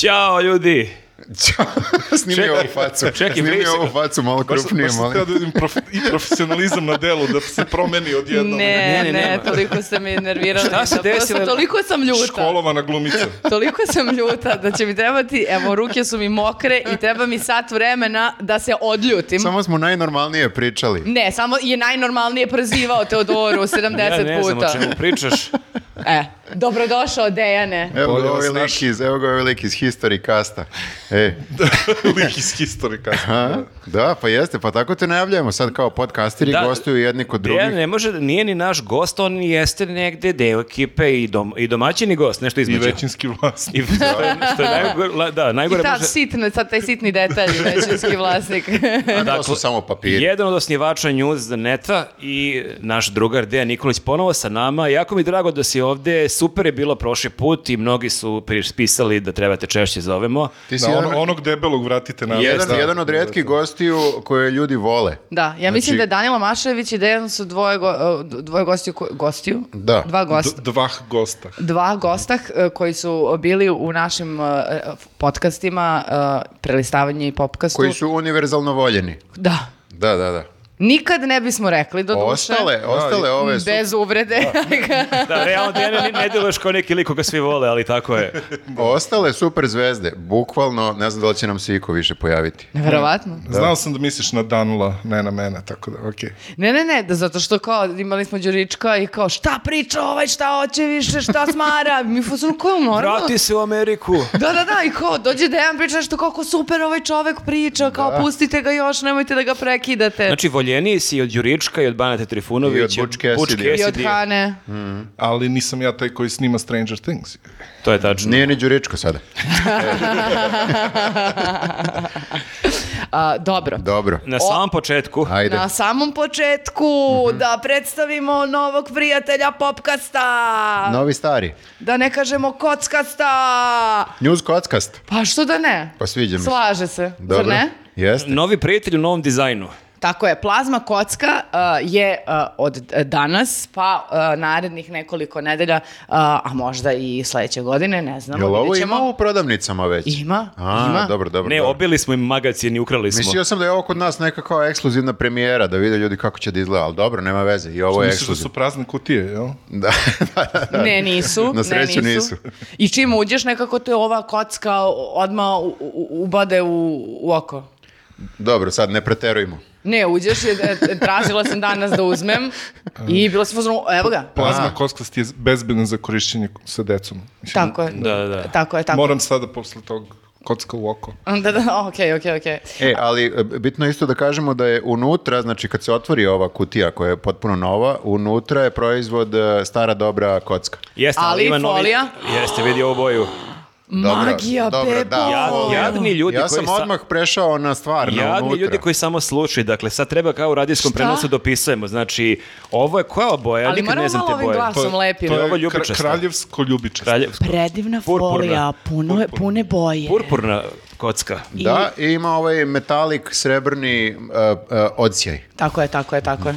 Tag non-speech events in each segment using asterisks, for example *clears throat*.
Ćao ljudi! Snimi Čekaj, ovu facu. čekaj, Snimi vidi se. ovu facu, malo Baš, sam- krupnije, baš sam malo. treba da vidim prof- i profesionalizam na delu, da se promeni odjednom. Ne, Ne, ne, ne, nema. toliko ste me nervirali. *laughs* Šta se da prosto desilo? Toliko sam ljuta. Školovana *laughs* glumica. Toliko sam ljuta da će mi trebati, evo, ruke su mi mokre i treba mi sat vremena da se odljutim. Samo smo najnormalnije Mm. pričali. Ne, samo je najnormalnije prezivao Teodoru *laughs* 70 ja ne znam puta. o čemu *laughs* pričaš. E, dobrodošao Dejane. Evo Bolje ga vas ovaj lik naš. iz, evo ga ovaj lik iz History Casta. E, Da. Lik iz historika. a? da, pa jeste, pa tako te najavljujemo sad kao podcasteri, Da. gostuju jedni kod drugih. Dejan ne može, nije ni naš gost, on jeste negde deo ekipe i, dom, i domaćini gost, nešto I Znači, između. većinski vlasnik. I što je, *laughs* što je najgore, la- da, I najgore ta može... sitna, sad taj sitni *laughs* detalj, većinski vlasnik. *laughs* A to su dakle, samo papiri. Jedan od osnivača News Neta i naš drugar Dejan Nikolić ponovo sa nama. Jako mi drago da si ovde, super je bilo prošli put i mnogi su pri- pisali da trebate češće zovemo. Ti si Da, jedan, on, onog debelog vratite Da. na jedan, jedan Da, od redkih gostiju koje ljudi vole. Da, ja mislim Znači- da Danilo Mašević i Dejan su dvoje, go- dvoje gostiju, ko- gostiju? Da. Dva gosta. D- Dva gosta. dva gostah e, koji su bili u našim e, f- podcastima e, prelistavanje i popkastu. Koji su univerzalno voljeni. Da. Da, da, da. Nikad ne bismo rekli do duše. Ostale, ostale ove su... Bez uvrede. Da, realno Dejan ne, ne deluješ kao neki lik koga svi vole, ali tako je. Ostale super zvezde, bukvalno, ne znam da li će nam se iko više pojaviti. *laughs* Neverovatno. Znao sam da misliš na Danula, ne na mene, tako da, okej. Ne, ne, ne, da zato što kao imali smo Đurička i kao šta priča ovaj, šta hoće više, šta smara. *laughs* Mi fuzon kao normalno. Vrati se u Ameriku. Da, da, da, i kao dođe Dejan priča nešto kako super ovaj čovek priča, kao Da. pustite ga još, nemojte da ga prekidate. Znači, voljeniji si i od Đurička i od Banate Trifunovića. I od Butch Cassidy-a. I od Cassidy-a. Hane. Mm. Ali nisam ja taj koji snima Stranger Things. To je tačno. Nije ni Đuričko sada. A, dobro. Dobro. Na samom početku, Ajde. Mhm. Na samom početku da predstavimo novog prijatelja Popkasta. Novi stari. Da ne kažemo Kockasta. News Kockast. Pa što da ne? Pa sviđa mi se. Slaže se, Dobro. zar ne? Jeste. novi prijatelj u novom dizajnu. Tako je, plazma kocka uh, je uh, od eh, danas pa uh, narednih nekoliko nedelja, uh, a možda i sledeće godine, ne znam, Jel ovo vidit ima ćemo. u prodavnicama već? Ima, A, ima. dobro, dobro. Ne, dobro. obili smo im magacin i ukrali smo. Mislio sam da je ovo kod nas neka kao ekskluzivna premijera, da vide ljudi kako će da izgleda, ali dobro, nema veze, i ovo je Misliš da ekskluzivno. su prazne kutije, jel? *laughs* Da, da, da. Ne, nisu. *laughs* Na sreću ne, nisu. I čim uđeš, nekako te ova kocka odma u- u- ubode u, u oko. Dobro, sad ne preterujmo. Ne, uđeš, je, e, tražila sam danas da uzmem i bila sam pozorna, evo ga. Plazma A. kockast je bezbedna za korišćenje sa decom. Mislim, Tako je. Da, da, da. Tako je, tako. Moram sada posle tog kocka u oko. Da, da, okej, okej, okej. E, ali e, bitno je isto da kažemo da je unutra, znači kad se otvori ova kutija koja je potpuno nova, unutra je proizvod e, stara dobra kocka. Jeste, Ali ima novi- folija? Jeste, vidi ovu boju. Magija, dobro, bebo! da. Ja- Folija. jadni ljudi ja koji sam sa- odmah prešao na stvar, na Jadni unutra. ljudi koji samo slušaju, dakle sad treba kao u radijskom Šta? prenosu dopisujemo, znači ovo je koja boja, Ali nikad moramo ne znam malo te ovim boje. glasom je- lepim. To je Ovo kra- ljubičasta. kraljevsko ljubičasto. Kraljevsko. Predivna Purpurna. folija, puno, je- pune boje. Purpurna kocka. Da, i ima ovaj metalik srebrni uh, uh, odsjaj. Tako je, tako je, tako je.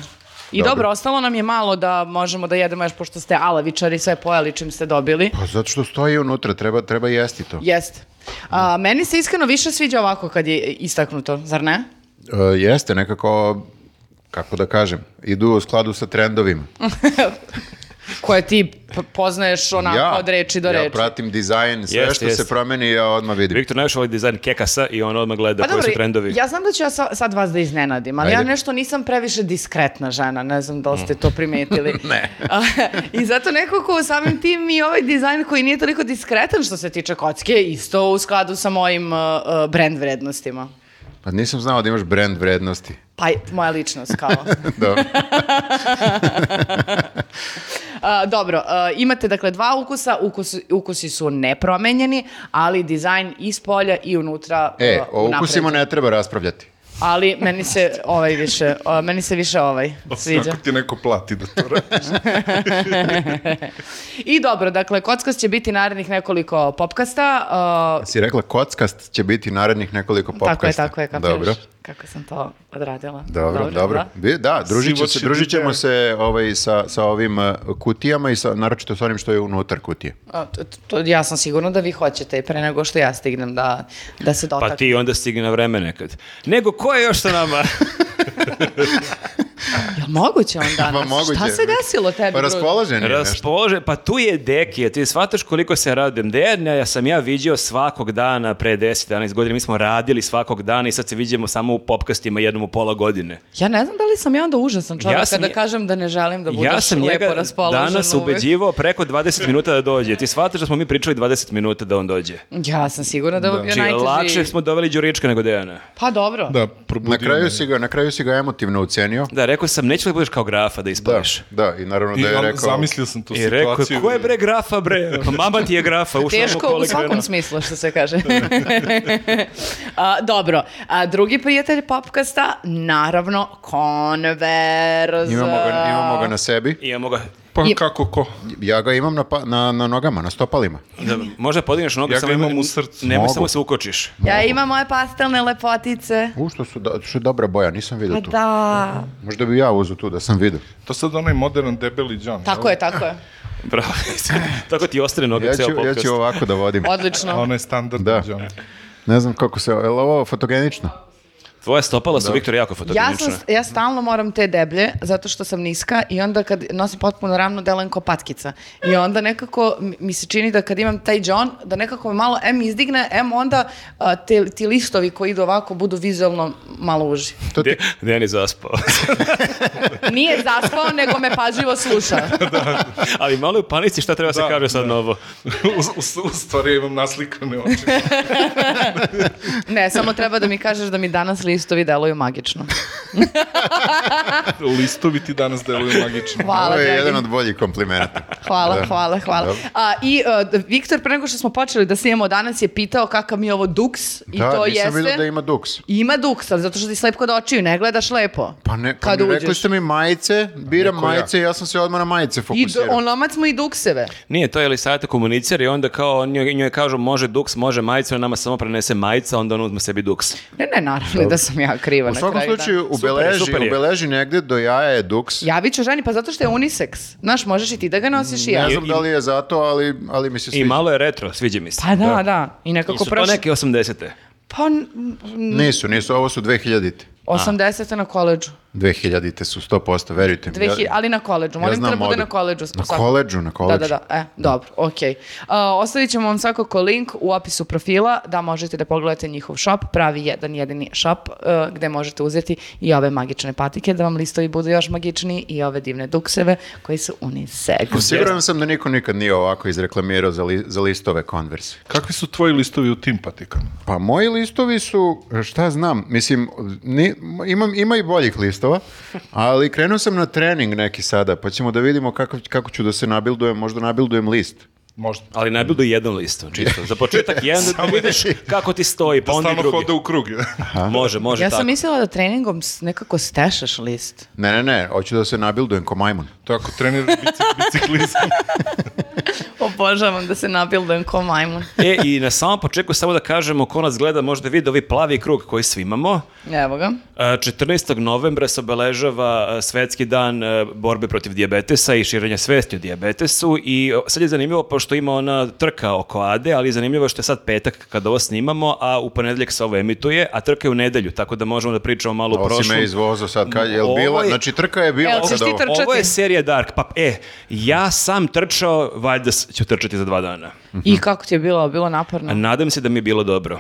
I Dobro. dobro. ostalo nam je malo da možemo da jedemo još pošto ste alavičari sve pojeli čim ste dobili. Pa zato što stoji unutra, treba, treba jesti to. Jeste. A, meni se iskreno više sviđa ovako kad je istaknuto, zar ne? E, jeste, nekako, kako da kažem, idu u skladu sa trendovima. Koje ti p- poznaješ onako ja, od reči do ja reči. pratim dizajn, sve Jeste, što jeste. se promeni ja odmah vidim. Viktor najviše voli dizajn kekasa i on odmah gleda Pa koji dobro, su trendovi. ja znam da ću ja sa- sad vas da iznenadim, ali ja Ajde. nešto nisam previše diskretna žena, ne znam da li ste to primetili. ne. I zato nekako samim tim i ovaj dizajn koji nije toliko diskretan što se tiče kocke, je isto u skladu sa mojim uh, uh, brand vrednostima. Pa nisam znao da imaš brand vrednosti. Pa i moja ličnost kao. Dobro. *laughs* A, dobro, a, imate dakle dva ukusa, ukus, ukusi su nepromenjeni, ali dizajn iz polja i unutra E, a, o ukusima unapređen. ne treba raspravljati. Ali meni se ovaj više, a, meni se više ovaj Pa Osim sviđa. Da, ako ti neko plati da to radi. I dobro, dakle, kockast će biti narednih nekoliko popkasta. a, Si rekla kockast će biti narednih nekoliko Tako je, popkasta. tako je, kapiraš. Dobro. Kako sam to odradila. Dobro, dobro. Da, da družit, će Život se, će družit biti- ćemo se ovaj, sa, sa ovim eh, kutijama i sa, naročito sa onim što je unutar kutije. A, to- to- ja sam sigurna da vi hoćete pre nego što ja stignem da, da se dotaknem. Pa ti onda stigni na vreme nekad. Nego, ko je još sa *laughs* nama? Jel moguće on danas? *laughs* Pa moguće. Šta se desilo tebi? Pa Bruno? raspoložen je nešto. Raspolože, pa tu je Dekija, ti shvataš koliko se ja radim. Dejana ja sam ja viđao svakog dana pre 10-11 godina, mi smo radili svakog dana i sad se viđemo samo u popkastima jednom u pola godine. Ja ne znam da li sam ja onda užasan čovjek Ja sam kada nje- kažem da ne želim da budeš ja sam lepo njega raspoložen. danas uvek. ubeđivao preko 20 minuta da dođe. Ti shvataš da smo mi pričali 20 minuta da on dođe. Ja sam sigurna da, je Znači, najteži. lakše smo doveli Đurička nego Dejana. Pa dobro. Da, Na probudio kraju, me. si ga, na kraju si ga emotivno ucenio. Da, rekao sam, neću da budeš kao grafa da Da, ispališ. da, i naravno I da je on- rekao... zamislio sam tu I rekao, situaciju. ko je bre grafa *laughs* bre? Pa Mama ti je grafa, ušla nam u Teško u kolektivno. svakom smislu, što se kaže. *laughs* A, dobro. A, drugi prijatelj popkasta, naravno, Converse. Imamo ga, imamo ga na sebi. Imamo ga. Pa I- kako ko? Ja ga imam na, pa- na, na nogama, na stopalima. Da, možda podigneš nogu, Ja ga samo imam nemoj- u srcu. Nemoj Mogu. samo se ukočiš. Ja imam moje pastelne lepotice. U, što, su, do- što je dobra boja, nisam vidio Pa tu. da. Možda bi ja uzeo tu da sam vidio. To sad onaj modern debeli džan. Tako je, tako je. Bravo. *laughs* Tako ti ostane noga Ja ceo ću, ja podcast. ću ovako da vodim. A Odlično. onaj standard Da. da. džan. Ne znam kako se... Je li ovo fotogenično? Tvoje stopala Da. su, Viktor, jako Ja, fotogenične. sam, ja stalno moram te deblje, zato što sam niska i onda kad nosim potpuno ravno delujem ko patkica. I onda nekako mi- mi se čini da kad imam taj džon, da nekako me malo M izdigne, M onda a, te, ti listovi koji idu ovako budu vizualno malo uži. To ti, De, Dejan je zaspao. *laughs* Nije zaspao, nego me pažljivo sluša. Ali malo je u panici šta treba se Da, kaže sad da. novo. *laughs* u, u, u stvari ja imam naslikane oči. Ne, samo treba da mi kažeš da mi danas listovi deluju magično. *laughs* Listovi ti danas deluju magično. Hvala, ovo je dragi. jedan od boljih komplimenata. Hvala, Da. hvala, hvala. Dobro. A, I uh, Viktor, pre nego što smo počeli da snijemo danas, je pitao kakav mi je ovo duks i da, to nisam jeste... vidio da ima duks. Ima duks, ali zato što ti slep kod očiju, ne gledaš lepo. Pa ne, pa kad mi uđeš. rekli ste mi majice, biram Neko ja. majice, ja sam se odmah na majice I do, fokusirao. onomac smo i dukseve. Nije, to je Elisaveta komunicer i onda kao on njoj, njoj kažu može duks, može majica, ona nama samo prenese majica, onda on uzme sebi duks. Ne, ne, naravno da sam ja kriva U na svakom kraju. da. slučaju, Super je, ubeleži, super je. ubeleži negde do jaja je duks. Javit ću ženi, pa zato što je unisex. Znaš, možeš i ti da ga nosiš i ja. Ne znam da li je zato, ali, ali mi se I sviđa. malo je retro, sviđa mi se. Pa da, da. I nekako Su to prošli. neke 80-te. Pa n- Nisu, nisu, ovo su 2000-te. 80 na koleđu. 2000-te su 100%, verujte mi. 2000, ali na koleđu. Molim te da bude modu. na koleđu. Na Svako- koleđu, na Da, koleđu. da, da. E, dobro, okej. A, ostavit ćemo vam svakako link u opisu profila da možete da pogledate njihov shop, pravi jedan jedini shop e, gde možete uzeti i ove magične patike da vam listovi budu još magičniji i ove divne dukseve koji su Pa unisex. Siguran sam da niko nikad nije ovako izreklamirao za, li- za listove konverse. Kakvi su tvoji listovi u tim patikama? Pa moji listovi su, šta znam, mislim, ni, imam, ima i boljih listova, ali krenuo sam na trening neki sada, pa ćemo da vidimo kako, kako ću da se nabildujem, možda nabildujem list. Možda. Ali najbolje do jedan listom, čisto. Za početak *laughs* jedan da vidiš kako ti stoji, pa Da onda i stalno drugi. hode u krug. Može, može Ja tako. sam mislila da treningom s- nekako stešaš list. Ne, ne, ne, hoću da se nabildujem ko majmun. to je ako treniraš bici- biciklizam. Obožavam da se nabildujem ko majmun. E, i na samom početku samo da kažemo ko nas gleda, možda vidi ovi plavi krug koji svi imamo. Evo ga. E, 14. novembra se obeležava e, svetski dan e, borbe protiv dijabetesa i širenja svesti o dijabetesu i e, sad je zanimlvo pošto ima ona trka oko Ade, ali zanimljivo je što je sad petak kada ovo snimamo, a u ponedeljak se ovo emituje, a trka je u nedelju, tako da možemo da pričamo malo o Ovo si prošlom. me izvozao sad, kad, jel bila, Ovo je- znači trka je bila Jel ćeš sad ti ovo. trčati? Ovo je serija Dark, pa e, ja sam trčao, valjda s- ću trčati za dva dana. I kako ti je bilo? Bilo naporno? A Nadam se da mi je bilo dobro.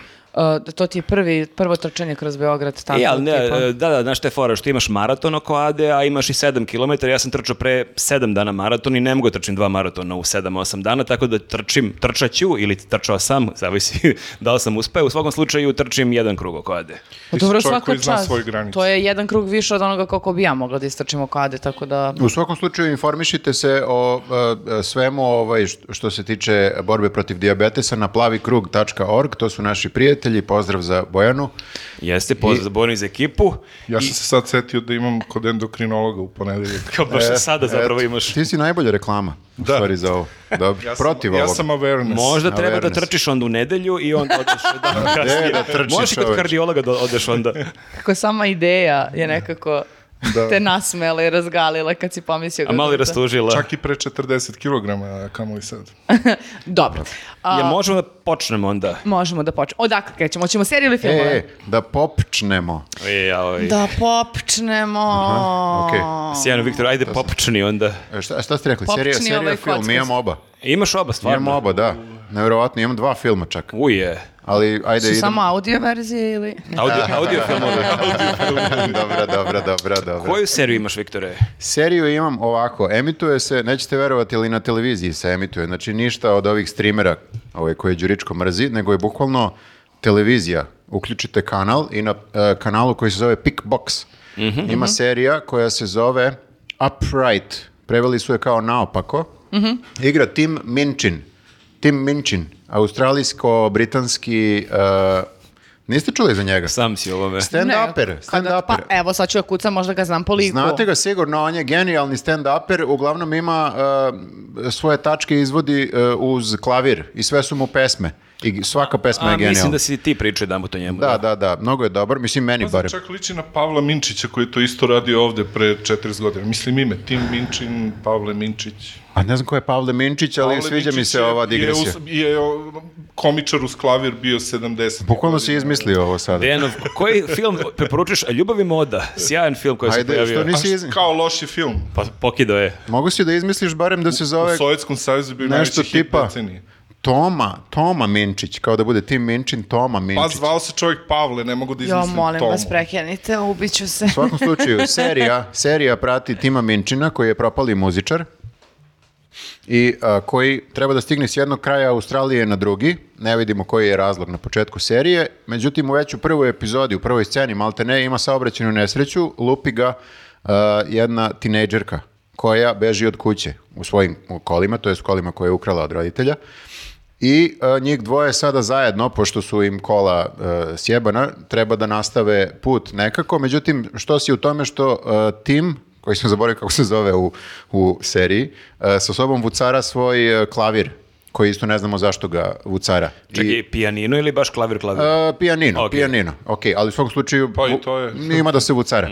E, to ti je prvi, prvo trčanje kroz Beograd. Tako, E, ali ne, tipa. e, da, da, znaš te fora, što imaš maraton oko Ade, a imaš i 7 km, ja sam trčao pre 7 dana maraton i ne mogu da trčim dva maratona u 7-8 dana, tako da trčim, trčaću ili trčao sam, zavisi *laughs* da li sam uspeo, u svakom slučaju trčim jedan krug oko Ade. Pa Ti si čovjek dobro, svaka koji zna čast. svoje granice. To je jedan krug više od onoga koliko bi ja mogla da istrčim oko Ade, tako da... U svakom slučaju informišite se o e, e, svemu ovaj, št- što se tiče borbe protiv diabetesa na plavikrug.org, to su naši prijatelji prijatelji, pozdrav za Bojanu. Jeste, pozdrav za Bojanu iz ekipu. *laughs* Ja sam se sad setio da imam kod endokrinologa u ponedeljak. Kao baš E, sada zapravo eto, imaš. Ti si najbolja reklama, u Da. stvari, za ovo. Dobro, Ja sam, protiv ja ovog. sam awareness. Možda treba da awareness. trčiš onda u nedelju i onda *laughs* odeš dan kasnije. Ne, da trčiš, Možeš i kod čoveče. kardiologa da odeš *laughs* onda. Kako sama ideja je nekako Da. te nasmela i razgalila kad si pomislio... A malo je kako to- rastužila. Čak i pre 40 kg, kamo li sad. Dobro. A, Je, možemo da počnemo onda. Možemo da počnemo. Odakle krećemo? Hoćemo seriju ili E, filmove? e, da popčnemo. E, ja, ovaj. Da popčnemo. Aha, okej. Sjajno, Viktor, ajde popčni onda. E, Šta, šta ste rekli? Popčni Serija, serija, ovaj film, kockasto. imam oba. Imaš oba Imam stvarno? oba, da. Nevjerovatno, imam dva filma čak. Uje. Ali, ajde, Su idem. *laughs* samo audio verzije ili... Da, Audio, audio filmove. dobra, dobra, dobra, dobra. Koju seriju imaš, Viktore? Seriju imam ovako, emituje se, nećete verovati ali na televiziji se emituje, znači ništa od ovih streamera ovaj, koje Đuričko mrzi, nego je bukvalno televizija. Uključite kanal i na e, kanalu koji se zove Pickbox Mhm, ima serija koja se zove Upright, preveli su je kao naopako, Mhm. igra Tim Minchin, Tim Minchin, australijsko-britanski, e, niste čuli za njega? Sam si ovome. Stand-upper, Kada- stand-upper. Pa evo, sad ću da kucam, možda ga znam po liku. Znate ga sigurno, on je genijalni stand-upper, uglavnom ima uh, svoje tačke izvodi uh, uz klavir i sve su mu pesme. I svaka pesma je A, mislim genijalna. da si ti pričao jedan o njemu. Da, da, da, mnogo je dobar, mislim meni barem. Pa Čak liči na Pavla Minčića koji je to isto radio ovde pre 40 godina. Mislim ime, Tim Minčin, Pavle Minčić. A ne znam ko je Pavle Minčić, ali Pavle sviđa mi Minčić se je- ova Je, digresija. us- je o, komičar uz klavir bio 70. Bukvalno si izmislio ovo sada. Dejanov, koji film preporučuješ? Ljubav i moda. Sjajan film koji se Ajde, pojavio. što A nisi šta- izmislio? Kao loši film. Pa pokidao je. Mogu si da izmisliš barem da se U zove Sovjetskom savjezu bio nešto najveći hit tipa decenije. Toma, Toma Minčić, kao da bude Tim Minčin, Toma Pa Minčić. zvao se čovjek Pavle, ne mogu da Jo, izmislim molim Tomu. vas, prekinite, ubiću se. U svakom slučaju, serija, serija prati Tima Minčina koji je propali muzičar i a, koji treba da stigne s jednog kraja Australije na drugi. Ne vidimo koji je razlog na početku serije. Međutim, u već u prvoj epizodi, u prvoj sceni, malte ne, ima saobraćenu nesreću, lupi ga a, jedna tinejdžerka koja beži od kuće u svojim kolima, to je kolima koje je ukrala od roditelja. I e, njih dvoje sada zajedno, pošto su im kola e, sjebana, treba da nastave put nekako. Međutim, što si u tome što e, tim, koji sam zaboravio kako se zove u, u seriji, e, sa sobom vucara svoj e, klavir, koji isto ne znamo zašto ga vucara. Čekaj, pijanino ili baš klavir klavir? E, pijanino, Ok. pijanino. Ok, ali u svakom slučaju Pa i vu- to je- Mhm. ima da se vucara.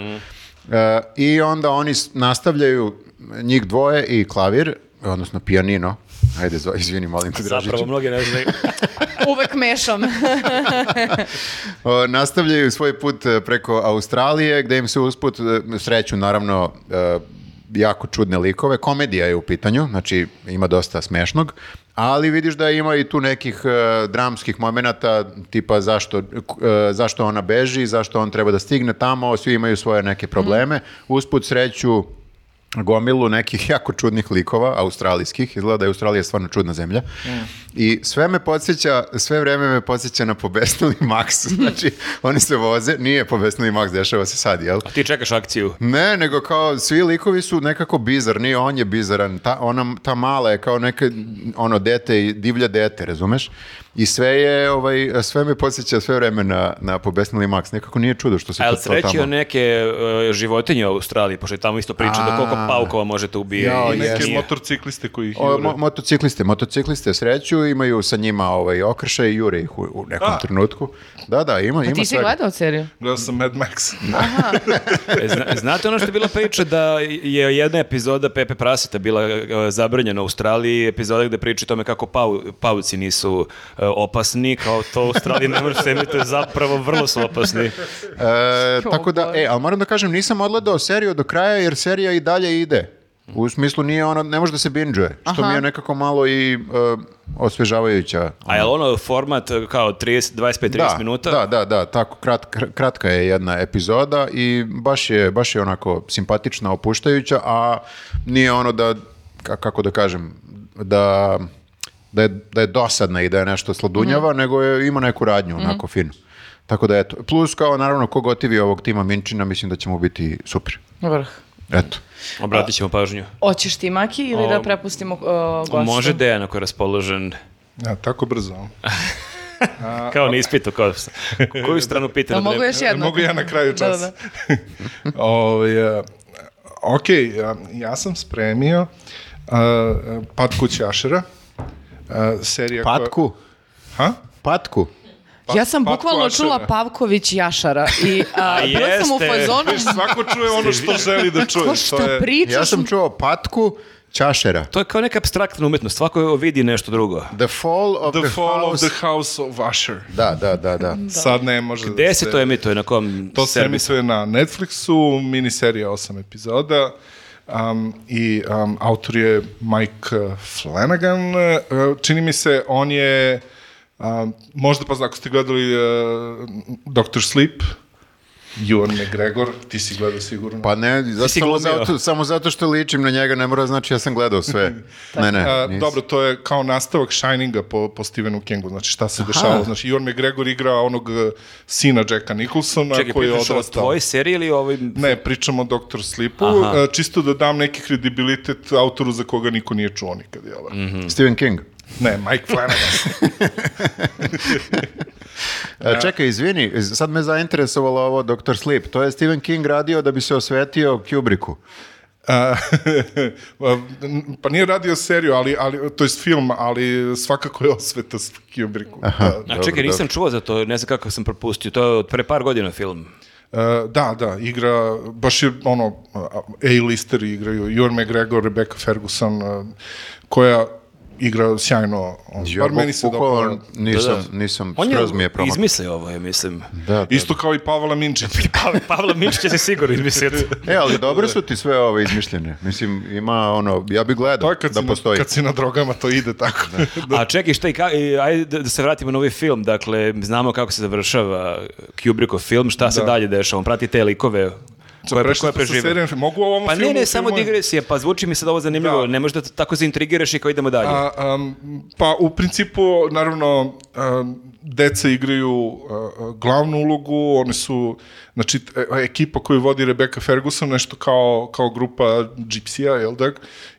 E, I onda oni s- nastavljaju njih dvoje i klavir, odnosno pijanino. Ajde, zva- izvini, molim te, Dražiću. Zapravo, mnogi ne znaju. *laughs* Uvek mešam. O, nastavljaju svoj put e, preko Australije, gde im se usput e, sreću naravno e, jako čudne likove. Komedija je u pitanju, znači ima dosta smešnog, ali vidiš da ima i tu nekih e, dramskih momenata, tipa zašto, e, zašto ona beži, zašto on treba da stigne tamo, svi imaju svoje neke probleme. Usput sreću gomilu nekih *laughs* jako čudnih likova, australijskih, izgleda da je Australija stvarno čudna zemlja. Mm. I sve me podsjeća, sve vreme me podsjeća na pobesnili *laughs* Max. Znači, oni se voze, nije pobesnili Max, dešava se sad, jel? Ti čekaš *laughs* akciju. Ne, nego kao svi likovi su nekako bizarni, on je bizaran, ta, ona, ta mala je kao neka ono dete, i divlje dete, razumeš? I sve je, ovaj, sve me podsjeća sve vreme na, na pobesnili Max. Nekako nije čudo što se A jel to, to srećio tamo... neke e, životinje u Australiji, pošto je tamo isto priča da koliko A. paukova možete ubijati. Jao, i Neke jeste. nije. motocikliste koji ih O, jure. mo- motocikliste, motocikliste sreću, imaju sa njima ovaj okršaj i jure ih u, u nekom A. trenutku. Da, da, ima, ima Pa Ti si svega. gledao seriju? Gledao sam Mad Max. E, zna- znate ono što je bila priča da je jedna epizoda Pepe Praseta bila e, zabranjena u Australiji, epizoda gde priča o tome kako pau, pauci nisu e, opasni, kao to u Australiji ne možeš semite, zapravo vrlo su opasni. E, tako da, e, ali moram da kažem, nisam odgledao seriju do kraja jer serija i dalje ide. U smislu nije ona, ne može da se binđuje, što mi je nekako malo i e, osvežavajuća. A je ono format e, kao 30, 25-30 Da, minuta? da, da, da, tako krat- kr- kratka je jedna epizoda i baš je, baš je onako simpatična, opuštajuća, a nije ono da, ka- kako da kažem, da, da, je, da je dosadna i da je nešto sladunjava, Mhm. nego je, ima neku radnju onako finu. Tako da eto, plus kao naravno ko gotivi ovog tima Minčina, mislim da će mu biti super. Vrh. Eto. Obratit ćemo pažnju. Oćeš ti maki ili da O, da prepustimo uh, gostu? Može Dejan ako je raspoložen. Ja, tako brzo. kao na ispitu, kao koju stranu pita. Da, da ne- mogu još E, jedno. Mogu ja na kraju Da, da, časa. *laughs* Ovaj, a, ok, a, ja sam spremio e, a, a, patku Ćašera. a, e, serija koja- Patku? Ha? Patku? da. Ja sam Pat- bukvalno Patko čula Ačara. Pavković Jašara *laughs* i a, bila sam u jeste. fazonu Viš, svako čuje ono što želi da čuje. ko to šta je- pričaš. Ja sam čuo patku Čašera. To je kao neka abstraktna umetnost, svako vidi nešto drugo. Da, The Fall of the, The Fall of House. the House of Usher. Da, da, da, da. Sad ne može Gde da se to emituje, na kom To se servisu? emituje na Netflixu, miniserija 8 epizoda um, i um, autor je Mike uh, Flanagan. Uh, čini mi se, on je, um, možda pa ako ste gledali uh, Dr. Sleep, Ewan McGregor, ti si gleda sigurno. Pa ne, zato, si samo, glumio. zato, samo zato što ličim na njega ne mora znači ja sam gledao sve. ne, ne. A, nisam. dobro, to je kao nastavak Shininga po, po Stephenu Kingu, znači šta se dešava. Znači, Ewan McGregor igra onog uh, sina Jacka Nicholsona Čekaj, koji je pričaš o odrastao. tvojoj seriji ili o ovim... Ne, pričamo o Dr. Slipu, Aha. e, čisto da dam neki kredibilitet autoru za koga niko nije čuo nikad, jel? da? Mhm. Hmm. Stephen King. Ne, Mike *laughs* Flanagan. A, E, čekaj, izvini, sad me zainteresovalo ovo Dr. Sleep. To je Stephen King radio da bi se osvetio Kubricku. A, *laughs* pa nije radio seriju, ali, ali, to je film, ali svakako je osveta s Kubricku. Da. A Dobro, čekaj, nisam dobro. čuo za to, ne znam kako sam propustio, to je od pre par godina film. E, da, da, igra, baš je ono, A-listeri igraju, Ewan McGregor, Rebecca Ferguson, e, koja igra sjajno. ono, Ja bar meni se bukvalno dopala. Nisam, nisam, On skroz mi je je promak. izmislio ovo, ja *laughs* mislim. Da, da. Isto kao i Pavala *laughs* Minčić. Pavle, Pavla Minčić će se sigurno izmisliti. E, ali dobro su ti sve ove izmišljene. Mislim, ima ono, ja bi To gledao je Pa kad, da si postoji. Da. Na, kad si na drogama, to ide tako. *laughs* Da, A čekaj, šta i ka- i ajde da- da se vratimo na ovaj film, dakle, znamo kako se završava Kubrickov film, šta se Da. dalje dešava, on prati te likove koje, Prešli koje smo sa prežive. serijem, mogu o ovom Pa filmu? ne, ne, u samo filmu je- digresije, pa zvuči mi sad ovo zanimljivo, Da. ne možda te tako zaintrigiraš i kao idemo dalje. A, am, pa u principu, naravno, am, deca igraju a, a, glavnu ulogu, oni su, znači, e- ekipa koju vodi Rebecca Ferguson, nešto kao, kao grupa džipsija, jel da,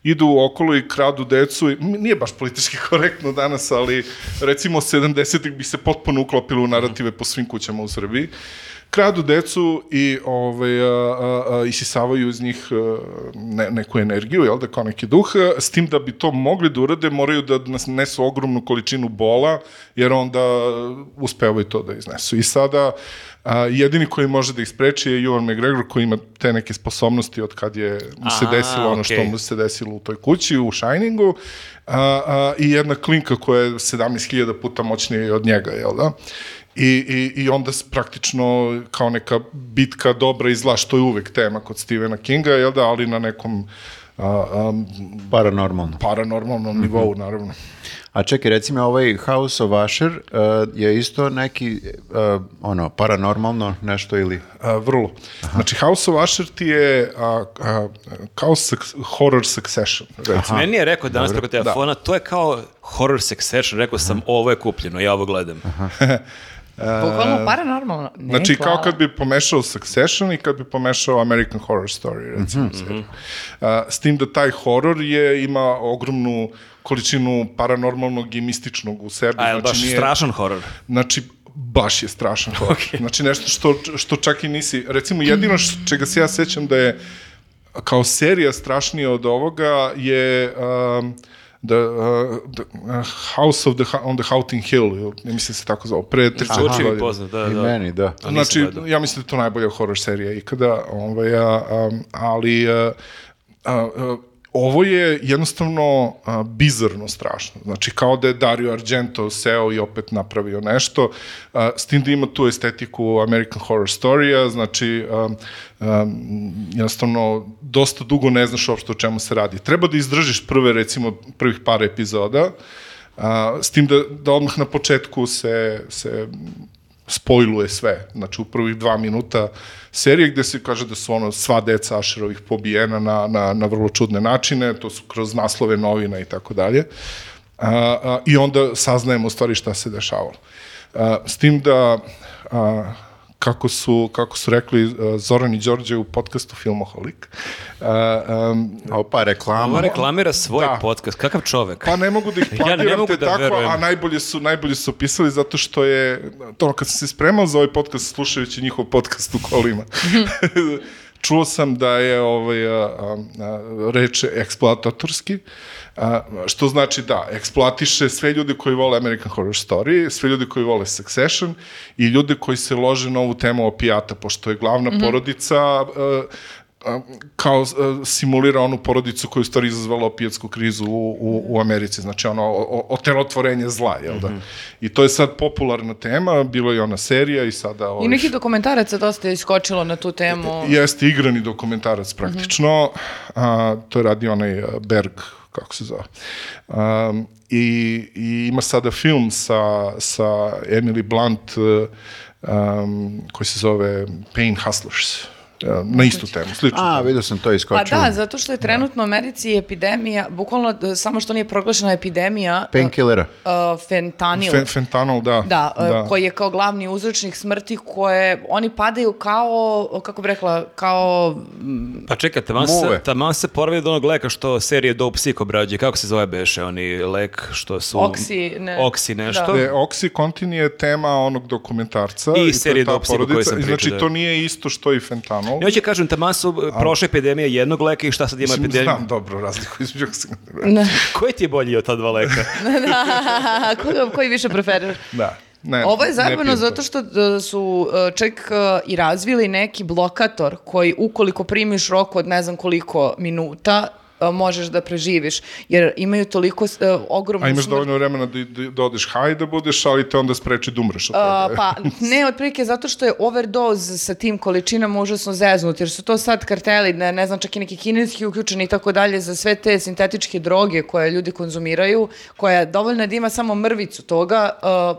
idu okolo i kradu decu, i, m, nije baš politički *laughs* korektno danas, ali recimo 70-ih bi se potpuno uklopilo u narative po svim kućama u Srbiji. kradu decu i ovaj, a, a, a, isisavaju iz njih a, ne, neku energiju, jel da, kao neki duh, a, s tim da bi to mogli da urade, moraju da nas nesu ogromnu količinu bola, jer onda uspevaju to da iznesu. I sada a, jedini koji može da ih spreči je Ewan McGregor koji ima te neke sposobnosti od kad je mu se Aha, desilo ono što okej. mu se desilo u toj kući, u Shiningu, a, a, i jedna klinka koja je 17.000 puta moćnija od njega, jel da? I, i, I onda s- praktično kao neka bitka dobra i zla, što je uvek tema kod Stephena Kinga, jel da, ali na nekom a, a, Paranormalno. paranormalnom nivou, naravno. A čekaj, recimo ovaj House of Usher uh, je isto neki, uh, ono, paranormalno nešto ili... A, vrlo. Znači, House of Usher ti je a, a, kao suc- horror succession, recimo. Znači, Meni je rekao danas preko telefona, to je kao horror succession, rekao sam ovo je kupljeno, ja ovo gledam. Bukvalno paranormalno. Ne, Znači, hvala. kao kad bi pomešao Succession i kad bi pomešao American Horror Story, Mhm. recimo. seriju. A, s tim da taj horor je, ima ogromnu količinu paranormalnog i mističnog u sebi. A je li baš strašan horor? Znači, baš je strašan horor. Znači, nešto što, što čak i nisi... Recimo, jedino š, čega se ja sećam da je kao serija strašnija od ovoga je... Um, The, uh, the uh, House of the, Hu- on the Haunting Hill, jel? ne mislim da se tako zvao, pre 30 Zvuči mi godina. poznat, da, I da. meni, da. To nisam Znači, gledao. ja mislim da je to najbolja horror serija ikada, ovaj, a, am, ali a, a, a, ovo je jednostavno a, bizarno strašno. Znači, kao da je Dario Argento seo i opet napravio nešto, a, s tim da ima tu estetiku American Horror Story-a, znači, am, am, jednostavno, dosta dugo ne znaš uopšte o čemu se radi. Treba da izdržiš prve, recimo, prvih par epizoda, a, s tim da, da odmah na početku se, se spojluje sve. Znači, u prvih dva minuta serije gde se kaže da su ono sva deca Ašerovih pobijena na, na, na vrlo čudne načine, to su kroz naslove novina i tako dalje. A, a, I onda saznajemo u stvari šta se dešavalo. A, s tim da a, kako su, kako su rekli uh, Zoran i Đorđe u podcastu Filmoholik. Uh, um, Opa, reklama. On reklamira svoj Da. podcast. Kakav čovek? Pa ne mogu *laughs* da ih ne planiram mogu te da tako, verujem. a najbolje su, najbolje su opisali zato što je, to, kad sam se spremao za ovaj podcast, slušajući njihov podcast u *laughs* kolima, čuo sam da je ovaj, a, a, a, reč eksploatatorski, a, što znači da, eksploatiše sve ljude koji vole American Horror Story, sve ljude koji vole Succession i ljude koji se lože na ovu temu opijata, pošto je glavna Mhm. mm -hmm. porodica a, a, kao e, simulira onu porodicu koja je u stvari izazvala opijatsku krizu u, u, u Americi, znači ono o- o- otelotvorenje zla, jel da? I to je sad popularna tema, bilo je ona serija i sada... I ovih- neki dokumentaraca dosta je iskočilo na tu E, temu. Jeste igrani dokumentarac Mhm. praktično, a, to je radio onaj a, Berg, kako se zove. Um, i, I ima sada film sa, sa Emily Blunt e, um, koji se zove Pain Hustlers, e, na istu temu, slično. A, vidio sam to Pa iskočilo. da, zato što je trenutno u Americi epidemija, bukvalno d- samo što nije proglašena epidemija, Painkillera. uh, fentanil. Fe, fentanil, da. Da, e, koji je kao glavni uzročnik smrti koje, oni padaju kao, kako bih rekla, kao, *laughs* Pa čekaj, taman se, Muve. taman se poravi od onog leka što serije Dope Sick obrađuje. Kako se zove beše oni lek što su... Oksi, ne. Oksi nešto. Da. E, Oxycontin je tema onog dokumentarca. I to je serije ta Dopsiku koju porodica. sam I Znači, pričao, da. to nije isto što i fentanol. Ja ću kažem, taman su e, prošle epidemije jednog leka i šta sad ima Mislim, epidemija. Znam dobro razliku između oksikontinu. ne, *laughs* Koji ti je bolji od ta dva *laughs* leka? koji, koji više preferiraš? Da. Ne, Ovo je ne pijem zajebano to. zato što e, su e, čak e, i razvili neki blokator koji ukoliko primiš rok od ne znam koliko minuta, e, možeš da preživiš, jer imaju toliko e, ogromnu A imaš smrt- dovoljno vremena da, da, da odeš high da budeš, ali te onda spreči da umreš od toga. A, pa ne, otprilike zato što je overdose sa tim količinama užasno zeznut, jer su to sad karteli, ne, ne znam, čak i neki kineski uključeni i tako dalje za sve te sintetičke droge koje ljudi konzumiraju, koja je dovoljno da ima samo mrvicu toga,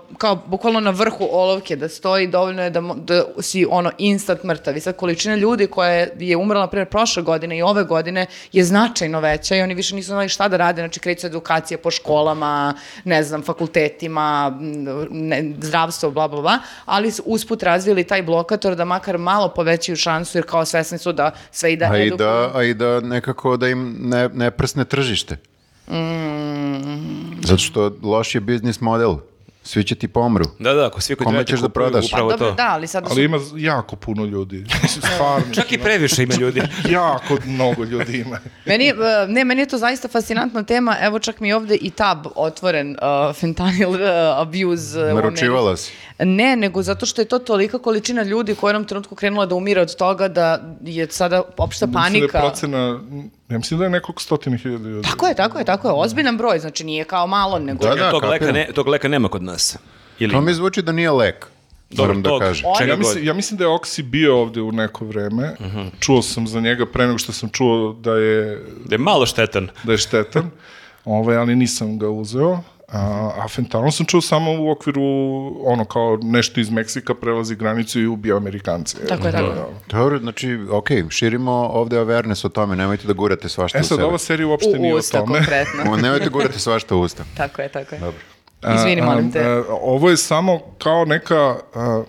uh, kao bukvalno na vrhu olovke da stoji, dovoljno je da, mo- da si ono instant mrtav. I sad količina ljudi koja je, je umrla, na primjer, prošle godine i ove godine je značajno veća i oni više nisu znali šta da rade, znači kreću se edukacija po školama, ne znam, fakultetima, m, ne, zdravstvo, bla, bla, bla, ali su usput razvili taj blokator da makar malo povećaju šansu, jer kao svesni su da sve ide A i edukacija. da, a i da nekako da im ne, ne prsne tržište. Mm. Zato što loš je biznis model. Svi će ti pomru. Da, da, ako svi koji Kome treći ćeš da kupuju, prodaš? Pa Upravo dobro, to. da, ali sad su Ali ima jako puno ljudi. *laughs* Mislim, stvarno. Čak i previše ima ljudi. Jako mnogo ljudi ima. Meni, je, e, ne, meni je to zaista fascinantna tema. Evo čak mi je ovde i tab otvoren uh, fentanyl uh, abuse. uh, u Americi. Naručivala si. Ne, nego zato što je to tolika količina ljudi koja je u jednom trenutku krenula da umire od toga da je sada opšta Mislim da panika. je procena, ja mislim da je nekoliko stotina hiljada ljudi. Tako je, tako je, tako je. Ozbiljan broj, znači nije kao malo, nego... *laughs* Da, da, tog, leka kapiram. ne, tog leka nema kod nas. Ili To mi zvuči da nije lek. Dobro, Moram da tog. kažem. Oni- Ja mislim, ja mislim da je Oksi bio ovde u neko vreme. Čuo sam za njega pre nego što sam čuo da je da je malo štetan. da je štetan, *laughs* ovaj, ali nisam ga uzeo. A, a fentanil sam čuo samo u okviru, ono kao nešto iz Meksika prelazi granicu i ubija Amerikance. Tako je, tako je. Dobro, znači, okej, širimo ovde awareness o tome, nemojte da gurate svašta E u sad, sebe. ova serija uopšte U nije o usta *laughs* tome. konkretno. O, Nemojte da gurate svašta u usta. Tako je, tako je. Dobro. Izvini, molim te. A, a, ovo je samo kao neka, a,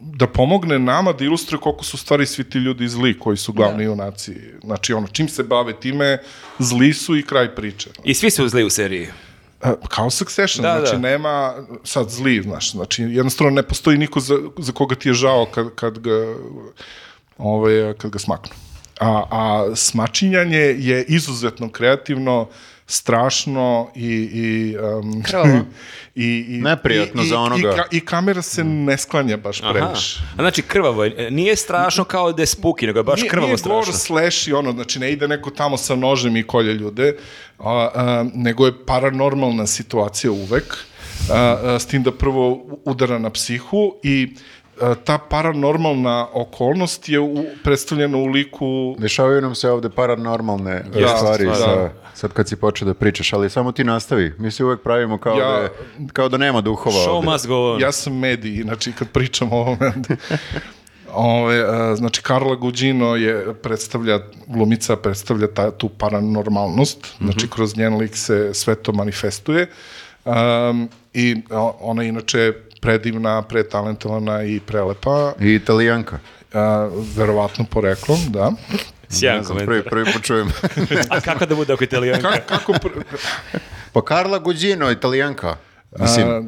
da pomogne nama da ilustruje koliko su u stvari svi ti ljudi zli koji su Da. glavni junaci. Znači, ono, čim se bave time, zli su i kraj priče. I svi su zli u seriji. E, Kao Succession, Da, znači da. nema sad zli, znaš, znači jednostavno ne postoji niko za, za koga ti je žao kad, kad, ga, ovaj, kad ga smaknu. A, a smačinjanje je izuzetno kreativno, strašno i... i um, Krvavo. *laughs* i, i Neprijatno i, i- za onoga. Mm. I, ka, I kamera se ne sklanja baš previše. A znači krvavo je. E, Nije strašno kao da je spuki, nego je baš Nije- krvavo nije strašno. gore slash i ono, znači ne ide neko tamo sa nožem i kolje ljude, a, a, nego je paranormalna situacija uvek, a, a, s tim da prvo u- udara na psihu i a, ta paranormalna okolnost je u, predstavljena u liku Dešavaju nam se ovde paranormalne e, Da, stvari stvar, sa, da. sad kad si počeo da pričaš, ali samo ti nastavi. Mi se uvek pravimo kao, Ja- da, je- kao da nema duhova Show ovde. must go on. Ja sam mediji, znači kad pričam o ovome. onda- Ove, a, znači Karla Gugino je predstavlja, glumica predstavlja ta, tu paranormalnost, Mhm. znači kroz njen lik se sve to manifestuje um, i o- ona je inače predivna, pretalentovana i prelepa, I italijanka. a, verovatno poreklom, da. Ne Sjajan znam, komentar. prvi, prvi put *laughs* čujem. A kako da bude ako italijanka? Ka, kako, pr- pa Karla Gugino, italijanka. Mislim, A,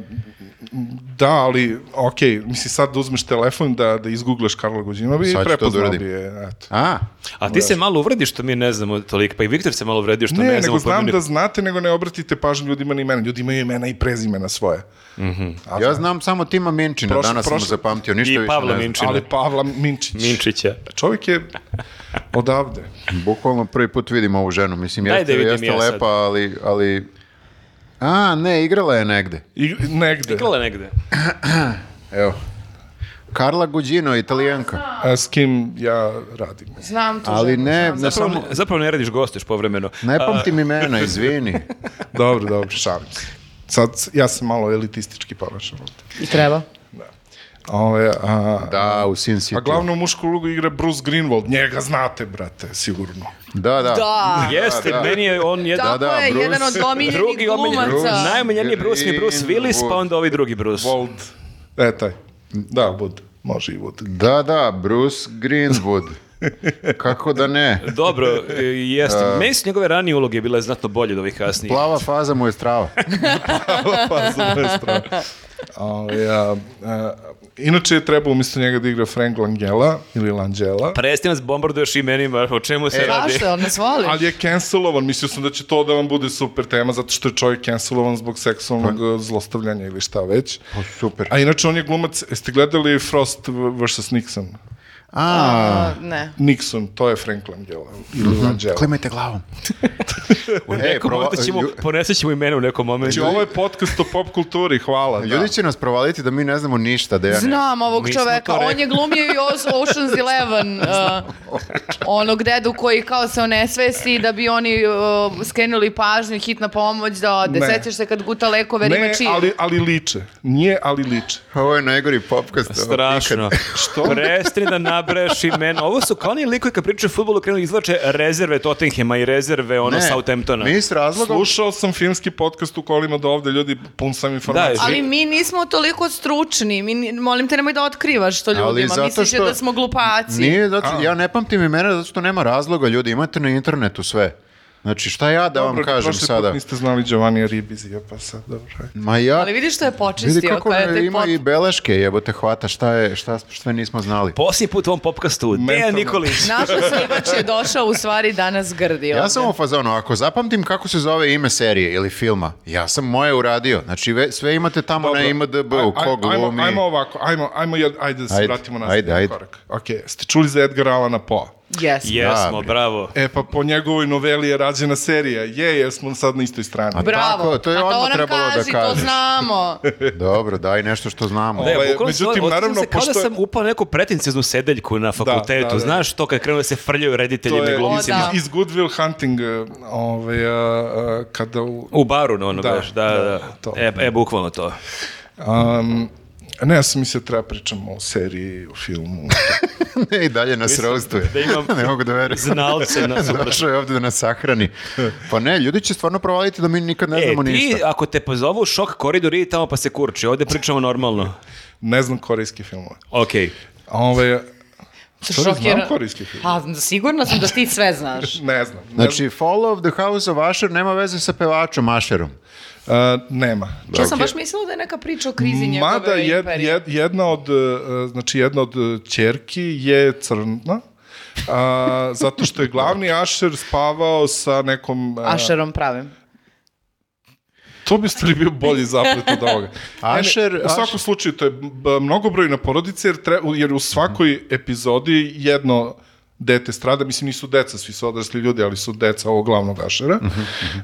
da, ali, okej, mislim sad da uzmeš telefon da, da izgooglaš Karla Guđinovi i Sad ću to da prepoznao uradim. bi je, eto. a, A ti se malo uvredi što mi ne znamo toliko, pa i Viktor se malo uvredi što ne, Ne, znamo. nego znam pojedine- da znate, nego ne obratite pažnju ljudima na imena. Ljudi imaju imena i prezimena svoje. ja znam samo Tima Minčina, Prošle- danas sam prošle- zapamtio, ništa I više Pavla ne znam. Minčina. Ali Pavla Minčić. Minčića. Čovjek je odavde. Bukvalno prvi put vidim ovu ženu, mislim, Daj jeste, da vidim jeste ja sad. lepa, ali, ali... A, ne, igrala je negde. I, negde. Igrala je negde. Evo. Karla Gugino, italijanka. A, s kim ja radim. Znam tu Ali ženu, ne, znam ne Zapravo, samo... Da zapravo ne radiš gosteš povremeno. Ne pamtim imena, izvini. Dobro, dobro, šalim se. Sad, ja se malo elitistički ponašam ovde. I treba. Ove, a, Da, u Sin City. a glavnu mušku ulogu igra Bruce Greenwald. Njega znate, brate, sigurno. Da, da. Da. Jeste, meni je on jedan... Tako da, je, da. Bruce. jedan od omiljenih Drugi omiljen, glumaca. najomiljeniji Bruce mi je Bruce Willis, pa Greenwood. onda ovi drugi Bruce. Wald. E, taj. Da, Wood. Može i Wood. Da, da, Bruce Greenwood. Kako da ne? Dobro, e, jeste. Da. Meni su njegove ranije uloge bile znatno bolje od ovih kasnijih. Plava faza mu je strava. *laughs* pa sa moje strane. Ovaj, a, a, inače je trebao umjesto njega da igra Frank Langella ili Langella. Presti nas bombarduješ imenima, o čemu se E, radi? Zašto, on nas voli? Ali je cancelovan, mislio sam da će to da vam bude super tema, zato što je čovjek cancelovan zbog seksualnog eh, zlostavljanja ili šta već. O, Pa. super. A inače, on je glumac, jeste gledali Frost vs. Nixon? A, A, ne. Nixon, to je Frank Langella ili Mhm. Langella. klimajte *laughs* glavom. U Ej, nekom prova- momentu ćemo, E, lju- poneset ćemo imena u nekom momentu. E, Znači, ovo je podcast o pop kulturi, hvala. da. Ljudi će nas provaliti da mi ne znamo ništa, Dejane. Znam ovog Nismo čoveka, to rekli. on je glumio i Oz- Ocean's *laughs* Eleven, uh, onog dedu koji kao se onesvesti da bi oni uh, skrenuli pažnju, hitna pomoć, da ode, Ne. sećaš se kad guta lekove, jer ima Ne, čije. ali, ali liče. Nije, ali liče. Ovo je najgori popkast. Da, Strašno. Što? Prestani da nabreš imena. Ovo su kao oni likovi kad pričaju o futbolu krenu da izvlače rezerve Tottenhema i rezerve ono Southamptona. Mi s razlogom... Slušao sam filmski podcast u kolima do ovde, ljudi, pun sam informacija. Da, Ali mi nismo toliko stručni, mi, ni- molim te nemoj da otkrivaš to Ali ljudima, zato misliš što- da smo glupaci. Nije, zato, ja ne pamtim imena zato što nema razloga, ljudi, imate na internetu sve. Znači, šta ja da vam Dobro, kažem prošli put sada? niste znali Giovanni Ribizija, pa sad, dobro. ajde. Ma ja, Ali vidiš što je vidi počistio, kako koja je ne, tek ima pot... i beleške, jebote, hvata, šta je, šta, sve nismo znali. Posljednji put u ovom popkastu, Dejan Mentalno. Nikolić. Naš osnivač je došao u stvari danas grdi. Ja ovde. sam u fazonu, ako zapamtim kako se zove ime serije ili filma, ja sam moje uradio. Znači, ve- sve imate tamo na IMDB-u, Aj- ko aj- ajmo- glumi. Ajmo ovako, ajmo, ajmo, jed- ajde da se Ajde, vratimo na ajde, ajde. korak. Ok, ste čuli za Edgar Allan Poe? Jesmo. Jesmo, Da, bravo. E, pa po njegovoj noveli je rađena serija. Je, jer smo sad na istoj strani. A da, Bravo. Tako, to je A odmah nam trebalo da kaži, To kažeš. *laughs* znamo. Dobro, daj nešto što znamo. Ne, Ovaj, bukvalno međutim, sam- osjećam naravno, se kao da pošto- sam upao na neku pretencioznu sedeljku na fakultetu. da, da. Znaš to kad krenu da se frljaju to rediteljima i je glumci. iz, glumcima. da. iz Good Will Hunting, eh, ovaj, a, a, kada u... U baru, no, ono, da, Da, baš, da, da. da, to. E, e, bukvalno to. Um, ne, ja sam mislio da treba pričamo o seriji, o filmu. *laughs* ne, I dalje nas roastuje. pa- da imam *laughs* ne mogu da verujem. znalce na *laughs* Došao je ovde da nas sahrani. Pa ne, ljudi će stvarno provaliti da mi nikad ne E, znamo ti, ništa. ako te pozovu u šok koridor, idi tamo pa se kurči. Ovde pričamo normalno. ne znam korejski Ovaj, filmove. Okej. Ove, Sorry, znam Šokira- korejski film. Pa, sigurna sam da ti sve *laughs* znaš. ne znam. Ne Znači, Follow of the House of Asher nema veze sa pevačom Asherom. znam. E, nema. Što sam baš mislila da je neka priča o krizi njegove Mada jed, imperije. jed, jedna od e, znači jedna od e, ćerki je crna. A, zato što je glavni Asher spavao sa nekom... e, Ašerom pravim. To bi u stvari bio bolji zaplet od ovoga. Ne, *laughs* ne, Asher- u svakom Asher- slučaju, to je b- mnogobrojna porodica, jer, tre, jer u svakoj epizodi jedno dete strada, mislim nisu deca, svi su odrasli ljudi, ali su deca ovog glavnog ašera. Mhm,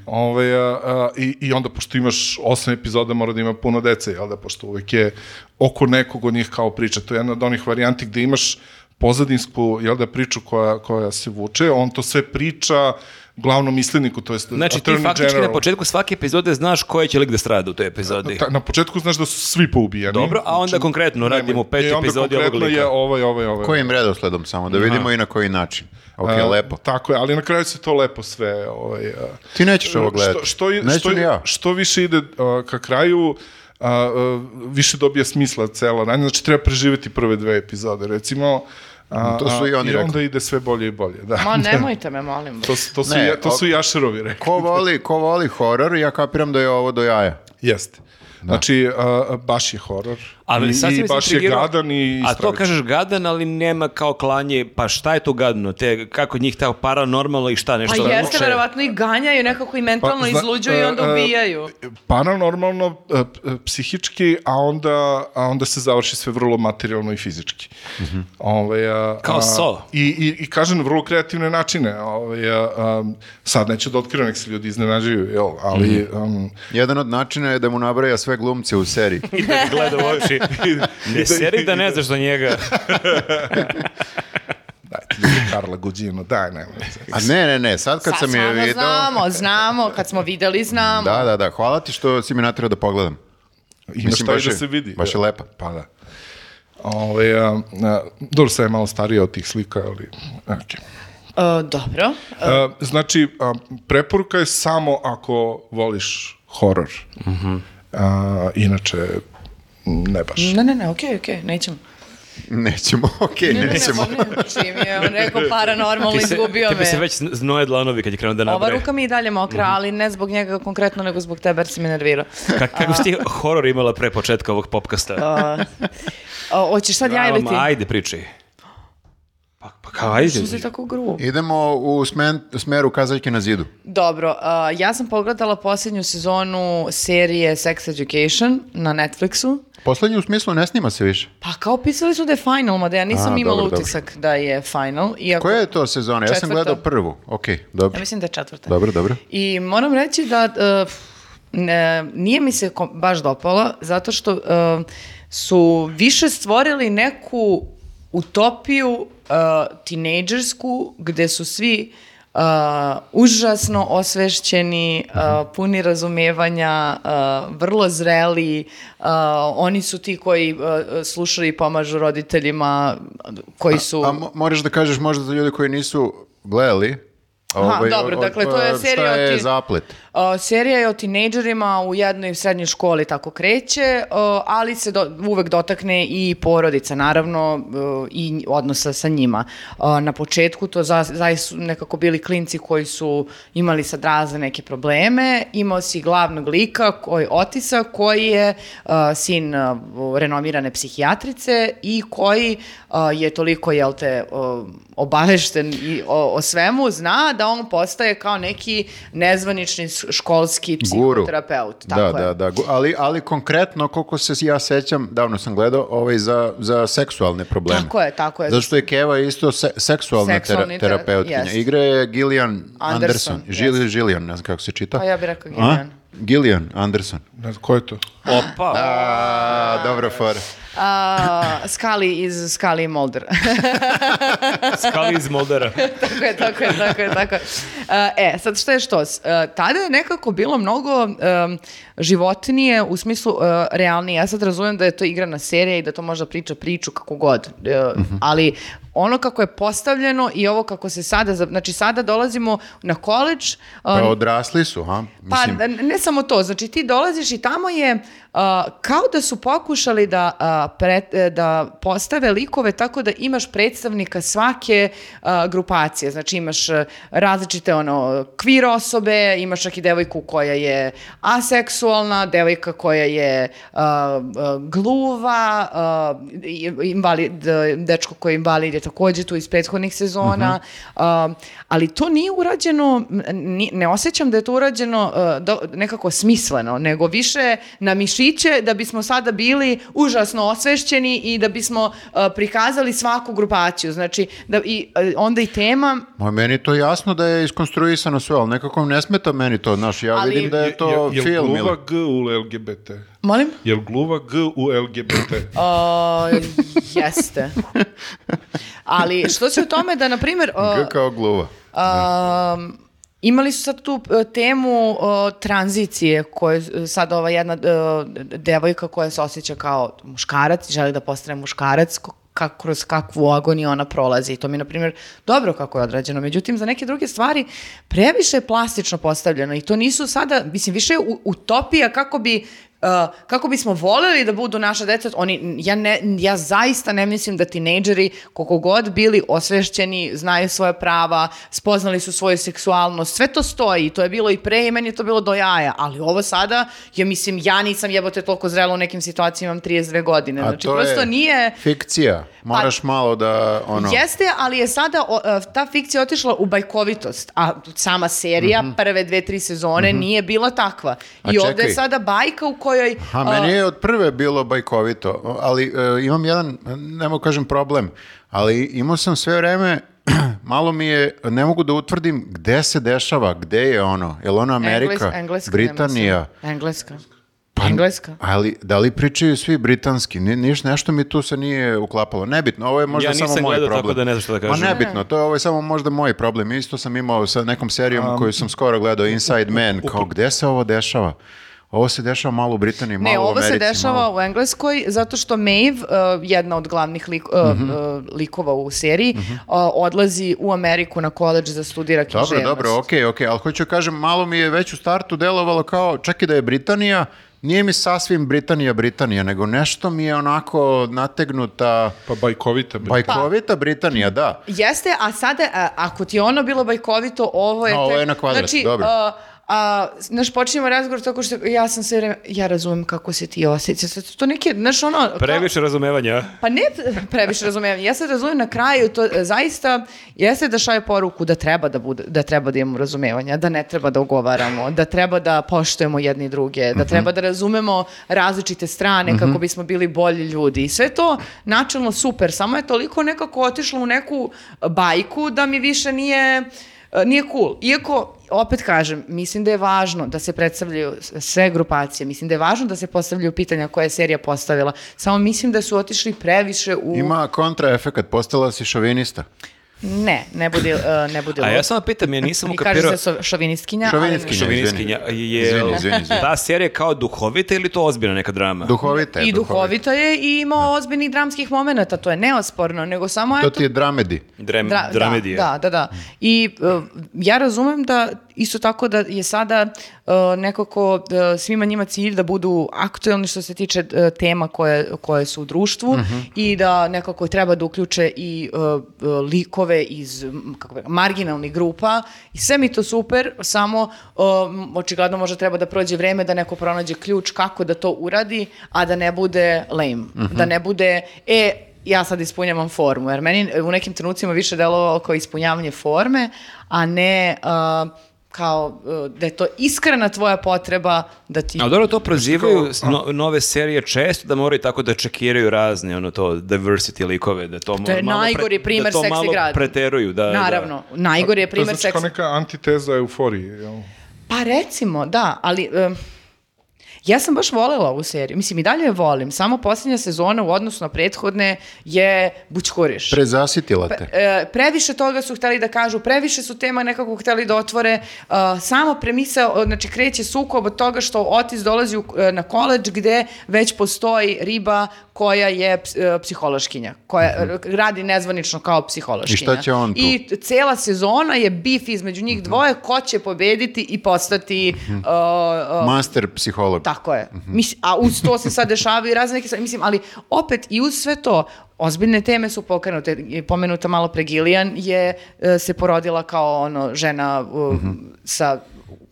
Ove, a, a, i, I onda, pošto imaš osam epizoda, mora da ima puno dece, jel da, pošto uvek je oko nekog od njih kao priča. To je jedna od onih varijanti gde imaš pozadinsku, jel da, priču koja, koja se vuče, on to sve priča glavnom misleniku, to je Znači, ti faktički na početku svake epizode znaš koje će lik da strada u toj epizodi. Ta, na početku znaš da su svi poubijani. Dobro, a onda konkretno radimo Nemoj. pet I onda epizodi ovog konkretno je lika. ovaj, ovaj, ovaj. Kojim redosledom samo, da vidimo i na koji način. Ok, A, lepo. Tako je, ali na kraju se to lepo sve... Ovaj, a, Ti nećeš ovo gledati. Što, što, je- Neću što, ni je- ja. što više ide a, ka kraju, a, a, više dobija smisla cela radnja. Znači, treba preživeti prve dve epizode, recimo. A, To su a, i oni I onda rekli. ide sve bolje i bolje, da. Ma nemojte me, molim. vas. *laughs* To, su- to, su, Ne, ja, to o- su Jašerovi rekli. Ko voli, ko voli horor, ja kapiram da je ovo do jaja. Jeste. Da. Znači, a, a, baš je horor. Ali I, sad si i me baš je zaintrigirao. gadan i A to stravičan. kažeš gadan, ali nema kao klanje, pa šta je to gadno? Te, kako njih ta paranormalno i šta Pa nešto? da jeste, vuče? verovatno i ganjaju, nekako i mentalno zna- izluđuju i e, onda e, ubijaju. Paranormalno, e, p- e, psihički, a onda, a onda se završi sve vrlo materijalno i fizički. Mhm. Ovaj, a, Kao a, so. I, i, I kažem, na vrlo kreativne načine. Ovaj, a, a, sad neću da otkrivam, nek se ljudi iznenađuju, jel? ali Mhm. um, Jedan od načina je da mu nabraja sve glumce u seriji. I da ti gleda u *laughs* oči. Ne seri da ne znaš za njega. dajte ljudi Karla Guđino, daj, nemoj. A ne, ne, ne, sad kad Sad sam je stvarno video... znamo, znamo, kad smo videli znamo. Da, da, da, hvala ti što si mi natrao da pogledam. Ima šta i baš da je- se vidi. baš je lepa. Pa da. Ove, a, a, dobro, sad je malo starija od tih slika, ali... Okay. E, dobro. E, znači, a, preporuka je samo ako voliš horor. A, inače, ne baš. Ne, ne, ne, okej, okej, nećemo. Nećemo, *laughs* okej, Ne, ne, ne, nećemo. ne, čim je *laughs* on rekao paranormalno, Ti se, izgubio tebi me. se već znoje dlanovi kad je krenuo da Ova nabraje. ruka mi i dalje mokra, ali ne zbog njega konkretno, nego zbog tebe, jer si me nervirao. Ka- kako si ti horor imala pre početka ovog popkasta? A, a, hoćeš sad ja ili ti? ajde, pričaj. Pa, pa kao ajde. Što si tako grubo? Idemo u smen, smeru kazaljke na zidu. Dobro, a, ja sam pogledala posljednju sezonu serije Sex Education na Netflixu. Poslednji u smislu ne snima se više. Pa kao pisali su da je final, mada ja nisam A, imala dobro, dobro. utisak da je final. Iako, Koja je to sezona? Ja sam Četvrta. gledao prvu. Okej, dobro. Ja mislim da je četvrta. Dobro, dobro. I moram reći da e, ne, nije mi se kom- baš dopala, zato što e, su više stvorili neku utopiju e, tinejdžersku, gde su svi e, užasno osvešćeni, e, puni razumevanja, e, vrlo zreli, e, oni su ti koji e, slušaju i pomažu roditeljima koji su... A mo- moraš da kažeš možda za ljude koji nisu gledali. ovaj, dobro, dakle, to je a, serija Šta o je ti- zaplet? Uh, serija je o tinejdžerima u jednoj srednjoj školi tako kreće, uh, ali se do, uvek dotakne i porodica, naravno, uh, i odnosa sa njima. Uh, na početku to za, zaista su nekako bili klinci koji su imali sad razne neke probleme. Imao si glavnog lika, koji, Otisa, koji je uh, sin uh, renomirane psihijatrice i koji uh, je toliko, jel te, uh, obavešten i o, o svemu, zna da on postaje kao neki nezvanični s- školski Guru. psihoterapeut. da, tako je. da, da. Gu- Ali, ali konkretno, koliko se ja sećam, davno sam gledao, ovaj za, za seksualne probleme. Tako je, tako je. Zato što je Keva isto se, seksualna Seksualni tera, ter- terapeutkinja. jest. Igra je Gillian Anderson, Anderson. jest. Gillian, Gillian, ne znam kako se čita. Pa ja bih rekao A? Gillian. Gillian Anderson. Ne znam, ko je to? Opa. A, dobro fora. A, Skali iz Skali i Mulder. *laughs* Skali iz Moldara. tako je, tako je, tako je, tako je. A, e, sad šta je što? S- a, tada je nekako bilo mnogo em, životinije u smislu e, realnije. Ja sad razumijem da je to igrana serija i da to možda priča priču kako god. E, Ali ono kako je postavljeno i ovo kako se sada, za- znači sada dolazimo na uh, koleđ, Pa a, odrasli su, ha? pa Mislim, n- ne samo to, znači ti dolaziš i tamo je a, kao da su pokušali da, a, pre- e, da postave likove tako da imaš predstavnika svake a, grupacije, znači imaš e, različite ono kvir osobe, imaš čak i devojku koja je aseksualna, devojka koja je a, a, gluva, a, i- Uh, invalid, e, dečko koji je invalid je takođe tu iz prethodnih sezona, a, ali to nije urađeno, m, ni- ne osjećam da je to urađeno e, do- nekako smisleno, nego više na mišiće da bismo sada bili užasno osvešćeni i da bismo e, prikazali svaku grupaciju, znači da i, e, onda i tema ma meni je to jasno da je iskonstruisano sve, ali nekako ne smeta meni to, znaš, ja Ali- vidim da je to je, jel film. gluva ili- G u LGBT? Molim? Jel gluva G u LGBT? O, uh, jeste. Ali što se u tome da, na primjer, o, G kao gluva. Um, imali su sad tu e, temu e, tranzicije koju e, sad ova jedna e, devojka koja se osjeća kao muškarac, želi da postane muškarac, ko- kako, kroz kakvu agoniju ona prolazi. I to mi je, na primjer, dobro kako je odrađeno. Međutim, za neke druge stvari previše je plastično postavljeno i to nisu sada, mislim, više je u- utopija kako bi e, uh, kako bismo voleli da budu naša deca, oni, ja, ne, ja zaista ne mislim da tinejdžeri, koliko god bili osvešćeni, znaju svoje prava, spoznali su svoju seksualnost, sve to stoji, to je bilo i pre i meni je to bilo do jaja, ali ovo sada, ja mislim, ja nisam jebote toliko zrela u nekim situacijama, imam 32 godine, A znači to prosto je nije... Pa, fikcija. Moraš malo da, ono... Jeste, ali je sada o, e, ta fikcija otišla u bajkovitost, a sama serija prve dve, tri sezone nije bila takva. Mhm. A I ovde čekaj. je sada bajka u kojoj... A meni je od prve bilo bajkovito, ali e, imam jedan, ne mogu kažem problem, ali imao sam sve vreme, *clears throat* malo mi je, ne mogu da utvrdim gde se dešava, gde je ono, je li ono Amerika, Britanija, Pa, Engleska. Engleska. ali da li pričaju svi britanski, Ni, niš, nešto mi tu se nije uklapalo, nebitno, ovo je možda Ja samo nisam moj gledao, problem. tako da ne znam što da kažem. Ma nebitno, to je, ovo je samo možda moj problem, isto sam imao sa nekom serijom Um, koju sam skoro gledao, Inside Man, kao gde se ovo dešava? Ovo se dešava malo u Britaniji, malo Ne, u ovo Americi. se dešava malo- u Engleskoj zato što Maeve, uh, jedna od glavnih lik- uh, Mhm. uh, likova u seriji, uh, odlazi u Ameriku na koleđ da studira književnost. Dobro, dobro, okej, okej, ali hoću da kažem, malo mi je već u startu delovalo kao, čak i da je Britanija, nije mi sasvim Britanija, Britanija, nego nešto mi je onako nategnuta, Pa bajkovita. bre. bajkovita Britanija, da. Jeste, a sada, a, ako ti je ono bilo bajkovito, ovo je... A, ovo tek- je na kvadrat, znači, dobro. A, a, znaš, počinjemo razgovor tako što ja sam sve vreme, ja razumem kako se ti osjećaš. Sad su To neke, znaš, ono... kao- Previše razumevanja. Pa ne previše razumijem. Ja se razumijem na kraju, to e, zaista jeste da šaje poruku da treba da, bude, da treba da imamo razumevanja, da ne treba da ogovaramo, da treba da poštujemo jedni druge, da treba da razumemo različite strane kako bismo bili bolji ljudi. I sve to načelno super, samo je toliko nekako otišlo u neku bajku da mi više nije e, nije cool. Iako, opet kažem, mislim da je važno da se predstavljaju s- sve grupacije, mislim da je važno da se postavljaju pitanja koje je serija postavila, samo mislim da su otišli previše u... Ima kontraefekat, postala si šovinista. Ne, ne bude, e, ne bude A lud. ja samo pitam, ja nisam I kaže ukapirao... se so- šovinistkinja, Šovinistkinja. Šovinistkinja, Izvini. je Izvini, izvini, izvini. ta serija kao duhovita ili to ozbiljna neka drama? Duhovita ali je, Da. i duhovita je i ima ozbiljnih dramskih momenata, to je neosporno, nego samo To eto, ti je dramedi. Drem, Dra- dramedija. Da, da, da. I uh, ja razumem da isto tako da je sada uh, nekako uh, svima njima cilj da budu aktuelni što se tiče uh, tema koje, koje su u društvu i da nekako treba da uključe i uh, uh, likove iz m, kako bi rekla, marginalnih grupa i sve mi to super, samo um, očigledno možda treba da prođe vreme da neko pronađe ključ kako da to uradi, a da ne bude lame, da ne bude, e, ja sad ispunjavam formu, jer meni u nekim trenucima više delovalo kao ispunjavanje forme, a ne uh, kao uh, da je to iskrena tvoja potreba da ti... Ali dobro to prozivaju s- no- nove serije često da moraju tako da čekiraju razne ono to diversity likove da to, To je mo- malo pre- najgori primer da to seksi malo grad. preteruju da Naravno, najgori je To je primer znači kao seksa. neka antiteza euforije. Jel? Pa recimo, da, ali... em, ja sam baš volela ovu seriju. Mislim, i dalje je volim. Samo posljednja sezona u odnosu na prethodne je bućkuriš. Prezasitila te. E, previše toga su hteli da kažu, previše su tema nekako hteli da otvore. E, samo premisa, o, znači kreće sukob od toga što Otis dolazi u, e, na koleđ gde već postoji riba koja je ps- e, psihološkinja, koja e, radi nezvanično kao psihološkinja. Mhm. I šta će on tu? Mhm. I t- cela sezona je bif između njih dvoje, ko će pobediti i postati e, e, Master psiholog. tako je. Mislim, a uz to se sad dešavaju razne neke stvari. Mislim, ali opet i uz sve to, ozbiljne teme su pokrenute. Je Pomenuta malo pre Gillian je e, se porodila kao ono žena u- Mhm. sa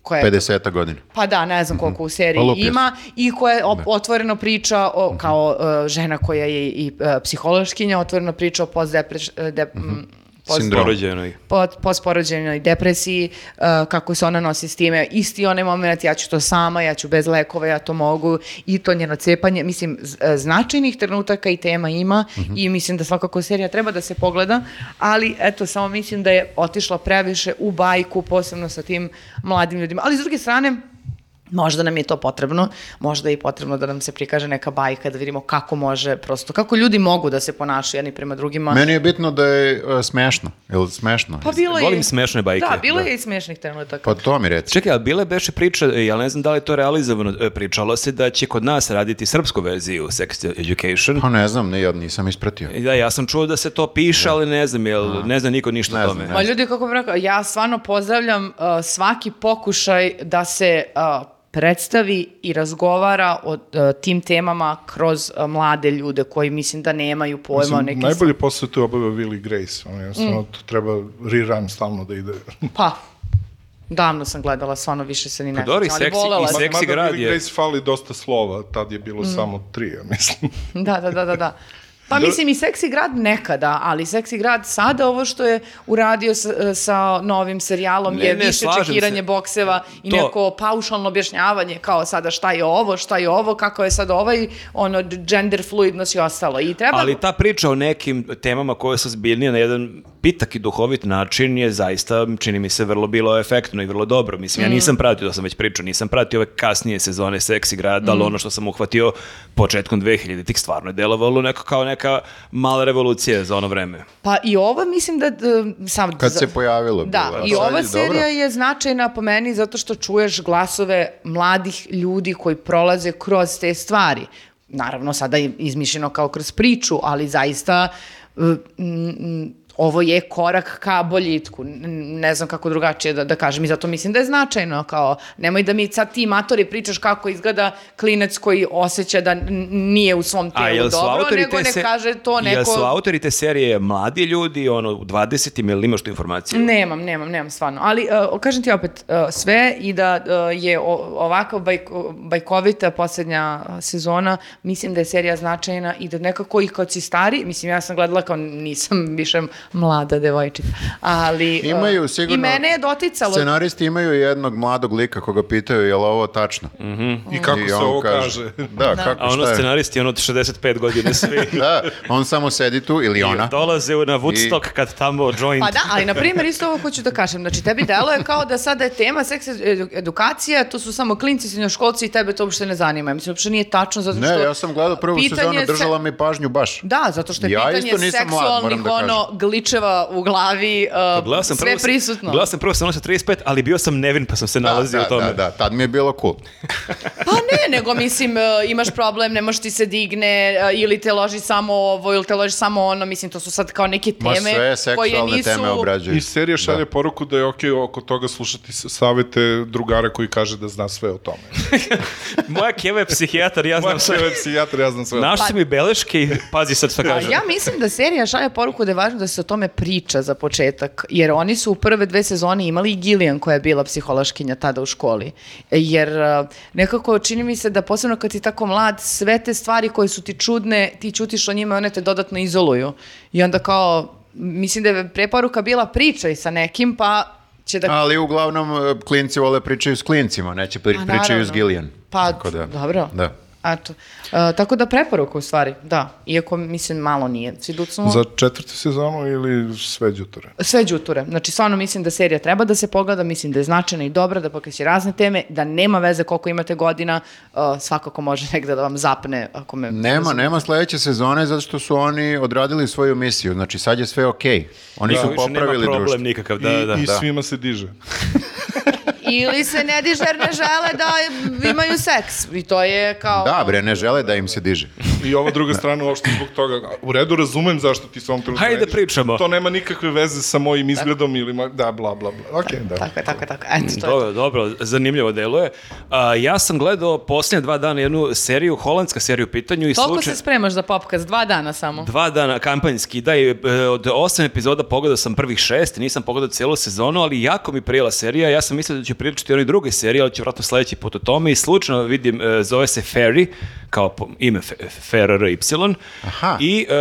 koja je 50 godina. pa da, ne znam koliko u seriji Pa lupio Da. Mhm. ima i koja op- otvoreno priča o, kao e, žena koja je i e, psihološkinja, otvoreno priča o postdepreš... e, dep- Mhm. m, post- da, Sindrom. porođenoj. pod postporođajnoj depresiji, uh, kako se ona nosi s time, isti onaj moment, ja ću to sama, ja ću bez lekova, ja to mogu, i to njeno cepanje, mislim, z- e, značajnih trenutaka i tema ima i mislim da svakako serija treba da se pogleda, ali eto, samo mislim da je otišla previše u bajku, posebno sa tim mladim ljudima. Ali s druge strane, Možda nam je to potrebno, možda je i potrebno da nam se prikaže neka bajka, da vidimo kako može, prosto, kako ljudi mogu da se ponašaju jedni prema drugima. Meni je bitno da je e, smešno. Jel smešno? Pa bilo je... Volim smešne bajke. Da, bilo Da. je i smešnih trenutaka. Pa to mi reci. Čekaj, ali bile beše priča, e, ja ne znam da li je to realizovano, e, pričalo se da će kod nas raditi srpsku verziju Sex Education. Pa ne znam, ne, ja nisam ispratio. Da, ja sam čuo da se to piše, ali ne znam, jel, ne zna niko ništa o Ne znam, tome. ne. Ma ljudi, kako bih rekao, ja stvarno pozdravljam uh, svaki pokušaj da se uh, predstavi i razgovara o e, tim temama kroz e, mlade ljude koji mislim da nemaju pojma o Mislim, nekim... najbolje posao tu je obavio Willy Grace. On Mm. jednostavno to treba rerun stalno da ide. Pa, davno sam gledala, stvarno više se ni ne dobro, i sjećam, ali seksi- i volela sam. seksi- Seksi Mada grad Willy je- Grace fali dosta slova, tad je Mm. bilo samo tri, ja mislim. *laughs* Da, da, da, da, da. Pa mislim i Seksi grad nekada, ali Seksi grad sada ovo što je uradio sa, sa novim serijalom Ne, je ne, više slažem čekiranje se. bokseva i To- neko paušalno objašnjavanje kao sada šta je ovo, šta je ovo, kako je sad ovaj ono gender fluidnost i ostalo. I treba Ali ta priča o nekim temama koje su zbiljnije na jedan pitak i duhovit način je zaista, čini mi se, vrlo bilo efektno i vrlo dobro. Mislim, ja Mm. nisam pratio, to sam već pričao, nisam pratio ove kasnije sezone Seksi grada, Mm. ali ono što sam uhvatio početkom 2000-ih stvarno je delovalo neko kao neka mala revolucija za ono vreme. pa i ovo mislim da e, sam Kad za- se pojavilo. Da, bilo je. i Sad ova je dobro. serija je značajna po meni zato što čuješ glasove mladih ljudi koji prolaze kroz te stvari. Naravno, sada je izmišljeno kao kroz priču, ali zaista mm, mm, ovo je korak ka boljitku. N- Ne znam kako drugačije da, da kažem i zato mislim da je značajno. Kao, nemoj da mi sad ti matori pričaš kako izgleda klinec koji osjeća da n- nije u svom A telu jel su dobro, autori nego te ne se- kaže to neko... Jel su autori te serije mladi ljudi, ono, u 20-im, jel imaš tu informaciju? Nemam, nemam, nemam stvarno. Ali uh, kažem ti opet uh, sve i da uh, je o- ovako bajko, bajkovita posljednja uh, sezona, mislim da je serija značajna i da nekako i kad si stari, mislim ja sam gledala kao nisam više mlada devojčica, ali uh, Imaju sigurno- i mene je doticalo. Scenaristi imaju jednog mladog lika koga pitaju je li ovo tačno. I Mhm. kako I se on ovo kaže. kaže. Da, kako A ono šta je. scenaristi, ono od 65 godina *laughs* svi. Da, on samo sedi tu ili ona. Dolaze na Woodstock kad tamo joint Pa da, ali na primjer isto ovo hoću da kažem. Znači tebi delo je kao da sada je tema seks edu- edukacija, to su samo klinci, srednjoškolci i tebe to uopšte ne zanima. Mislim, uopšte nije tačno zato što... Ne, ja sam gledao prvu pitanje sezonu, se- držala mi pažnju baš. Da, zato što je Ja isto pitanje nisam mlad, moram da seksualnih kažem. ono gličeva u glavi uh, Gledao sam sve Pa prvo, prisutno. Gledao sam prvo sezonu sa 35, ali bio sam nevin pa sam se nalazio da, u tome. Da, da, tad mi je bilo cool. Pa ne, nego mislim uh, imaš problem, ne možeš ti se digne uh, ili te loži samo ovo ili te loži samo ono, mislim to su sad kao neke Ma teme sve koje seksualne nisu teme obrađuju. I serija šalje poruku da je okej oko toga slušati s- savete drugara koji kaže da zna sve o tome. Moja keva je psihijatar, ja Moja znam *laughs* sve. sve psihijatar, ja znam sve o tome. Našli su mi beleške i pazi sad šta A kažem. Pa- ja mislim da serija šalje poruku da je važno da se o tome priča za početak, jer oni su u prve dve sezone imali i Gillian koja je bila psihološkinja tada u školi. Jer uh, nekako čini mi se da posebno kad si tako mlad, sve te stvari koje su ti čudne, ti ćutiš o njima i one te dodatno izoluju. I onda kao, mislim da je preporuka bila pričaj sa nekim, pa će da... Ali uglavnom e, klinci vole pričaju s klincima, neće pri, A, pričaju s naravno. Gillian. Pa, Tako da- dobro. Da. Eto. Uh, tako da preporuka u stvari, da. Iako, mislim, malo nije. Svi ducnuo- Za četvrtu sezonu ili sve đuture? sve đuture. Znači, stvarno mislim da serija treba da se pogleda, mislim da je značajna i dobra, da pokreće razne teme, da nema veze koliko imate godina, uh, svakako može negde da vam zapne ako me... Nema, nema sledeće sezone zato što su oni odradili svoju misiju. Znači sad je sve okej. Oni Da, su više popravili nema problem društvo. nikakav, da, I, da. i da. svima se diže. *laughs* Ili se ne dižer ne žele da imaju seks. I to je kao... Da, bre, ne žele da im se diže. I ova druga strana uopšte zbog toga. U redu razumem zašto ti se ovom trenutku Hajde da ne diže. pričamo. To nema nikakve veze sa mojim izgledom ili ma- da bla bla bla. Okej, da. Tako je, tako je, tako je. Eto, to je to. Dobro, dobro, zanimljivo delo je. A, ja sam gledao posljednje dva dana jednu seriju, holandska seriju u pitanju i Toliko slučaj... se spremaš za popkaz? Dva dana samo. Dva dana kampanjski, da, i, e, od osam epizoda pogledao sam prvih šest, nisam pogledao cijelu sezonu, ali jako mi prijela serija, ja sam mislio da ću pričati o onoj drugoj seriji, ali ću vratno sledeći put o tome i slučajno vidim, e, zove se Ferry, kao po- ime FRRY, Aha. i e,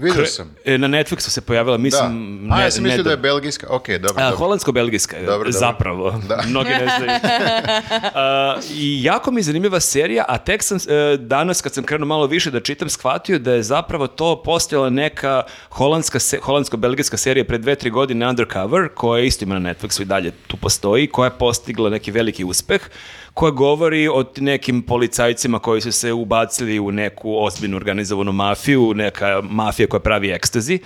Vidio kre- sam. e, na Netflixu se pojavila, Da. mislim, A, ne- ja sam mislio da je nedavno. belgijska. Okej, dobro, A, dobro. Holandsko-belgijska, je, Dobro, dobro. Da. zapravo. *laughs* Mnogi ne znaju. A, I jako mi je zanimljiva serija, a tek sam e, danas kad sam krenuo malo više da čitam, shvatio da je zapravo to postojala neka holandska se- holandsko-belgijska serija pre dve, tri godine Undercover, koja isto ima na Netflixu i dalje tu postoji, koja je postigla neki veliki uspeh, koja govori o t- nekim policajcima koji su se ubacili u neku ozbiljnu organizovanu mafiju, neka mafija koja pravi ekstazi.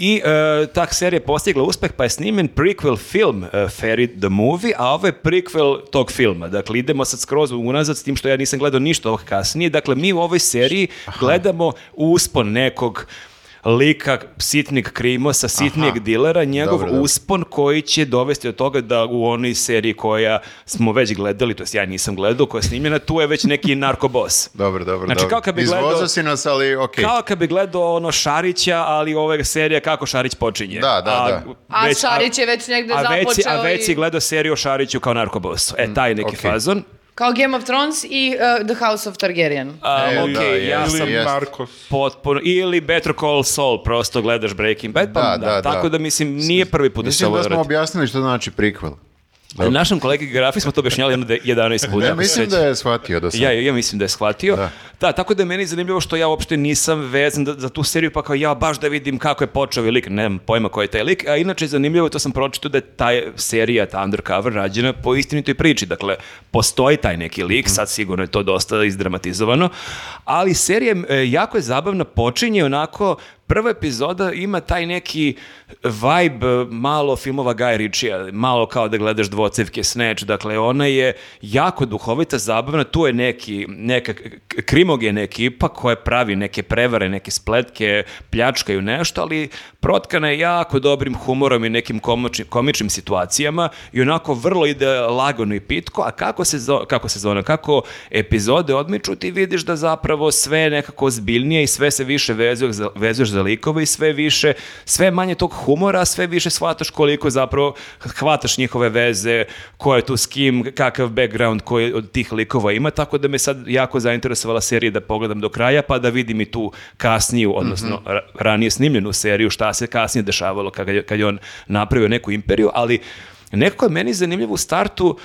I e, ta serija je postigla uspeh, pa je snimen prequel film e, Ferry the Movie, a ovo je prequel tog filma. Dakle, idemo sad skroz unazad s tim što ja nisam gledao ništa ovog kasnije. Dakle, mi u ovoj seriji gledamo uspon nekog lika sitnik krimosa, sitnijeg dilera, njegov Dobro, dobro. uspon koji će dovesti do toga da u onoj seriji koja smo već gledali, to jest ja nisam gledao, koja je snimljena, tu je već neki narkobos. Dobro, dobro, Znači, dobro. kao kad bi Izvozao gledao- si nas, ali okej. Kao kad bi gledao ono Šarića, ali ova je serija kako Šarić počinje. Da, da, A da. A već- Šarić je već negde a već, si- započeo a već i- si gledao seriju o Šariću kao narkobosu. E, taj neki Mm, okej. fazon. Kao Game of Thrones i uh, The House of Targaryen. A, E, okej, da, ja jest, sam Ili Da, jest. Narcos. potpuno, ili Better Call Saul, prosto gledaš Breaking Bad, pa Da, da, da, da. tako da mislim, nije prvi put da se Mislim ovo da smo vrati. objasnili što znači prikvel. Dobro. Našem kolegi grafi smo to objašnjali jedno de- 11 puta. Ne, ako se mislim da sećam. je shvatio do sad. Ja, ja mislim da je shvatio. Da. Da. tako da je meni zanimljivo što ja uopšte nisam vezan da- za tu seriju, pa kao ja baš da vidim kako je počeo ovaj lik, nemam pojma koji je taj lik, a inače je zanimljivo, to sam pročitao da je ta serija, ta undercover, rađena po istinitoj priči, dakle, postoji taj neki lik, sad sigurno je to dosta izdramatizovano, ali serija e, jako je zabavna, počinje onako, prva epizoda ima taj neki vibe e, malo filmova Guy Ritchie, malo kao da gledaš dvocevke Snatch, dakle ona je jako duhovita, zabavna, tu je neki, neka k- krimogena ekipa koja pravi neke prevare, neke spletke, pljačkaju nešto, ali protkana je jako dobrim humorom i nekim komoči- komičnim situacijama i onako vrlo ide lagano i pitko, a kako se, zo- kako se zona, kako epizode odmiču, ti vidiš da zapravo sve je nekako zbiljnije i sve se više vezuješ za, vezuješ za likove i sve više, sve je manje tog humora, sve više shvataš koliko zapravo hvataš njihove veze, ko je tu s kim, kakav background koji od tih likova ima, tako da me sad jako zainteresovala serija da pogledam do kraja, pa da vidim i tu kasniju, odnosno Mhm. ra- ranije snimljenu seriju, šta se kasnije dešavalo kad je, kad je on napravio neku imperiju, ali nekako je meni zanimljivo u startu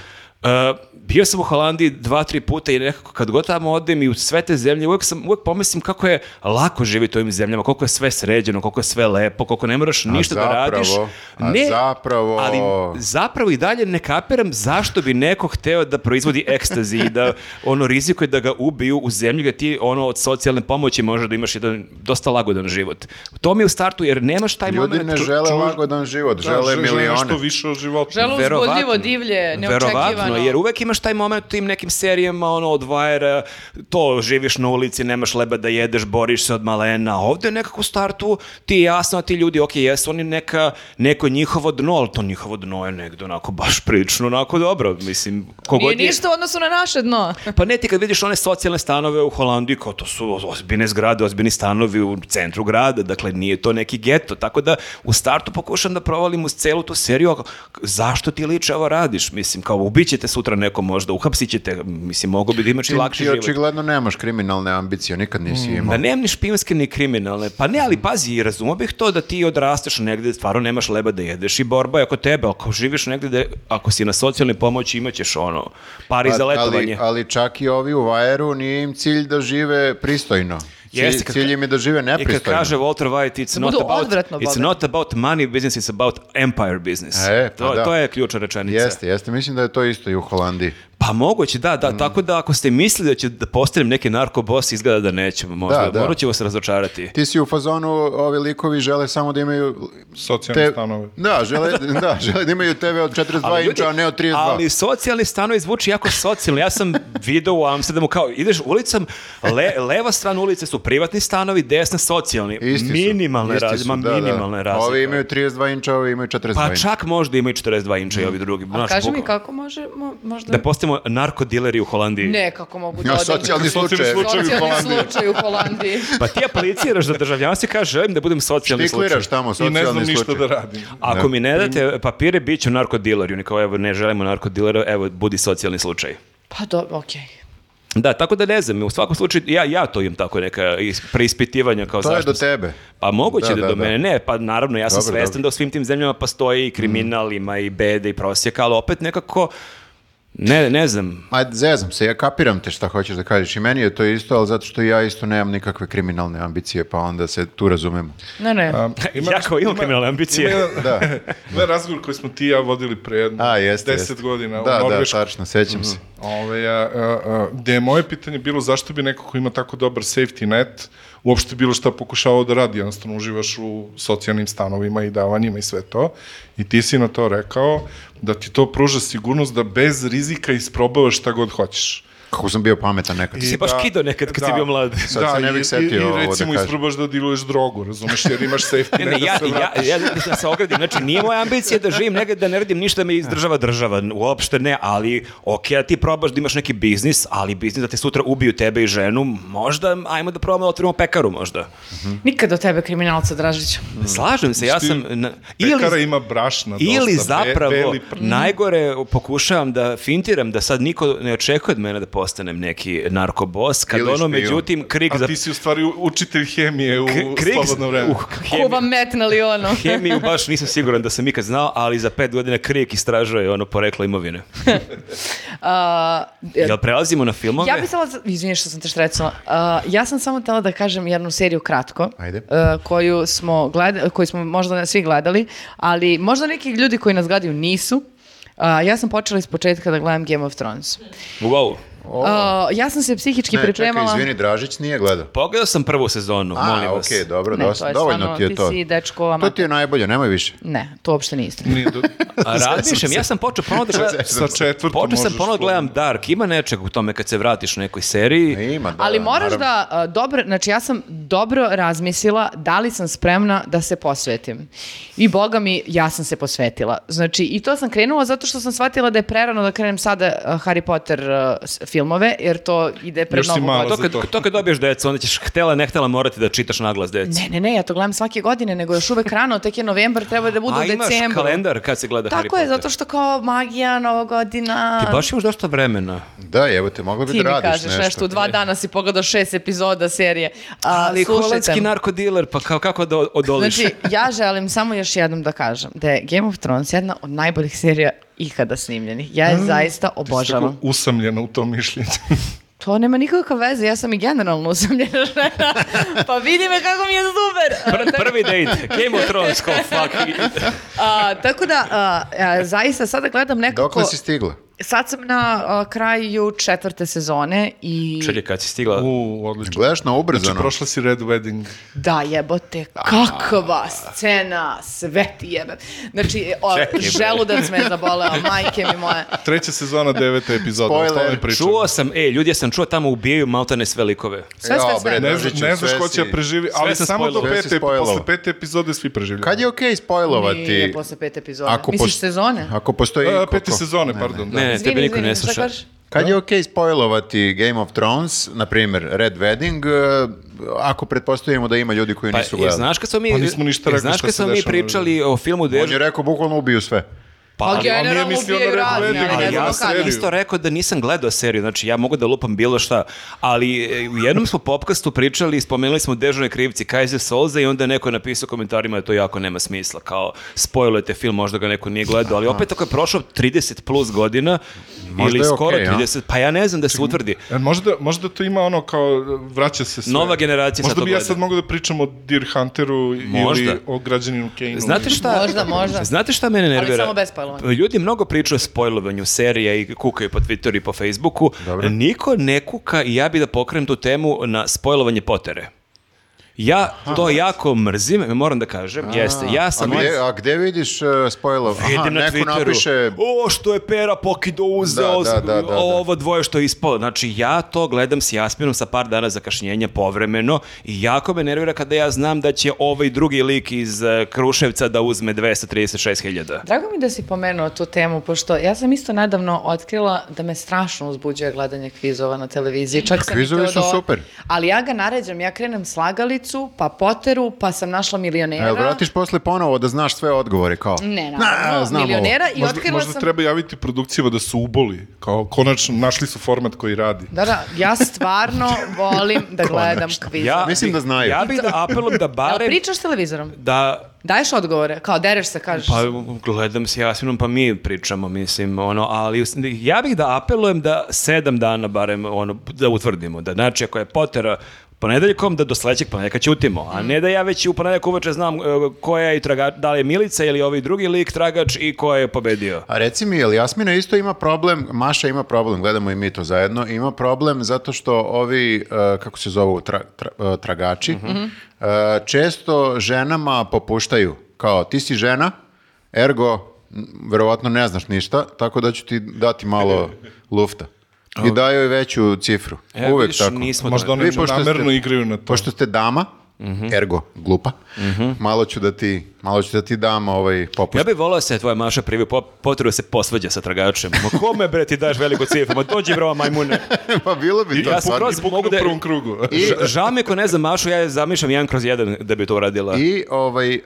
Uh, bio sam u Holandiji dva, tri puta i nekako kad god tamo odem i u sve te zemlje uvek, sam, uvek pomislim kako je lako živjeti u ovim zemljama, koliko je sve sređeno, koliko je sve lepo, koliko ne moraš ništa da radiš. zapravo, a zapravo- Ali zapravo i dalje ne kapiram zašto bi neko hteo da proizvodi ekstazi i *laughs* da ono rizikuje da ga ubiju u zemlji gdje ti ono od socijalne pomoći možeš da imaš jedan dosta lagodan život. To mi je u startu jer nemaš taj Ljudi moment. ne ču- žele čuvaš- lagodan život, Da, žele nešto milione. više od života. Žele uzbudljivo, Verovatno. divlje, neočekivano. Verovatno, jer uvek imaš taj moment u tim nekim serijama, ono, od Vajera, to, živiš na ulici, nemaš leba da jedeš, boriš se od malena, a ovde nekako u startu ti je jasno, a ti ljudi, ok, jesu oni neka, neko njihovo dno, ali to njihovo dno je negde onako baš prilično onako dobro, mislim, kogod Nije je- ništa u odnosu na naše dno. Pa ne, ti kad vidiš one socijalne stanove u Holandiji, kao to su ozbiljne zgrade, ozbiljni stanovi u centru grada, dakle nije to neki geto, tako da u startu pokušam da provalim uz celu tu seriju, a zašto ti liče ovo radiš, mislim, kao ubićete sutra neko možda, uhapsit ćete, mislim, mogu bi da imaš i Ti, lakši ti život. očigledno nemaš kriminalne ambicije, nikad nisi imao. Da nemam ni špijunske ni kriminalne. Pa ne, ali pazi, razumio bih to da ti odrasteš negde, stvarno nemaš leba da jedeš i borba je oko tebe, ako živiš negde, da, ako si na socijalnoj pomoći imaćeš ono, par A- da, za letovanje. Pa, Ali, ali čak i ovi u Vajeru nije im cilj da žive pristojno. Cilj, Jeste, kad- cilj im je da žive I kad nepristojno. kaže Walter White, it's Da not, budu about, odvratno it's bogati. not about money business, it's about empire business. E, pa to, da. to je ključna rečenica. Jeste, Mm. jeste. Mislim da je to isto i u Holandiji. Pa moguće, da, da. Tako da ako ste mislili da će da postavim neki narkobos, izgleda da nećemo. Možda, Da, da. Morat ćemo se razočarati. Ti si u fazonu, ovi likovi žele samo da imaju... Socijalne stanove. Da, žele, da, žele da imaju TV od 42 ljudi, inča, a ne od 32. ali socijalni stanovi zvuči jako socijalno. Ja sam video u Amsterdamu kao, ideš ulicom, le- leva strana ulice su privatni stanovi, desna socijalni. Isti su. minimalne Isti razlike. su, ma, da, da. minimalne razlike. Ovi imaju 32 inča, ovi imaju 42 Pa inča. čak možda imaju 42 inča i ovi drugi. znaš, Kaži mi bukvalno. kako možemo, možda... Da postajemo narkodileri u Holandiji. Dakle- Ne, kako mogu da Ja, odem. socijalni Socijalni slučaj. slučaj. u Socijalni Holandiji. slučaj u Holandiji. Pa ti apliciraš za državljanstvo i kažeš želim da budem socijalni slučaj. Štikliraš tamo, I ne znam socijalni ništa slučaj. da radim. Ako mi ne date papire, bit ću narkodiler. I oni kao, evo, ne želimo narkodilera, evo, budi socijalni slučaj. Pa dobro, okej. Da, tako da ne znam, u svakom slučaju, ja, ja to imam tako neka is- preispitivanja kao To je zašto. do sam- tebe. Pa moguće Da, da, da, do da. mene, ne, pa naravno, ja sam Dobro, svestan dobro. Mm. da u svim tim zemljama postoji i kriminal, ima i bede i prosjeka, ali opet nekako, ne, ne znam, Ma zezam se, ja kapiram te šta hoćeš da kažeš. I meni je to isto, ali zato što ja isto nemam nikakve kriminalne ambicije, pa onda se tu razumemo. Ne, ne. Um, ima- jako imam kriminalne ambicije. Ima jedan, *laughs* Da. da. razgovor koji smo ti i ja vodili pre jedno A, jeste. 10 jeste. godina da, u Mhm. Norvešku. Da, tačno, sećam se. Ove, a, a, a, gde je moje pitanje bilo zašto bi neko ko ima tako dobar safety net uopšte bilo šta pokušavao da radi, jednostavno uživaš u socijalnim stanovima i davanjima i sve to. I ti si na to rekao da ti to pruža sigurnost da bez rizika isprobavaš šta god hoćeš. Da, Kako sam bio pametan nekad. si baš kidao nekad kad si bio mlad. Sad se ne bih i- setio i, ovo da i recimo kažem. isprobaš da diluješ drogu, razumeš, jer *laughs* imaš safety Ne, net ne, da ja, se vratiš. ja, ja, da se ogradim, znači nije moja ambicija da živim negdje, da ne radim ništa da me izdržava država, uopšte ne, ali ok, a ti probaš da imaš neki biznis, ali biznis da te sutra ubiju tebe i ženu, možda, ajmo da probamo da otvorimo pekaru možda. Hmm. Um, Nikad do tebe kriminalca, Dražić. Slažem se, ja Ti sam... Na, Pekara ili, ima brašna dosta. ili be- zapravo, beli pr- najgore pokušavam da fintiram da sad niko ne očekuje od mene da postanem neki narkobos, kad Ili ono špijun. međutim krik A za... ti si u stvari u- učitelj hemije u k- krik- slobodno vreme. uh, Ko vam metnali ono? *laughs* Hemiju baš nisam siguran da sam ikad znao, ali za pet godina Krijek istražuje ono poreklo imovine. A, Jel prelazimo na filmove? Ja bih htjela, izvini što sam te štrecala, Uh, ja sam samo htjela da kažem jednu seriju kratko, Ajde. uh, koju, smo gleda, koju smo možda ne svi gledali, ali možda neki ljudi koji nas gledaju nisu. Uh, ja sam počela iz početka da gledam Game of Thrones. Wow. Uh, ja sam se psihički Ne, čekaj, pripremala... izvini, Dražić nije gledao. Pogledao sam prvu sezonu, molim A, vas. okej, dobro, Ne, dosta, to je dovoljno stvarno, ti je ti to. si dečko to amater. ti je najbolje, nemoj više. Ne, to uopšte nije *laughs* istina. Nije do- A razmišljam, ja sam počeo ponovno da gledam... Sa četvrtom Počeo sam možeš ponovno da gledam Dark, ima nečeg u tome kad se vratiš u nekoj seriji. Ima, da, Ali moraš naravno. da, a, dobro, znači ja sam dobro razmislila da li sam spremna da se posvetim. I boga mi, ja sam se posvetila. Znači, i to sam krenula zato što sam shvatila da je prerano da krenem sada a, Harry Potter a, s- filmove, jer to ide pred Još si mnogo mala. A Pa to za kad, to. to kad dobiješ decu, onda ćeš htjela, ne htjela morati da čitaš naglas decu. Ne, ne, ne, ja to gledam svake godine, nego još uvek rano, tek je novembar, treba da bude A u imaš decembru. kalendar kad se gleda Harry Tako je, Potter. zato što kao magija, novogodina... Ti baš imaš dosta vremena. Da, evo te, mogla bi Ti da mi radiš kažeš nešto. u dva dana si pogledao šest epizoda serije. A, Ali slušajte holandski narkodiler, pa kao, kako da odoliš? Znači, ja želim samo još jednom da kažem da je Game of Thrones jedna od najboljih serija ikada snimljenih. Ja je zaista Tako obožavam. usamljena u tom mišljenju. *laughs* To nema nikakve veze, ja sam i generalno usamljena *laughs* žena. pa vidi me kako mi je *laughs* super. Pr- prvi date, Game of Thrones, kao *laughs* fuck. A, tako da, a, a, zaista sada gledam nekako... Dokle si stigla? Sad sam na a, kraju četvrte sezone i... Čekaj, kad si stigla... U, odlično. Gledaš na ubrzano? Znači, prošla si Red Wedding. Da, jebote, kakva scena, sve ti jebem. Znači, o, Čekaj, bre. želudac me je zaboleo, majke mi moje. Treća sezona, deveta epizoda. o tome Spoiler. pričam. Čuo sam, e, ljudi, ja sam čuo tamo ubijaju maltane sve likove. Sve, sve, Jao, sve. bre, Ne, Dražiću, zna- ne znaš sve ko si- će preživi, ali da sam samo do spoilovao. Sve si pete, spoilovao. posle pete epizode svi preživljaju. Kad je okej Nije, spojlovati? posle pet epizoda. Misliš pos- sezone? Ako E, postoji... A, koliko- E, pete sezone, pardon. da. Ne, ne, tebe niko ne šta sluša. kažeš? Kad je okej spojlovati Game of Thrones, na primjer Red Wedding, e, ako pretpostavimo da ima ljudi koji Pa, nisu je, gledali? znaš kad smo mi, Pa nismo ništa je, rekli znaš šta kad se smo mi dešava. pričali o filmu On je Dežu, rekao, bukvalno ubiju sve. pa, Ali ali, on nije generalno mislio na ubijaju Red razni, Wedding, ali ne ali ali znamo ja na sam kad. seriju. isto rekao da nisam gledao seriju, znači ja mogu da lupam bilo šta, ali e, u jednom smo popkastu pričali, spomenuli smo Dežone krivci, Kaiser Solze i onda je neko napisao u komentarima da to jako nema smisla, kao spojlujete film, možda ga neko nije gledao, ali opet ako je prošlo 30 plus godina, Možda ili je skoro okej, a? 30, pa ja ne znam da se utvrdi. E, Možda, možda to ima ono kao, vraća se sve. Nova generacija sad Možda to bi ja gleda. sad mogao da pričam o Deer Hunteru Možda. ili o građaninu Kane. Znate šta? Možda, možda. Znate šta mene nervira? samo bez spoilovanja. Ljudi mnogo pričaju o spoilovanju serija i kukaju po Twitteru i po Facebooku. Niko ne kuka i ja bi da pokrenem tu temu na spoilovanje Potere. Ja to jako mrzim, moram da kažem, jeste. Ja sam... a, gdje, a gde vidiš uh, spoilov? Aha, Vidim na neko Twitteru, napiše... o što je Pera Pokido uzeo, Da, da, da, da, da. ovo dvoje što je ispalo. Znači, ja to gledam s Jaspinom sa par dana zakašnjenja povremeno i jako me nervira kada ja znam da će ovaj drugi lik iz eh, Kruševca da uzme 236.000. Drago mi da si pomenuo tu temu, pošto ja sam isto nedavno otkrila da me strašno uzbuđuje gledanje kvizova na televiziji. Čak sam i Kvizovi htjela su da- super. Ali ja ga naređam, ja krenem slagalicu, pa poteru, pa sam našla milionera. Jel E, vratiš posle ponovo da znaš sve odgovore, kao? Ne, naravno, Na, znam ovo. milionera i Možda, otkrila možda sam... treba javiti produkcijama da su uboli, kao konačno našli su format koji radi. Da, da, ja *laughs* stvarno volim da gledam kvizove. Mislim bih- da znaju. Ja bih da apelujem da Jel barem pričaš televizorom? da Daješ odgovore? Kao dereš se, kažeš. pa gledam s Jasinom pa mi pričamo mislim ono ali us- ja bih da apelujem da sedam dana barem ono da utvrdimo da znači ako je Potera ponedeljkom da do sledećeg ponedjeljka ćutimo, a ne da ja već i u ponedeljak uveče znam e, koja je traga, da li je Milica ili ovaj drugi lik tragač i ko je pobedio. A reci mi, jel Jasmina isto ima problem, Maša ima problem, gledamo i mi to zajedno, ima problem zato što ovi, e, kako se zovu, tra- tra- e, tragači, e, često ženama popuštaju. Kao, ti si žena, ergo, m, verovatno ne znaš ništa, tako da ću ti dati malo lufta. I daju joj veću cifru. E, Uvek vidiš, tako. nismo Možda daleko. oni Vi E, pošto ste- namerno igraju na to. Pošto ste dama, Mhm. ergo glupa, malo, ću da ti, malo ću da ti dam ovaj popust. Ja bih volao da se tvoja Maša privi po, potrebu da se posvađa sa tragačem. Ma kome bre ti daš veliku cifru? Ma dođi bre ova majmune. *laughs* pa bilo bi to. ja sam stvarno. skroz- I puknu mogu da- u prvom krugu. *laughs* Ž- Žao mi je ko ne zna Mašu, ja je zamišljam jedan kroz jedan da bi to uradila. I ovaj, uh,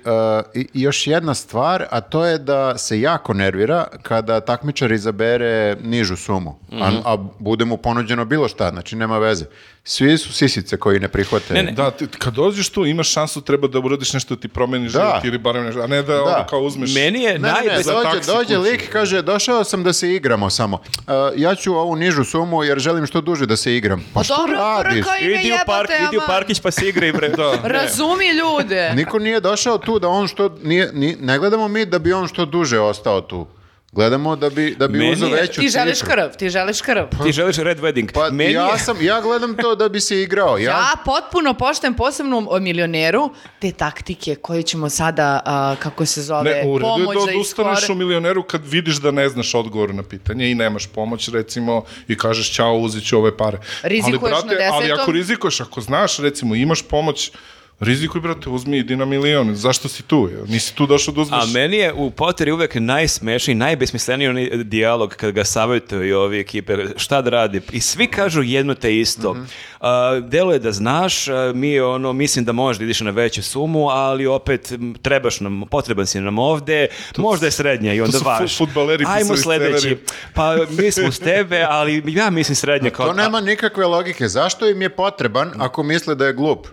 i- i još jedna stvar, a to je da se jako nervira kada takmičar izabere nižu sumu, a, Mhm. a bude mu ponuđeno bilo šta, znači nema veze. Svi su sisice koji ne prihvate. Ne, ne. Da, ti, kad dođeš tu, imaš šansu, treba da uradiš nešto, da ti promeniš Da. život ili barem nešto, a ne da, ono kao uzmeš... Meni je Ne, ne, ne, najbes- za dođe, taksi dođe kući. lik, kaže, došao sam da se igramo samo. Uh, ja ću ovu nižu sumu jer želim što duže da se igram. Pa što Dobro, radiš? prkaj me Idi u, jebote, park, idi u aman. parkić pa se igraj bre. Da. Razumi ljude. Niko nije došao tu da on što, nije, ni- ne gledamo mi da bi on što duže ostao tu. Gledamo da bi, da bi Meni uzeo je- veću Ti želiš cifru. krv, ti želiš krv. Ti želiš red wedding. Pa Meni ja je- sam, ja gledam to da bi se igrao. Ja, Ja potpuno poštem posebnom o, milioneru te taktike koje ćemo sada, a, kako se zove, Ne, u redu je pomoć da za odustaneš iskore- u milioneru kad vidiš da ne znaš odgovor na pitanje i nemaš pomoć, recimo, i kažeš ćao, uzet ću ove pare. Rizikuješ ali, brate, na desetom? Ali ako rizikuješ, ako znaš, recimo, imaš pomoć, rizikuj, brate, uzmi, idi na milion. Zašto si tu? jel? Nisi tu došao da uzmeš... A meni je u Potteri uvek najsmešniji, najbesmisleniji onaj dijalog kad ga savjetuju i ovi ekipe, šta da radi. I svi kažu jedno te isto. A, delo je da znaš, a, mi ono, mislim da možeš da ideš na veću sumu, ali opet m, trebaš nam, potreban si nam ovde, možda je srednja i onda su fu- vaš. fudbaleri Ajmo pisali sledeći. scenarij. Pa mi smo s tebe, ali ja mislim srednja. Kao, to nema nikakve logike. Zašto im je potreban ako misle da je glup?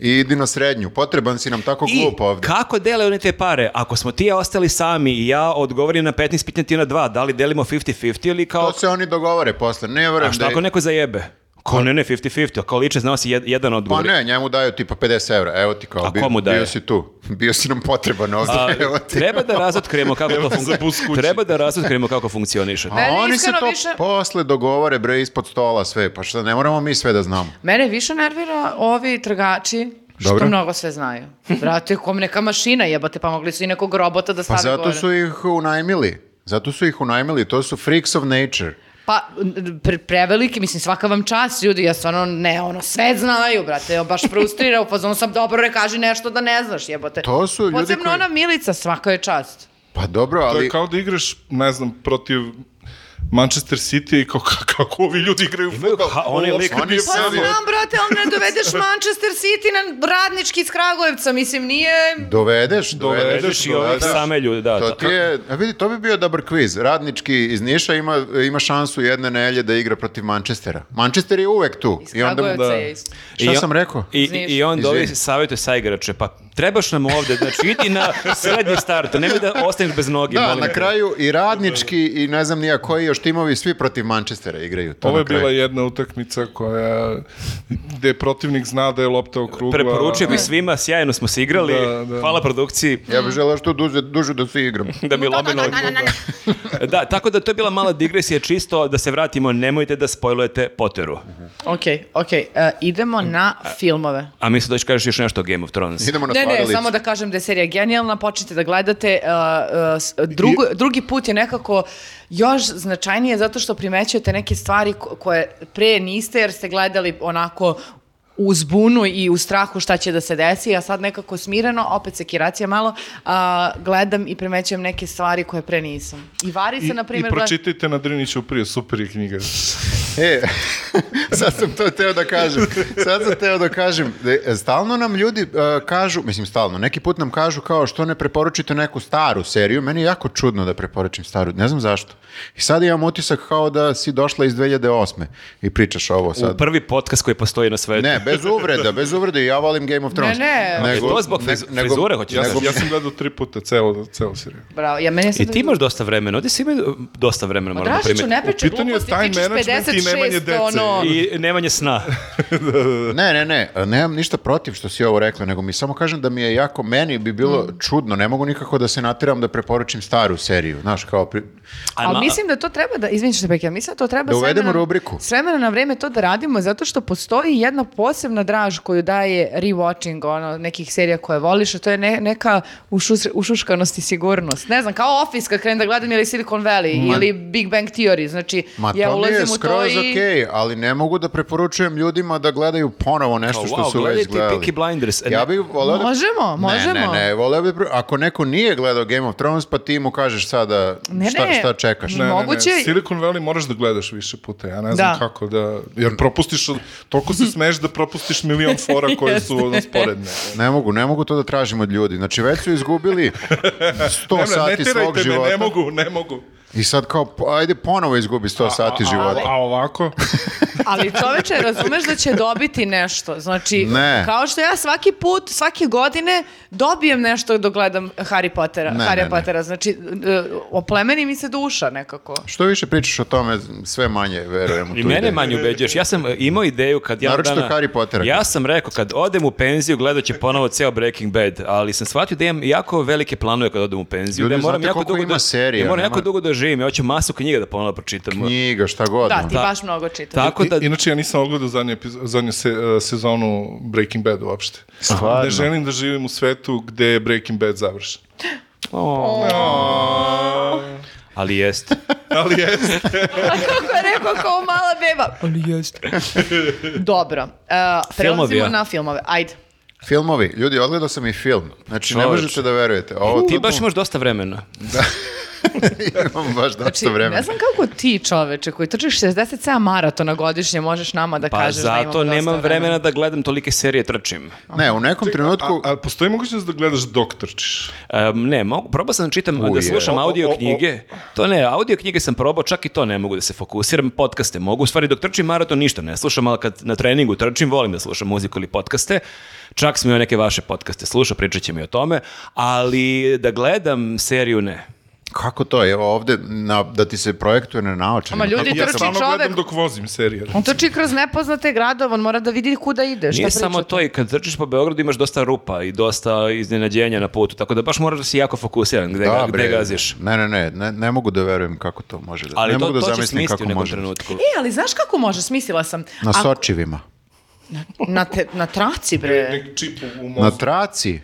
I idi na srednju. Potreban si nam tako I glup ovde. kako dele oni te pare? Ako smo ti i ja ostali sami i ja odgovorim na 15 pitanja ti na 2, da li delimo 50-50 ili kao... To se oni dogovore posle. Ne A verujem šta da... ako je- neko zajebe? Ko ne, ne, 50-50, a kao liče znao si jed- jedan Pa odgovor. ne, njemu daju tipa 50 evra. Evo ti kao, A komu daje? bio si tu. *laughs* Bio si nam potreban ovde. A, *laughs* Evo ti. treba da razotkrijemo kako to Evo za bus funkcioniše. kući. Treba da razotkrijemo kako funkcioniše. A Mene oni se iskreno to više- posle dogovore, bre, ispod stola sve. Pa šta, ne moramo mi sve da znamo. Mene više nervira ovi tragači što Dobro. mnogo sve znaju. Brate, kom neka mašina jebate, pa mogli su i nekog robota da Pa stave zato gore. su ih unajmili. Zato su ih unajmili. To su freaks of nature. Pa, n- pre, preveliki, mislim, svaka vam čast, ljudi, ja stvarno ne, ono, sve znaju, brate, evo, baš frustrira, u fazonu sam, dobro, ne kaži nešto da ne znaš, jebote. To su ljudi Posebno koji- ona Milica, svaka je čast. Pa dobro, ali... To je kao da igraš, ne znam, protiv Manchester City i kao ka- *laughs* kako ovi ljudi igraju fudbal. ha- onaj Ovo lik- uopšte nije Pa Pa fudbal. znam, brate, ali ne dovedeš Manchester City na radnički iz Kragujevca, mislim, nije... Dovedeš, Dovedeš dovedeš, i ovih dovedeš. same ljude, da. To da. ti je, a vidi, to bi bio dobar kviz. Radnički iz Niša ima, ima šansu jedne nelje da igra protiv Manchestera. Manchester je uvek tu. Iz I onda mu, Kragujevca da. je isto. šta sam rekao? I, i, Znaš. i onda ovi Izvini. savjetuje sa igrače, pa trebaš nam ovde, znači idi na srednji start, nemoj da ostaneš bez noge. Da, molim na te. kraju i radnički i ne znam nija koji još timovi, svi protiv Manchestera igraju. To Ovo na je kraju. bila jedna utakmica koja, gde protivnik zna da je lopta okrugla. Preporučio bih svima, sjajno smo se igrali, Da, da. hvala produkciji. Ja bih želeo što duže, duže da se igram. *laughs* da mi lome nogu. Da, tako da to je bila mala digresija, čisto da se vratimo, nemojte da spojlujete Potteru. Ok, ok, e, idemo na filmove. A mi se doći kažeš još nešto o Game of Thrones. Idemo na Ne, ne, stvaralicu. samo da kažem da je serija genijalna, počnite da gledate. uh, uh, s- drugo- drugi put je nekako još značajnije zato što primećujete neke stvari ko- koje pre niste jer ste gledali onako u zbunu i u strahu šta će da se desi, a sad nekako smireno, opet sekiracija malo, a, gledam i primećujem neke stvari koje pre nisam. I Vari se, I, na primjer, I gleda- pročitajte na Driniću prije, super je knjiga. E, *laughs* sad sam to teo da kažem. Sad sam teo da kažem. da je- Stalno nam ljudi e, kažu, mislim stalno, neki put nam kažu kao što ne preporučite neku staru seriju. Meni je jako čudno da preporučim staru, ne znam zašto. I sad imam utisak kao da si došla iz 2008. i pričaš ovo U sad. prvi podcast koji postoji na svetu. Ne, bez uvreda, bez uvreda i ja volim Game of Thrones. Ne, ne. Je to zbog friz- frizure, hoćeš da Ja, Nego- sam, ja sam gledao tri puta celo, celo seriju. Bravo, ja, E, meni je sad- I ti imaš dosta vremena, ovdje si imaju dosta vremena, moram da Pa Dražiću, primetim. ne pričaj U pitanju je gluposti, time ti ćeš management i 56, nemanje dece. ono- I nemanje sna. Ne, ne, ne, e, nemam ništa protiv što si ovo rekla, nego mi samo kažem da mi je jako, meni bi bilo Mm. čudno, ne mogu nikako da se nateram da preporučim staru seriju, znaš, kao... Pri... Ali ma- mislim da to treba da, izvinite što pekam, mislim da to treba Da s vremena- uvedemo rubriku. S vremena na vreme to da radimo zato što postoji jedna posebna draž koju daje rewatching ono, nekih serija koje voliš, a to je ne- neka ušus- ušuškanost i sigurnost. Ne znam, kao Office kad krenem da gledam ili Silicon Valley ili Big Bang Theory, znači Ma ja to mi ulazim je u to skroz i skroz okej, ali ne mogu da preporučujem ljudima da gledaju ponovo nešto Kao, što wow, su već gledajte gledali. Peaky Blinders. E, Ja ne- bih voleo da- Možemo, možemo. Ne, ne, ne, voleo bih... pre- Ako neko nije gledao Game of Thrones, pa ti mu kažeš sada Ne, šta, ne. šta čekaš. Ne, ne, Moguće- ne, Silicon Valley moraš da gledaš više puta, ja ne znam Da. kako da, jer propustiš, toliko se smeješ da propustiš milion *laughs* fora koje su ono, sporedne. Ne mogu, ne mogu to da tražim od ljudi. Znači, već su izgubili 100 Ne, ne, ne sati svog terajte me, života. ne mogu, ne mogu. I sad kao, po- ajde ponovo izgubi 100 sati A, života. a ovako? Ali čoveče, razumeš da će dobiti nešto. Znači, Ne. kao što ja svaki put, svake godine dobijem nešto dok gledam Harry Pottera. Ne, Harry ne, ne. Pottera. Znači, e, oplemeni mi se duša nekako. Što više pričaš o tome, sve manje verujem u tu I mene ideju. manje ubeđuješ. Ja sam e, imao ideju kad ja Naročito dana... Harry Pottera. Ja sam rekao, kad odem u penziju, gledat će ponovo ceo Breaking Bad, ali sam shvatio da imam jako velike planove kad odem u penziju. da Ljudi, ja moram znate jako koliko dugo ima da, serija, ja moram nema- jako dugo da živim. Ja hoću masu knjiga da ponovo pročitam. Knjiga, šta god. Da, ono. ti Da. baš mnogo čitaš. Tako da... I- Inače, ja nisam ogledao zadnju, epizo- zadnju se, uh, sezonu Breaking Bad uopšte. Stvarno? Ne želim da živim u svetu gde je Breaking Bad završen. O, ali *laughs* jest. Ali jeste. Kako je rekao kao mala beba. Ali jeste. Dobro. E, prelazimo Filmovi, a? na filmove. Ajde. Filmovi. Ljudi, odgledao sam i film. Znači, ne Čoveče. možete da verujete. Ovo, Ti tu- baš imaš dosta vremena. *laughs* Da imam baš dosta Znači, vremena. ne znam kako ti čoveče koji trčiš 67 maratona godišnje možeš nama da Pa kažeš da imamo zato dosta nemam vremena da gledam tolike serije trčim. Ne, u nekom trenutku... A, a postoji mogućnost da gledaš dok trčiš? Um, ne, mogu, probao sam da čitam, Uje. da slušam O, o, o, audio o. knjige. To ne, audio knjige sam probao, čak i to ne mogu da se fokusiram. Podcaste mogu, u stvari dok trčim maraton ništa ne slušam, ali kad na treningu trčim volim da slušam muziku ili podcaste. Čak sam i o neke vaše podcaste slušao, pričat ćemo i o tome. Ali da gledam seriju ne. Kako to je ovde, na, da ti se projektuje na naočarima? Ama ljudi, Kako- ja trči stvarno čovek. gledam dok vozim serije. On trči kroz nepoznate gradove, on mora da vidi kuda ide, šta Nije pričate. samo to i kad trčiš po Beogradu imaš dosta rupa i dosta iznenađenja na putu, tako da baš moraš da si jako fokusiran gde, ga, Da, gde bre. gaziš. Ne, ne, ne, ne, ne mogu da verujem kako to može da... Ali ne to, mogu da to će zamislim smisliti kako u nekom može. trenutku. E, ali znaš kako može? Smislila sam. Na Ako- sočivima. na, te, na traci, bre. Neki čip u- u E. Na mozgu. traci?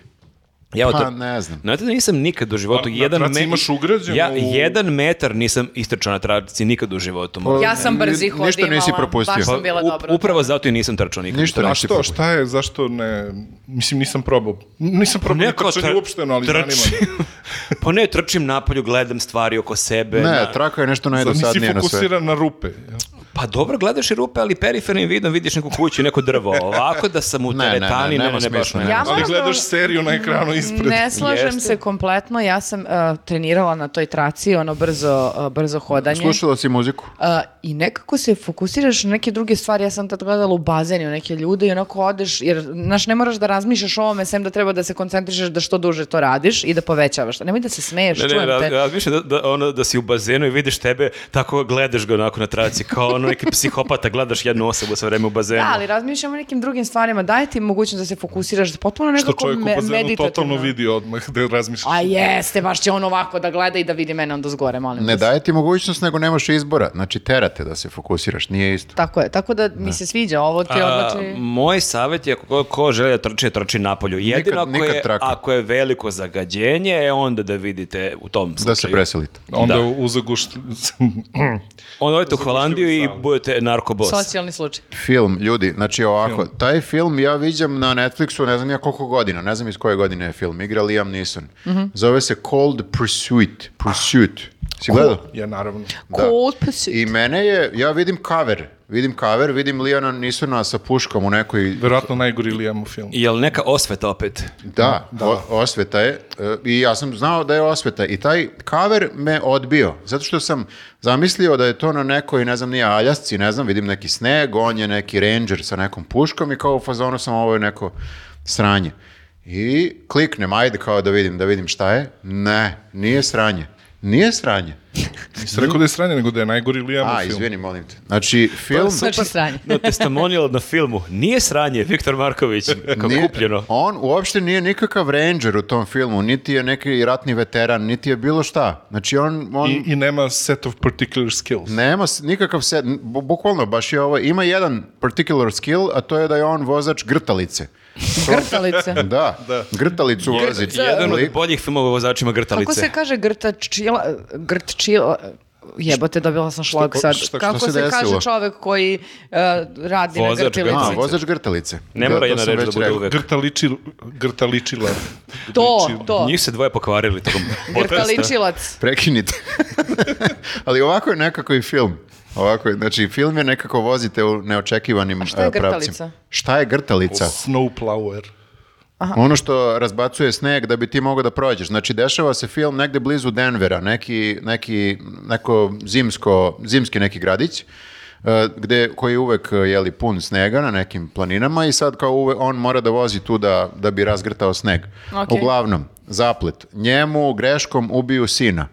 Ja Pa, to, ne znam. Znate da nisam nikad u životu Pa, na jedan traci imaš ugrađeno Ja u- jedan metar nisam istrčao na traci nikad u životu. moram. Ja sam brzi Ništa hodimala. nisi propustio. Baš Pa, sam bila up- dobra. upravo zato i nisam trčao nikad. Ništa A nisi što, propustio. šta je, zašto ne, mislim nisam probao, nisam probao Ne, kao ni trčanje tr- uopšteno, ali zanima me. trčim. *laughs* pa ne, trčim napolju, gledam stvari oko sebe. Ne, na- traka je nešto *laughs* Sad najdosadnije nisi na sve. fokusiran na rupe. jel? Pa dobro, gledaš i rupe, ali perifernim vidom vidiš neku kuću i neko drvo. Ovako da sam u *laughs* Ne, ne, ne, teretani, ne, ne, nema ne, baš smisla, ne. nema Ja Ali moram da... gledaš seriju na ekranu ispred. Ne slažem Jeste. se kompletno, ja sam uh, trenirala na toj traci, ono brzo, uh, brzo hodanje. Slušala si muziku? Uh, I nekako se fokusiraš na neke druge stvari. Ja sam tad gledala u bazenju neke ljude i onako odeš, jer znaš, ne moraš da razmišljaš o ovome, sem da treba da se koncentrišeš da što duže to radiš i da povećavaš. Nemoj da se smeješ, Ne, ne, čujem raz- te. razmišljam da, da, ono, da si u bazenu i vidiš tebe, tako gledaš ga onako na traci, kao ono neki psihopata, gledaš jednu osobu sve vreme u bazenu. Da, ali razmišljam o nekim drugim stvarima. Daje ti mogućnost da se fokusiraš da potpuno Što pa nekako čovjek u me- bazenu meditativno. totalno vidi odmah da razmišlja. A jeste, baš će on ovako da gleda i da vidi mene onda zgore, molim. Ne da. vas. daje ti mogućnost, nego nemaš izbora. Znači, terate da se fokusiraš, nije isto. Tako je, tako da mi se sviđa ovo, ti odlači... A, moj savjet je ako ko, ko želi da trči, trči napolju. Jedino ako, nikad je, traka. ako je veliko zagađenje, e, onda da vidite u tom slučaju. Da se preselite. Onda Da. u zagušt... Onda odete u Holandiju i salu. budete narkobos. Socijalni slučaj. Film, ljudi, znači ovako, taj film ja viđam na Netflixu, ne znam ja koliko godina, ne znam iz koje godine je film, igra Liam Neeson. Zove se Cold Pursuit. Pursuit. Si gledao? *laughs* ja naravno. Da. Cold pursuit. I mene je, ja vidim cover, vidim cover, vidim Liana Nisona sa puškom u nekoj, Verovatno najgori Liam u filmu. Jel neka osveta opet? da, o- osveta je, e, i ja sam znao da je osveta i taj cover me odbio, zato što sam zamislio da je to na nekoj, ne znam, nije Aljasci, ne znam, vidim neki sneg, on je neki ranger sa nekom puškom i kao u fazonu sam ovo je neko sranje. I kliknem, ajde kao da vidim, da vidim šta je, ne, nije sranje, nije sranje. Nisi rekao da je sranje, nego da je najgori Liam u A, filmu. izvini, molim te. Znači, film... Super stranje. Na testimonial na filmu. Nije sranje, Viktor *laughs* Marković, kako Nije- kupljeno. On uopšte nije nikakav ranger u tom filmu, niti je neki ratni veteran, niti je bilo šta. Znači on, on I, I nema set of particular skills. nema s- nikakav set, n- bu- bukvalno baš je ovo, ima jedan particular skill, a to je da je on *laughs* vozač grtalice. Grtalice. Da, grtalicu vozi. Jedan od lik. boljih filmova o vozačima Kako grtalice. se kaže grtačila? Grtčila? Jebote, dobila sam šlog Šta- sad. šta- šta Kako se se, kaže desilo? čovek koji e, radi Vozač na grtilici? A, grtilice. vozač grtalice. Ne Da, mora to jedna sam reč da već bude rekao. uvek. Grtaličil, grtaličila. To, to. Njih se dvoje pokvarili *laughs* tokom podcasta. Grtaličilac. Prekinite. *laughs* Ali ovako je nekako i film. Ovako je, znači film je nekako vozite u neočekivanim šta je eh, pravcima. grtalica? Šta je grtalica? Snowplower. Ono što razbacuje sneg da bi ti mogao da prođeš. Znači, dešava se film negde blizu Denvera, neki, neki, neko zimsko, zimski neki gradić, eh, gde, koji je uvek eh, jeli, pun snega na nekim planinama i sad kao uve- on mora da vozi tu da, da bi razgrtao sneg. Ok. Uglavnom, zaplet. Njemu greškom ubiju sina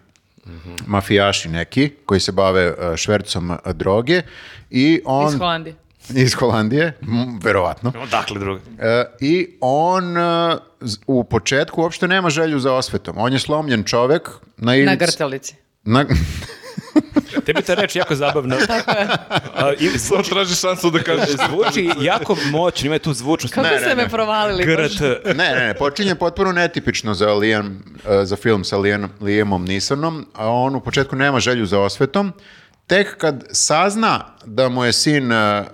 Mhm. mafijaši neki koji se bave eh, švercom eh, droge i on Iz Holandije. iz Holandije, m, verovatno. Odakle druga? E, I on e, z- u početku uopšte nema želju za osvetom. On je slomljen čovek na ivici. Na grtalici. na- *laughs* Tebi ta reč jako *laughs* zabavna. A, i To zvuči, traži šansu da *laughs* kažeš. zvuči jako moćno, ima tu zvučnost. Kako Ne, ste me provalili? baš? GRT. ne, ne, ne, počinje potpuno netipično za, Liam, e, za film sa Liam, Liamom Nisanom, a on u početku nema želju za osvetom. Tek kad sazna da mu je sin e, e,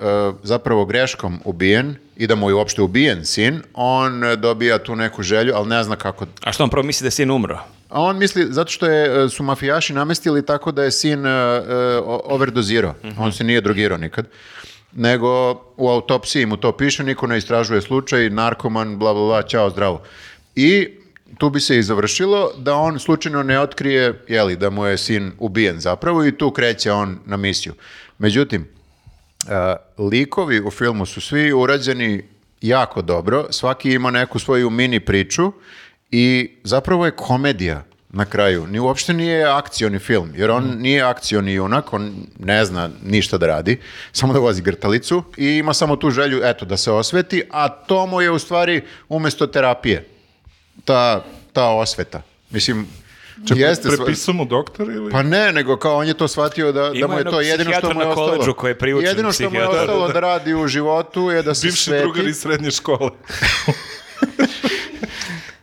zapravo greškom ubijen i da mu je uopšte ubijen sin, on e, dobija tu neku želju, ali ne zna kako A što on prvo misli da je sin umro? A on misli, zato što je, e, su mafijaši namestili tako da je sin e, e, o- overdozirao. On se nije drogirao nikad. Nego u autopsiji mu to piše, niko ne istražuje slučaj, narkoman, bla, bla, bla, čao, zdravo. I tu bi se i završilo da on slučajno ne otkrije, jeli, da mu je sin ubijen zapravo i tu kreće on na misiju. Međutim, Uh, likovi u filmu su svi urađeni jako dobro, svaki ima neku svoju mini priču i zapravo je komedija na kraju. Ni uopšte nije akcioni film, jer on nije akcioni junak, on ne zna ništa da radi, samo da vozi grtalicu i ima samo tu želju, eto, da se osveti, a to mu je u stvari umesto terapije, ta, ta osveta. Mislim, jeste... sva- Prepisao mu doktor ili? pa ne, nego kao on je to shvatio da, da Ima mu je to jednog jedino što mu psihijatra je na koledžu ostalo. koji je priučen jedino što mu je psihijatra. ostalo da radi u životu je da se Bivši sveti. drugar iz srednje škole.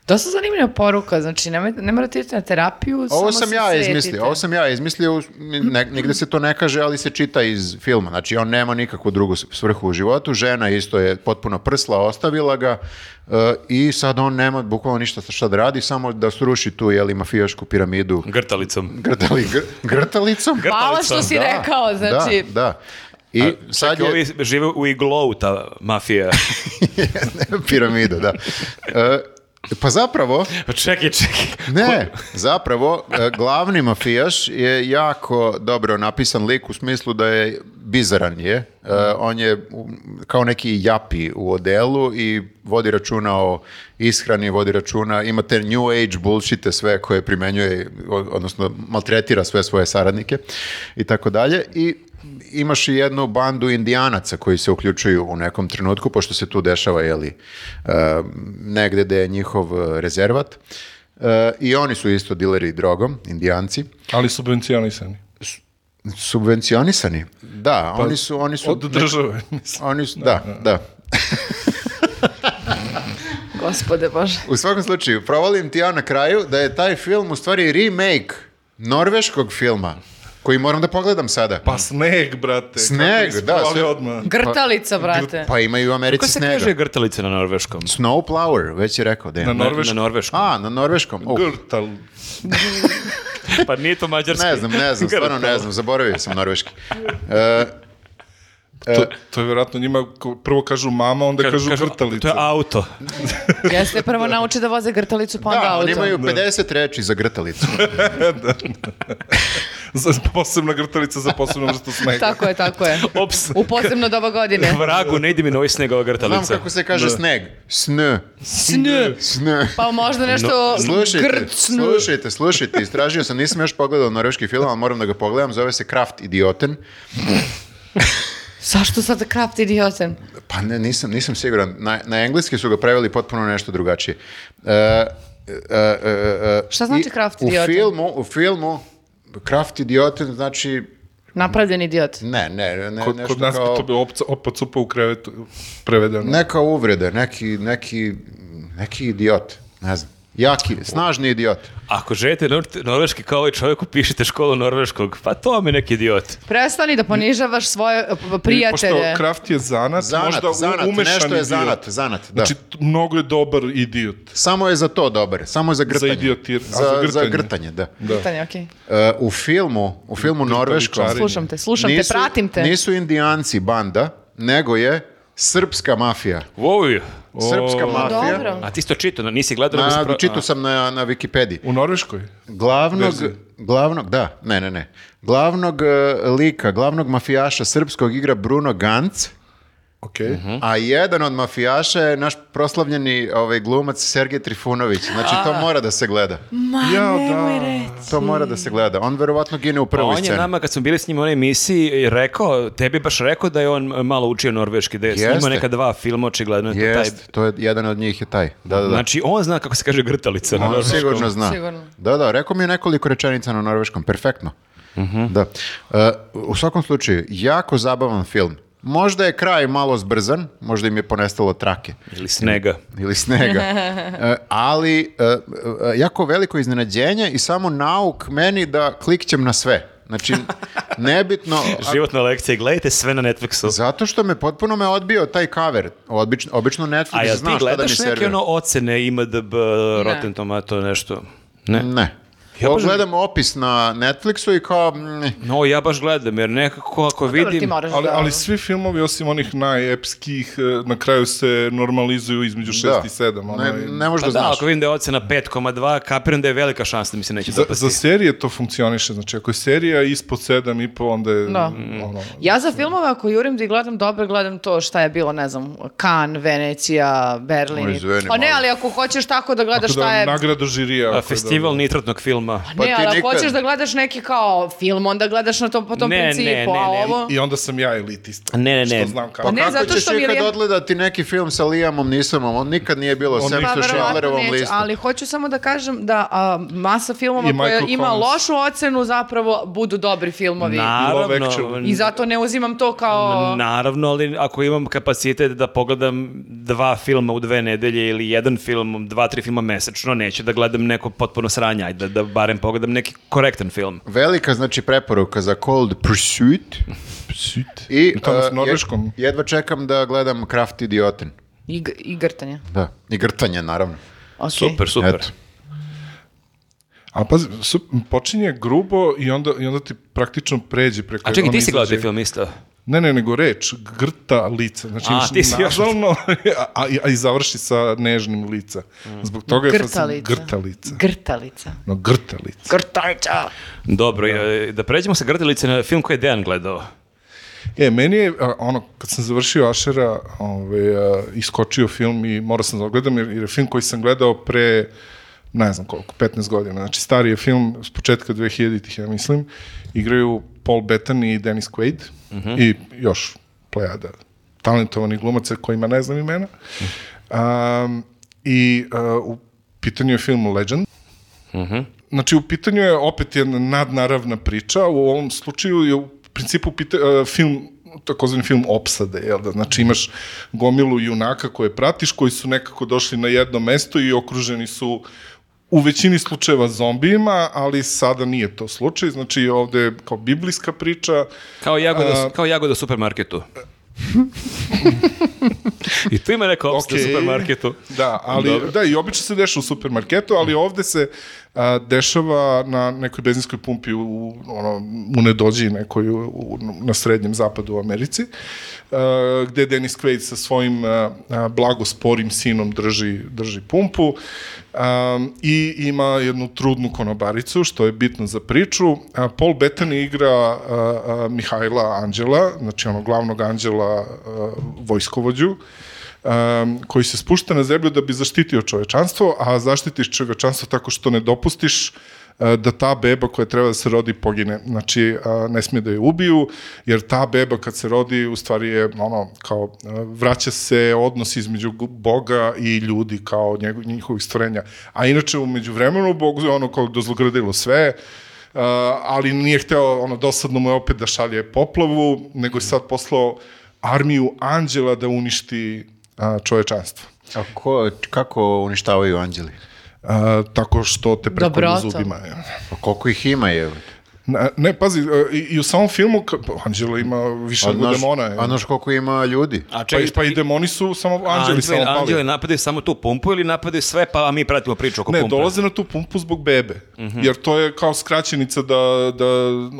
To su zanimljiva poruka, znači ne, ne morate ići na terapiju, Ovo samo sam se ja sretite. izmislio, ovo sam ja izmislio, ne, nigde se to ne kaže, ali se čita iz filma. Znači, on nema nikakvu drugu s- svrhu u životu, žena isto je potpuno prsla, ostavila ga e, i sad on nema bukvalno ništa šta da radi, samo da sruši tu, jeli, mafijašku piramidu Grtalicom. grtali, gr- grtalicom. Gr- Hvala što Pa, si Da, rekao, znači... Da, da. I sad Čak je... i Ovi žive u iglou, ta mafija. *laughs* Piramida, da. E, pa zapravo, Pa čekaj, čekaj. ne, zapravo, e, glavni mafijaš je jako dobro napisan lik u smislu da je bizaran je. E, on je u- kao neki japi u odelu i vodi računa o ishrani, vodi računa, ima te new age bullshite sve koje primenjuje, o- odnosno maltretira sve svoje saradnike i tako dalje. I imaš i jednu bandu indijanaca koji se uključuju u nekom trenutku, pošto se tu dešava, jeli, e, negde gde je njihov e, rezervat. E, I oni su isto dileri drogom, indijanci. Ali subvencionisani. Subvencionisani. Da, oni su... Oni su Od države, mislim. Oni su, da, da. Gospode Bože. U svakom slučaju, provalim ti ja na kraju da je taj film u stvari remake norveškog filma koji moram da pogledam sada. Pa sneg, brate. Sneg, kako da, sve- sve... odmah. Grtalica, brate. Pa ima i u Kako Americi se snega. kaže grtalica na norveškom? Snowplower, već je rekao, Dejan. Na Na, norveškom. na norveškom. A, na norveškom. O, Grtal. Pa nije to mađarski. Ne znam, ne znam, stvarno ne Grtalo. znam, zaboravio sam norveški. To, to je vjerojatno njima, ko- prvo kažu mama, onda kažu, Kažu, To grtalica. je auto. Jeste prvo nauči da voze grtalicu, pa onda pa- Da, auto. oni imaju 50 reči za *laughs* grtalicu. Za- posebna grtalica za posebnu vrstu snega. Tako je, tako je. Ops. U posebno doba *laughs* godine. Vragu, ne ide mi na ovaj sneg ova Znam grtalica. kako se Da. kaže sneg. Sn. Snj. Sn. Pa možda nešto Slušajte, grcnu. slušajte, slušajte, istražio sam, nisam još pogledao norveški film, ali moram da ga pogledam, zove se Kraft idioten. Zašto sad kraft idioten? Pa ne, nisam, nisam siguran, na, na engleski su ga preveli potpuno nešto drugačije. E, e, e, e, Šta znači i Kraft idioten? U filmu, u filmu, Kraft idioten znači, Napravljen idiot. ne, ne, ne, Kod, nešto kod nas kao... bi to bio opca, opa cupa u krevetu prevedeno. Neka uvreda, neki, neki, neki idiot, ne znam. Jaki, snažni idiot. Ako želite nor- norveški kao ovaj čovjek, upišite školu norveškog. Pa to vam je neki idiot. Prestani da ponižavaš svoje e, p- I Pošto prijatelje. kraft je zanat, Zanat, možda u- zanat, umešan nešto je idiot. zanat, zanat, da. Znači, t- mnogo je dobar idiot. Samo je za to dobar, samo je za grtanje. idiotir- za, a, za grtanje. za grtanje, da. Da. Pitanje, okej. E, u filmu, u filmu Norveškom... Grtavičari. Slušam te, slušam te, pratim te. Nisu indijanci banda, nego je srpska mafija. Wow. Srpska Pa mafija. dobro. A ti si to čitao, nisi gledao. nego si Na, pro- čitao a. sam na, na Wikipediji. U Norveškoj? Glavnog, Verziju. glavnog, da, ne, ne, ne. Glavnog e, lika, glavnog mafijaša srpskog igra Bruno Ganc, Ok. Mhm. a jedan od mafijaša je naš proslavljeni ovaj, glumac Sergej Trifunović. Znači, to mora da se gleda. Ja, da. To mora da se gleda. On verovatno gine u Pa prvoj on je sceni. nama, kad smo bili s njim u onoj emisiji, rekao, tebi baš rekao da je on malo učio norveški, da je Jeste. snimao neka dva filma, očigledno je to taj... Jest, to je, jedan od njih je taj. Da, da, da. Znači, on zna kako se kaže grtalica. na On norveškom. sigurno zna. Sigurno. Da, da, rekao mi je nekoliko rečenica na norveškom, perfektno. Mhm. Da. E, u svakom slučaju, jako zabavan film. Možda je kraj malo zbrzan, možda im je ponestalo trake Ili snega. ili *laughs* snega, E, ali e, e, jako veliko iznenađenje i samo nauk meni da klikćem na sve. *laughs* Znači, nebitno... Životna lekcija, gledajte sve na Netflixu. Zato što me potpuno me odbio taj cover. Obično, obično A Netflix jel ti zna šta da mi gledaš neke servira. ono ocene, IMDB, Da. Rotten Tomato, nešto? Mm. Ne. Ne. Ja Ovo baš- gledam opis na Netflixu i kao... mm, No, ja baš gledam, jer nekako ako Dobro, ti vidim... moraš Ali, da... ali svi filmovi, osim onih najepskih, e, na kraju se normalizuju između 6 Da. i 7. Ono, Ne, i- ne možeš Pa da, da znaš. ako vidim da je ocena 5,2, kapiram da je velika šansa da mi se neće Za, dopasti. za serije to funkcioniše, znači ako je serija ispod 7,5, onda je... Da. mm, Ono, Ja za filmove ako jurim da ih gledam dobro, gledam to šta je bilo, ne znam, Kan, Venecija, Berlin. Ma, izvini, pa ne, malo. ali ako hoćeš tako da gledaš Tako šta da je... nagradu A, žirija. ako je da- Festival dobro. nitratnog filma. Pa ne, ti ali ako nikad- hoćeš da gledaš neki kao film, onda gledaš na tom, po tom Ne, ne, principu, ne, a ne. ovo... I onda sam ja elitista. Ne, ne, ne. Što znam kako. Pa Ne, kako zato ćeš što mi je ikad lijepo. odgledati neki film sa Lijamom Nisamom? On nikad nije bilo On sem nikad. što Pa verovatno Schindlerovom neću, listu. ali hoću samo da kažem da a, masa filmova I koja Michael ima Collins. lošu ocenu zapravo budu dobri filmovi. Love Naravno, Actually. I zato ne uzimam to kao... Naravno, ali ako imam kapacitet da pogledam dva filma u dve nedelje ili jedan film, dva, tri filma mesečno, neću da gledam neko potpuno sranje, ajde da, da barem pogledam neki korektan film. Velika, znači, preporuka za Cold Pursuit. Pa Shit. I, I tamo e, s Norveškom. jed- jedva čekam da gledam Kraft Idiotin. I, g- i grtanje. Da. I grtanje, naravno. Okay. Super, super. Eto. A pazi, su- počinje grubo i onda, i onda ti praktično pređe preko... A čekaj, on ti si gledao izađe- taj film isto? Ne, ne, nego reč, grta lica. Znači, A, imaš ti si još- nazalno, *laughs* a, i- a i završi sa nežnim lica. Mm. Zbog toga je Grta fascin- lica. grta lica. Grtalica. No, grta lica. Grtalica. Dobro, e, da pređemo sa grdelice na film koji je Dejan gledao. E, meni je, a, ono, kad sam završio Ašera, ovaj, a, iskočio film i morao sam da gledam, jer, jer je film koji sam gledao pre, ne znam koliko, 15 godina. Znači, stari je film s početka 2000-ih, ja mislim. Igraju Paul Bettany i Dennis Quaid i još plejada talentovani glumaca kojima ne znam imena. Um, I a, u pitanju je film Legend. Znači, u pitanju je opet jedna nadnaravna priča, u ovom slučaju je u principu pita, e, film takozvani film opsade, jel da? Znači imaš gomilu junaka koje pratiš, koji su nekako došli na jedno mesto i okruženi su u većini slučajeva zombijima, ali sada nije to slučaj, znači ovde je kao biblijska priča, Kao jagoda, kao jagoda u *laughs* supermarketu. I tu ima neka opcija u Okej. supermarketu. Da, ali Dobro. da i obično se dešava u supermarketu, ali ovde se a, dešava na nekoj benzinskoj pumpi u, u, ono, u nedođi nekoj u, u, na srednjem zapadu u Americi, a, gde Dennis Quaid sa svojim a, a, blagosporim sinom drži, drži pumpu a, i ima jednu trudnu konobaricu, što je bitno za priču. A, Paul Bettany igra a, a, Mihajla Anđela, znači onog glavnog anđela a, vojskovođu, um, koji se spušta na zemlju da bi zaštitio čovečanstvo, a zaštitiš čovečanstvo tako što ne dopustiš e, da ta beba koja treba da se rodi pogine. Znači, a, ne smije da je ubiju, jer ta beba kad se rodi u stvari je, ono, kao, e, vraća se odnos između gu- Boga i ljudi, kao njego, njihovih stvorenja. A inače, umeđu vremenu, Bog je ono kao dozlogradilo sve, Uh, ali nije hteo, ono, dosadno mu je opet da šalje poplavu, nego je sad poslao armiju anđela da uništi a, čovečanstvo. A ko, kako uništavaju anđeli? a, tako što te preko Dobroto. zubima. je. Pa koliko ih ima je? Ne, ne, pazi, a, i, i u samom filmu ka- pa, Anđela ima više nego demona. je. a Pa znaš koliko ima ljudi? A Pa, čekaj, i- pa i demoni su samo anđeli, samo pali. Anđeli napadaju samo tu pumpu ili napadaju sve, pa mi pratimo priču oko Ne, pumpe? Mhm. dolaze na tu pumpu zbog bebe. Jer to je kao skraćenica da, da,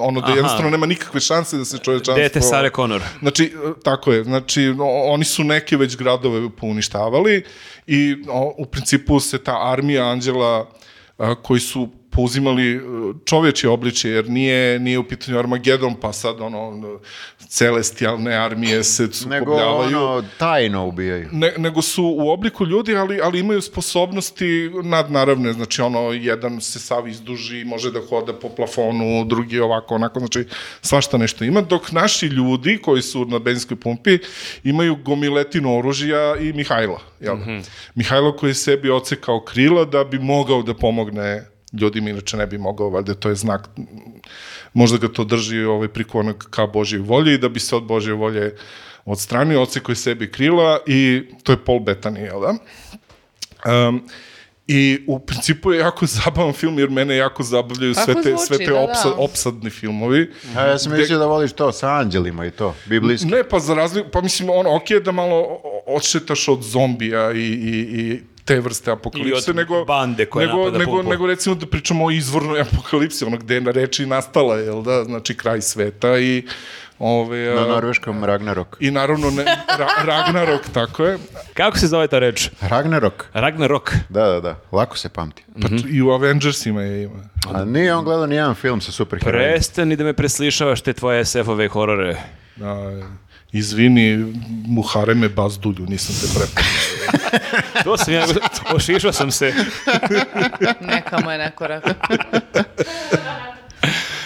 ono, da Aha. jednostavno nema nikakve šanse da se čovečanstvo... Dete Sare Connor. Znači, e, tako je. Znači, o- oni su neke već gradove pouništavali i o, u principu se ta armija anđela a, koji su pouzimali e, čovječje obličje, jer nije, nije u pitanju Armagedon, pa sad ono, celestijalne armije se Nego sukobljavaju. ono, tajno ubijaju. Ovaj, Ne, nego su u obliku ljudi, ali, ali imaju sposobnosti nadnaravne, znači ono, jedan se sav izduži, može da hoda po plafonu, drugi ovako, onako, znači svašta nešto ima, dok naši ljudi koji su na benzinskoj pumpi imaju gomiletinu oružja i Mihajla, jel? Mihajlo koji je sebi ocekao krila da bi mogao da pomogne ljudima, inače ne bi mogao, valjda to je znak, možda ga to drži ovaj priklonak ka Božjoj volji i da bi se od Božje volje odstranio, ocekao je sebi krila i to je Paul Bettany, jel da? Um, I u principu je jako *laughs* zabavan film, jer mene jako zabavljaju sve Kako te, sve zvuči, te da, da. opsa- opsadni filmovi. A ja sam mislio da voliš to sa anđelima i to, biblijski. Ne, pa za razliku, pa mislim, ono, okej je da malo o- o- odšetaš od zombija i, i, i te vrste apokalipse, od nego, bande koja nego, napada nego, pumpu. nego recimo da pričamo o izvornoj *laughs* apokalipsi, ono gde je na reči nastala, jel da, znači kraj sveta i ove, a, Na norveškom Ragnarok. i naravno ne, *laughs* Ra- Ragnarok, tako je, Kako se zove ta reč? Ragnarok? Ragnarok. Da, da, da. Lako se pamti. pa Mhm. t- i u Avengersima je ima. A nije on gledao nijedan film sa superherojima. Prestani da me preslišavaš te tvoje SF-ove horore. A, Da, izvini, Muhareme Bazdulju, nisam te prepoznao. To sam ja, ošišao sam se. Neka mu je neko rekao.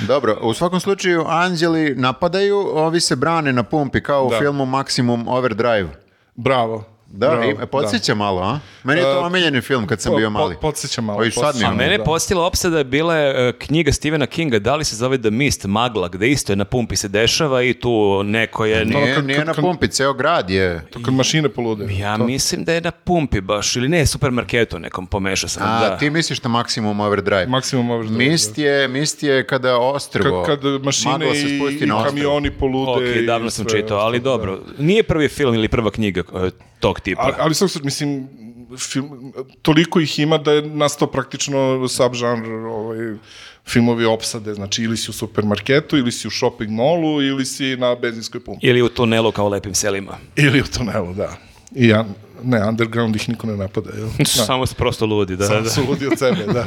Dobro, u svakom slučaju anđeli napadaju, ovi se brane na pumpi kao u Da. filmu Maximum Overdrive. Bravo. Da, bravo, i- podsjeća malo, a? Meni je to omiljeni film kad sam bio mali. Po, podsjeća malo. O, i sad mi je A ono, mene je da. postila opsada bila je e, knjiga Stephena Kinga, da li se zove The Mist, Magla, gde isto je na pumpi se dešava i tu neko je... Nije, kad- nije kad- na kad- pumpi, ceo grad je. To kad mašine polude. Ja mislim da je na pumpi baš, ili ne, supermarketu nekom, pomešao sam. A, da. ti misliš na Maximum Overdrive? Maksimum overdrive. Mist je, mist je kada ostrvo. Kad, kad mašine magla se i, spusti i na ostrvo. kamioni polude. Ok, i davno sam sve čitao, ali ostalo, dobro. Nije prvi film ili prva knjiga e, tog tipa. Ali, ali sam, mislim, film, toliko ih ima da je nastao praktično subžanr ovaj, filmovi opsade. Znači, ili si u supermarketu, ili si u shopping mallu, ili si na benzinskoj pumpi. Ili u tunelu kao u lepim selima. Ili u tunelu, da. I ja, ne, underground ih niko ne napada, *laughs* jel? Da. Samo su prosto ludi, da. Samo da. su ludi od sebe, *laughs* da.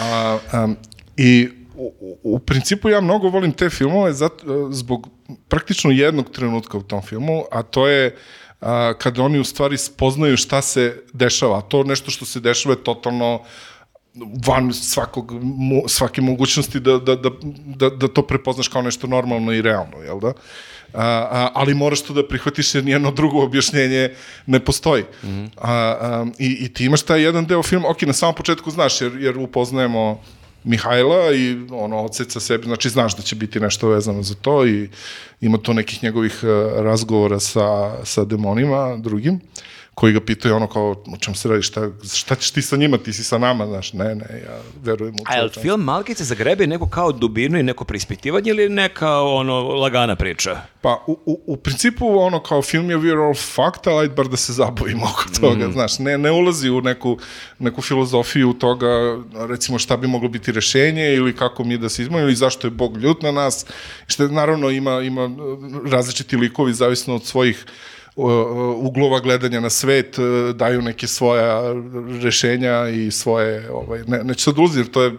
A, am, I u, u- u principu ja mnogo volim te filmove zato, zbog praktično jednog trenutka u tom filmu, a to je a, kada oni u stvari spoznaju šta se dešava. To nešto što se dešava je totalno van svakog, mo, svake mogućnosti da, da, da, da, da to prepoznaš kao nešto normalno i realno, jel da? A, a, ali moraš to da prihvatiš jer nijedno drugo objašnjenje ne postoji. A, a, i, I ti imaš taj jedan deo filma, ok, na samom početku znaš, jer, jer upoznajemo Mihajla i ono odseca sebi, znači znaš da će biti nešto vezano za to i ima to nekih njegovih e, razgovora sa, sa demonima drugim koji ga pitaju ono kao o čem se radi, šta, šta ćeš ti sa njima, ti si sa nama, znaš, ne, ne, ja verujem u A je li čovječanstvo. film Malkice zagrebe neko kao dubinu i neko preispitivanje ili neka ono lagana priča? Pa, u, u, u principu, ono, kao film je we're all fucked, ali ajde bar da se zabavimo oko toga, znaš, ne, ne ulazi u neku, neku filozofiju toga, recimo, šta bi moglo biti rešenje ili kako mi da se izmojimo ili zašto je Bog ljut na nas, što naravno ima, ima e, različiti likovi, zavisno od svojih e, uglova gledanja na svet, e, daju neke svoja rešenja i svoje, ovaj, ne, neću sad ulaziti, jer to je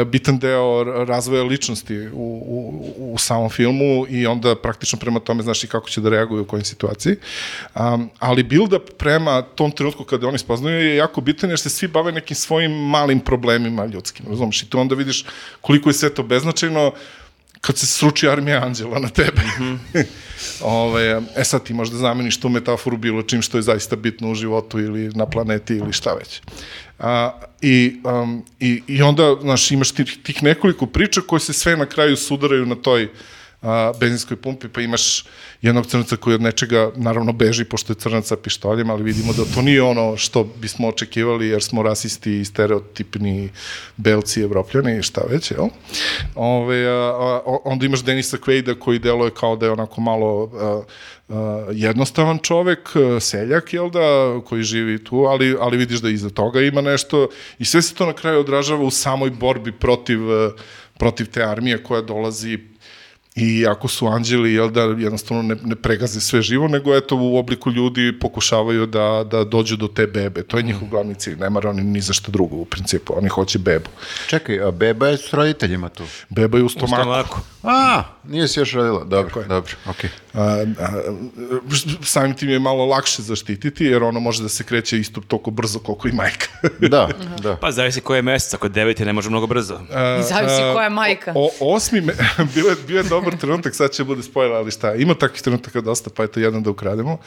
e, bitan deo r- razvoja ličnosti u, u, u samom filmu i onda praktično prema tome znaš i kako će da reaguju u kojim situaciji. Um, ali build-up prema tom trenutku kada oni spoznaju je jako bitan jer se svi bave nekim svojim malim problemima ljudskim, razumiješ? I tu onda vidiš koliko je sve to beznačajno kad se sruči armija anđela na tebe. *laughs* Ove, e sad ti možda zameniš tu metaforu bilo čim što je zaista bitno u životu ili na planeti ili šta već. A, i, um, i, I onda, znaš, imaš tih, tih nekoliko priča koje se sve na kraju sudaraju na toj a, benzinskoj pumpi, pa imaš jednog crnca koji od nečega naravno beži, pošto je crnac sa pištoljem, ali vidimo da to nije ono što bismo očekivali, jer smo rasisti i stereotipni belci, evropljani i šta već, jel? Ove, a, a, o- onda imaš Denisa Quaida koji deluje kao da je onako malo a, a, jednostavan čovek, a, seljak, jel da, koji živi tu, ali, ali vidiš da iza toga ima nešto i sve se to na kraju odražava u samoj borbi protiv, a, protiv te armije koja dolazi I ako su anđeli, jel da, jednostavno ne, ne pregaze sve živo, nego eto u obliku ljudi pokušavaju da, da dođu do te bebe. To je njihov glavni cilj. Ne mara oni ni za što drugo u principu. Oni hoće bebu. Čekaj, a beba je s roditeljima tu. Beba je u stomaku. Stomaku. A, nije se još rodila. Dobro, dobro, okej. A, a, samim tim je malo lakše zaštititi, jer ono može da se kreće isto toliko brzo koliko i majka. *laughs* Da, da. Pa zavisi koje je mesec, ako je devet je ne može mnogo brzo. A, *laughs* Zavisi a, koja je majka. O, o, osmi, me, *laughs* bio, je, bio je dobar trenutak, sad će da bude spojila, ali šta, ima takvih trenutaka dosta, pa eto jedan da ukrademo.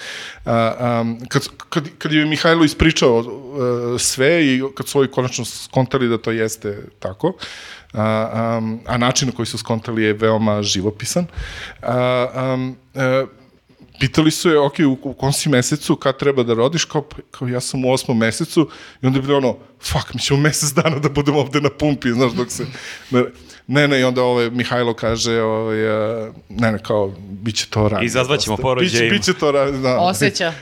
A, um, kad, kad, kad je Mihajlo ispričao uh, sve i kad su ovi konačno skontali da to jeste tako, a, um, a način na koji su skontali je veoma živopisan, a, um, e, pitali su je, ok, u, u kom si mesecu, kad treba da rodiš, kao, pa- kao ja sam u osmom mesecu, i onda je bilo ono, fuck, mi ćemo mesec dana da budemo ovde na pumpi, znaš, dok se... Ne, ne, ne i onda ovaj Mihajlo kaže, ovaj, a, ne, ne, kao, bit će to da, rano. Izazvaćemo Dosta. porođaj. Biće, biće to rano, da. Osjeća.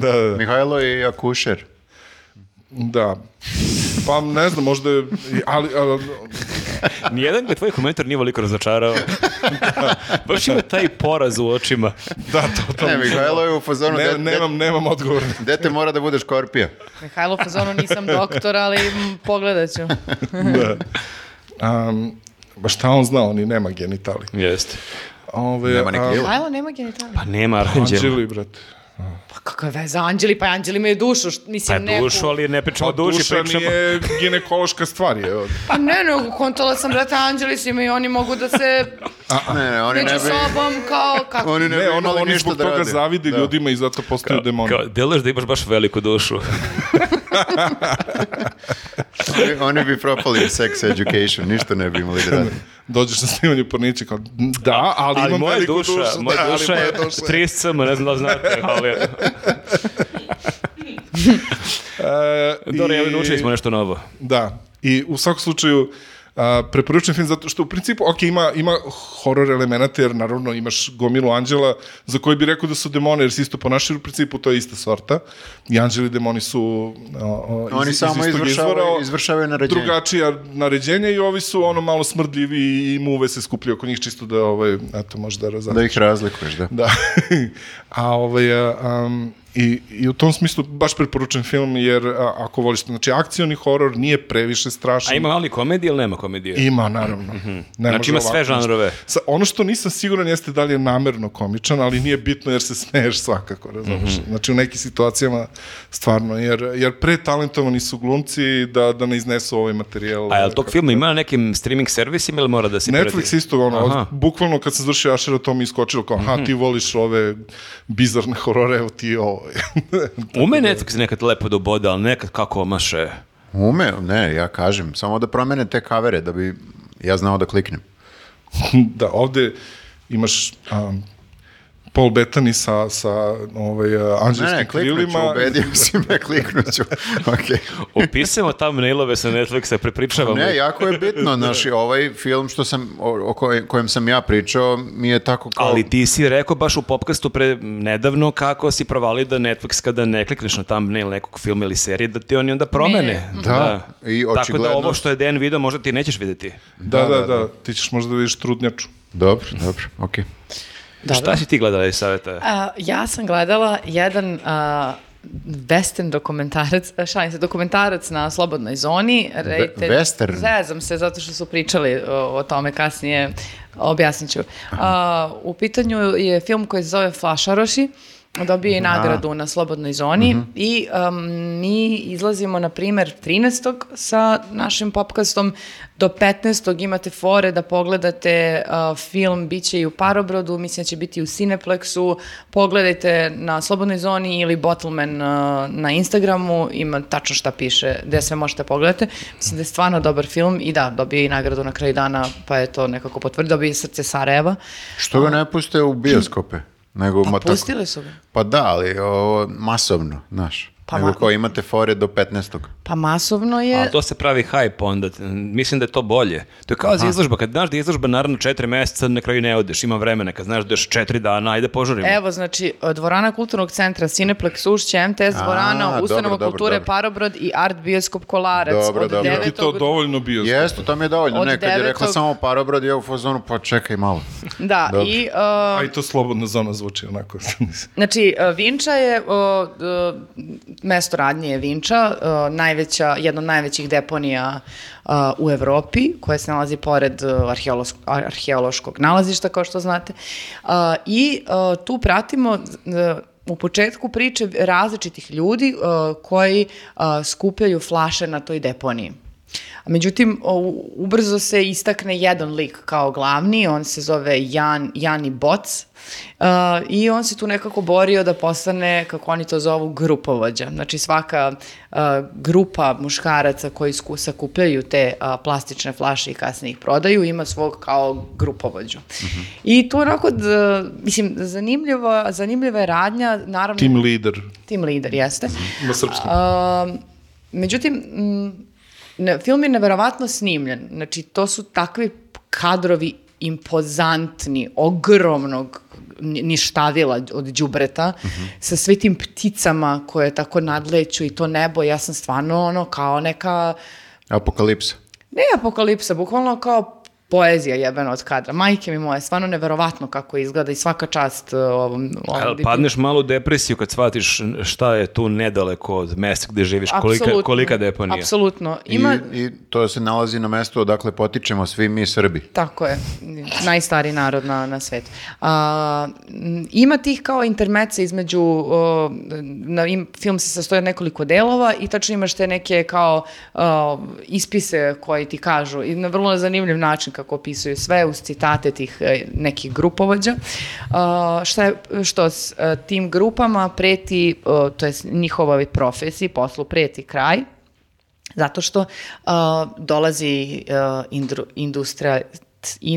da, *laughs* da, da. Mihajlo je i akušer. da. Pa ne znam, možda je, ali, ali Nijedan ga tvoj komentar nije voliko *laughs* razočarao. Baš ima taj poraz u očima. da, to, to. Ne, Mihajlo je u fazonu, Ne, dete, nemam, nemam *laughs* odgovor. dete mora da bude škorpija. Mihajlo, fazonu nisam doktor, ali m, pogledat ću. da. Um, ba šta on zna, on i nema genitali. Jeste. Ove, Nema ni a- krila. Mihajlo nema genitalije. Pa nema aranđela. Anđeli, brate. Pa kakva je veza Anđeli? Pa Anđeli imaju dušu. št- Pa Mislim, je neku... dušu, ali ne pričamo o Pa duši, duša pričamo... nije ginekološka stvar, je. Pa ne, nego kontala sam, brate, Anđeli su imaju i oni mogu da se Ne, ne, oni ne među bi... sobom kao... Kako... Oni ne, Ne, bi ono, imali oni ništa zbog da toga rade. zavide ljudima i zato postaju demoni. Kao, deluješ da imaš baš veliku dušu. Oni, *laughs* oni bi propali sex education, ništa ne bi imali da rade. Dođeš na snimanje porniće kao, da, ali, Ali *laughs* imam moja veliku duša, dušu. da, moja ali duša je moja duša. 30 cm, ne znam da li znate, ali... *laughs* E, Dobro, i- ja naučili smo nešto novo. Da, i u svakom slučaju a, preporučujem film zato što u principu, ok, ima, ima horor elemenata jer naravno imaš gomilu anđela za koje bi rekao da su demone jer se isto ponašaju u principu to je ista sorta i anđeli i demoni su a, a, Oni iz, samo iz istog izvršavaju, izvora, izvršavaju naređenje. drugačija naređenja i ovi su ono malo smrdljivi i muve se skupljaju oko njih čisto da ovaj, eto, možda razadne. Da ih razlikuješ, da. Da. *laughs* a ovaj, a, um, i, i u tom smislu baš preporučen film, jer a, ako voliš, znači akcioni horor nije previše strašan. A ima ali komedije ili nema komedije? Ima, naravno. Ne Znači može ima sve ovako nešto. žanrove. Sa, ono što nisam siguran jeste da li je namerno komičan, ali nije bitno jer se smeješ svakako, razumiješ? Mhm. Znači u nekim situacijama stvarno, jer, jer pre talentovani su glumci da, da ne iznesu ovaj materijal. A je li tog filma ima na nekim streaming servisima ili mora da se Netflix isto, ono, Aha. Mhm. bukvalno kad sam završio Ašera, to mi je iskočilo kao, aha, ti voliš ove bizarne horore, evo ti ovo. Ume Netflix nekad lepo da uboda, ali nekad kako omaše. Ume, ne, ja kažem, samo da promene te kavere da bi ja znao da kliknem. *laughs* da, ovde imaš um, Paul Bettany sa, sa ovaj, uh, Ne, anđelskim ne, kliknut ću, krilima. ubedio si me, kliknut ću. *laughs* Okay. Opisujemo thumbnailove sa Netflixa, prepričavamo. Ne, jako je bitno, znaš, i ovaj film što sam, o, o koj- kojem sam ja pričao mi je tako kao... Ali ti si rekao baš u popkastu pre nedavno kako si provali da Netflix kada ne klikneš na thumbnail nekog filma ili serije da ti oni onda promene. Da, i Tako da očigledno- ovo što je Dan video možda ti nećeš videti. Da, da, da, Ti ćeš možda da vidiš trudnjaču. Dobro, dobro, okej. Da, Šta si ti gledala iz saveta? A, ja sam gledala jedan a, western dokumentarac, a, šalim se, dokumentarac na Slobodnoj zoni. rated- western? Zezam se, zato što su pričali o, o tome kasnije, objasnit ću. A, u pitanju je film koji se zove Flašaroši, Dobio je i nagradu na Slobodnoj zoni i um, mi izlazimo, na primer, 13. sa našim popkastom. Do 15. imate fore da pogledate uh, film, bit će i u Parobrodu, mislim da će biti u Cineplexu. Pogledajte na Slobodnoj zoni ili Bottleman uh, na Instagramu, ima tačno šta piše, gde sve možete pogledati. Mislim da je stvarno dobar film i da, dobio je i nagradu na kraju dana, pa je to nekako potvrdio, dobio je Srce Sarajeva. Što ga ne puste u bioskope? Nego, ma tako- Pustili su ga. Pa da, ali ovo, masovno, znaš. Pa Nego ma- kao imate fore do 15. Pa masovno je... Ali to se pravi hype onda. Mislim da je to bolje. To je kao za izložba. Kad znaš da je izložba naravno četiri meseca, na kraju ne odeš. Ima vremena. Kad znaš da još četiri dana, ajde požurimo. Evo, znači, dvorana kulturnog centra Cineplex Ušće, MTS A, dvorana, dobro, Ustanova dobro, kulture dobro. Parobrod i Art Bioskop Kolarac. Dobro, od dobro. Jel ti to 9. dovoljno bio? Jeste, to mi je dovoljno. Od Ne, kad je rekla devetog- samo parobrod, ja u fazonu, pa čekaj *laughs* malo. Da, Dobro. i... A uh, i to slobodna zona zvuči onako. *laughs* Znači, uh, Vinča je, uh, d- mesto radnje je Vinča, uh, najveća, jedna od najvećih deponija uh, u Evropi, koja se nalazi pored uh, arheološk- ar- arheološkog nalazišta, kao što znate. Uh, I uh, tu pratimo uh, u početku priče različitih ljudi uh, koji uh, skupljaju flaše na toj deponiji. A Međutim, o- ubrzo se istakne jedan lik kao glavni, on se zove Jan, Jani Boc uh, i on se tu nekako borio da postane, kako oni to zovu, grupovođa. Znači svaka uh, grupa muškaraca koji sku, sakupljaju te uh, plastične flaše i kasnije ih prodaju ima svog kao grupovođu. I tu onako, d- mislim, zanimljiva, zanimljiva je radnja, naravno, tim, Team leader. lider jeste. Na srpskom. Um, međutim, mm, ne, film je neverovatno snimljen. Znači, to su takvi kadrovi impozantni, ogromnog ni- ništavila od đubreta sa sve tim pticama koje tako nadleću i to nebo, ja sam stvarno ono kao neka Apokalipsa. ne apokalipsa, bukvalno kao poezija jebena od kadra. Majke mi moje, stvarno neverovatno kako izgleda i svaka čast uh, ovom... ovom Jel dipu- padneš malo u depresiju kad shvatiš šta je tu nedaleko od mesta gde živiš, kolika, Apsolutno. kolika deponija. Apsolutno. Ima... Ima... I, I to se nalazi na mestu odakle potičemo svi mi Srbi. Tako je, najstariji narod na, na svetu. A, m, ima tih kao intermece između, o, na, im, film se sastoji od nekoliko delova i tačno imaš te neke kao o, ispise koji ti kažu i na vrlo zanimljiv način kako opisuju sve uz citate tih e, nekih grupovođa. A, šta je, što s e, tim grupama preti, o, to je njihovoj profesiji, poslu preti kraj, zato što a, dolazi a, indru- industrija,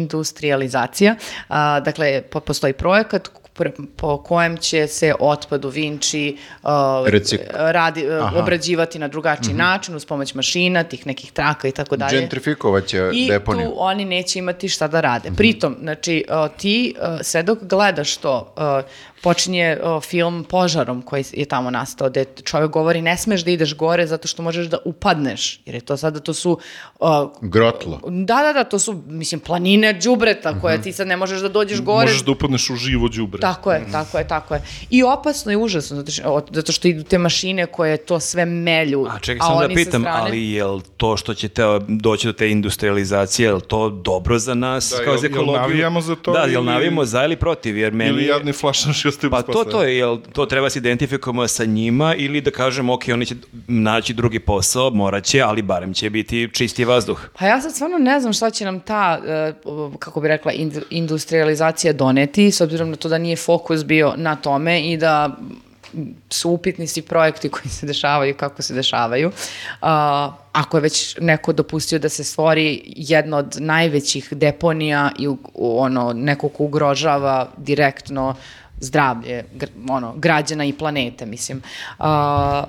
industrializacija. A, dakle, po- postoji projekat pr- po kojem će se otpad u Vinči a, Recik- radi, a, Aha. Mhm. obrađivati na drugačiji način uz pomoć mašina, tih nekih traka i tako dalje. Gentrifikovat će Da I deponiju. tu oni neće imati šta da rade. Mhm. Pritom, znači, o, ti o, sve dok gledaš to, o, počinje o, film požarom koji je tamo nastao, gde čovjek govori ne smeš da ideš gore zato što možeš da upadneš, jer je to sada, to su o, Grotlo. Da, da, da, to su, mislim, planine džubreta Mhm. koje ti sad ne možeš da dođeš gore. Možeš da upadneš u živo đubre. Tako Mhm. je, tako je, tako je. I opasno i užasno, zato što, o, zato što idu te mašine koje to sve melju. A čekaj samo da oni sa pitam, strane- ali je to što će te doći do te industrializacije, je to dobro za nas Da, kao jel- za jel ekologiju? navijamo za to Da, jel ili- navijamo za ili protiv, jer meni... Ili je- jadni flašnaši ostaju Pa bez to, posla. to je, jel to treba se identifikujemo sa njima ili da kažemo, ok, oni će naći drugi posao, morat će, ali barem će biti čisti vazduh. Pa ja sad stvarno ne znam šta će nam ta, e, kako bi rekla, ind- industrializacija doneti, s obzirom na to da nije fokus bio na tome i da su upitni svi projekti koji se dešavaju kako se dešavaju. A, ako je već neko dopustio da se stvori jedna od najvećih deponija i u- u- ono, neko ko ugrožava direktno zdravlje gr- ono, građana i planete, mislim. A,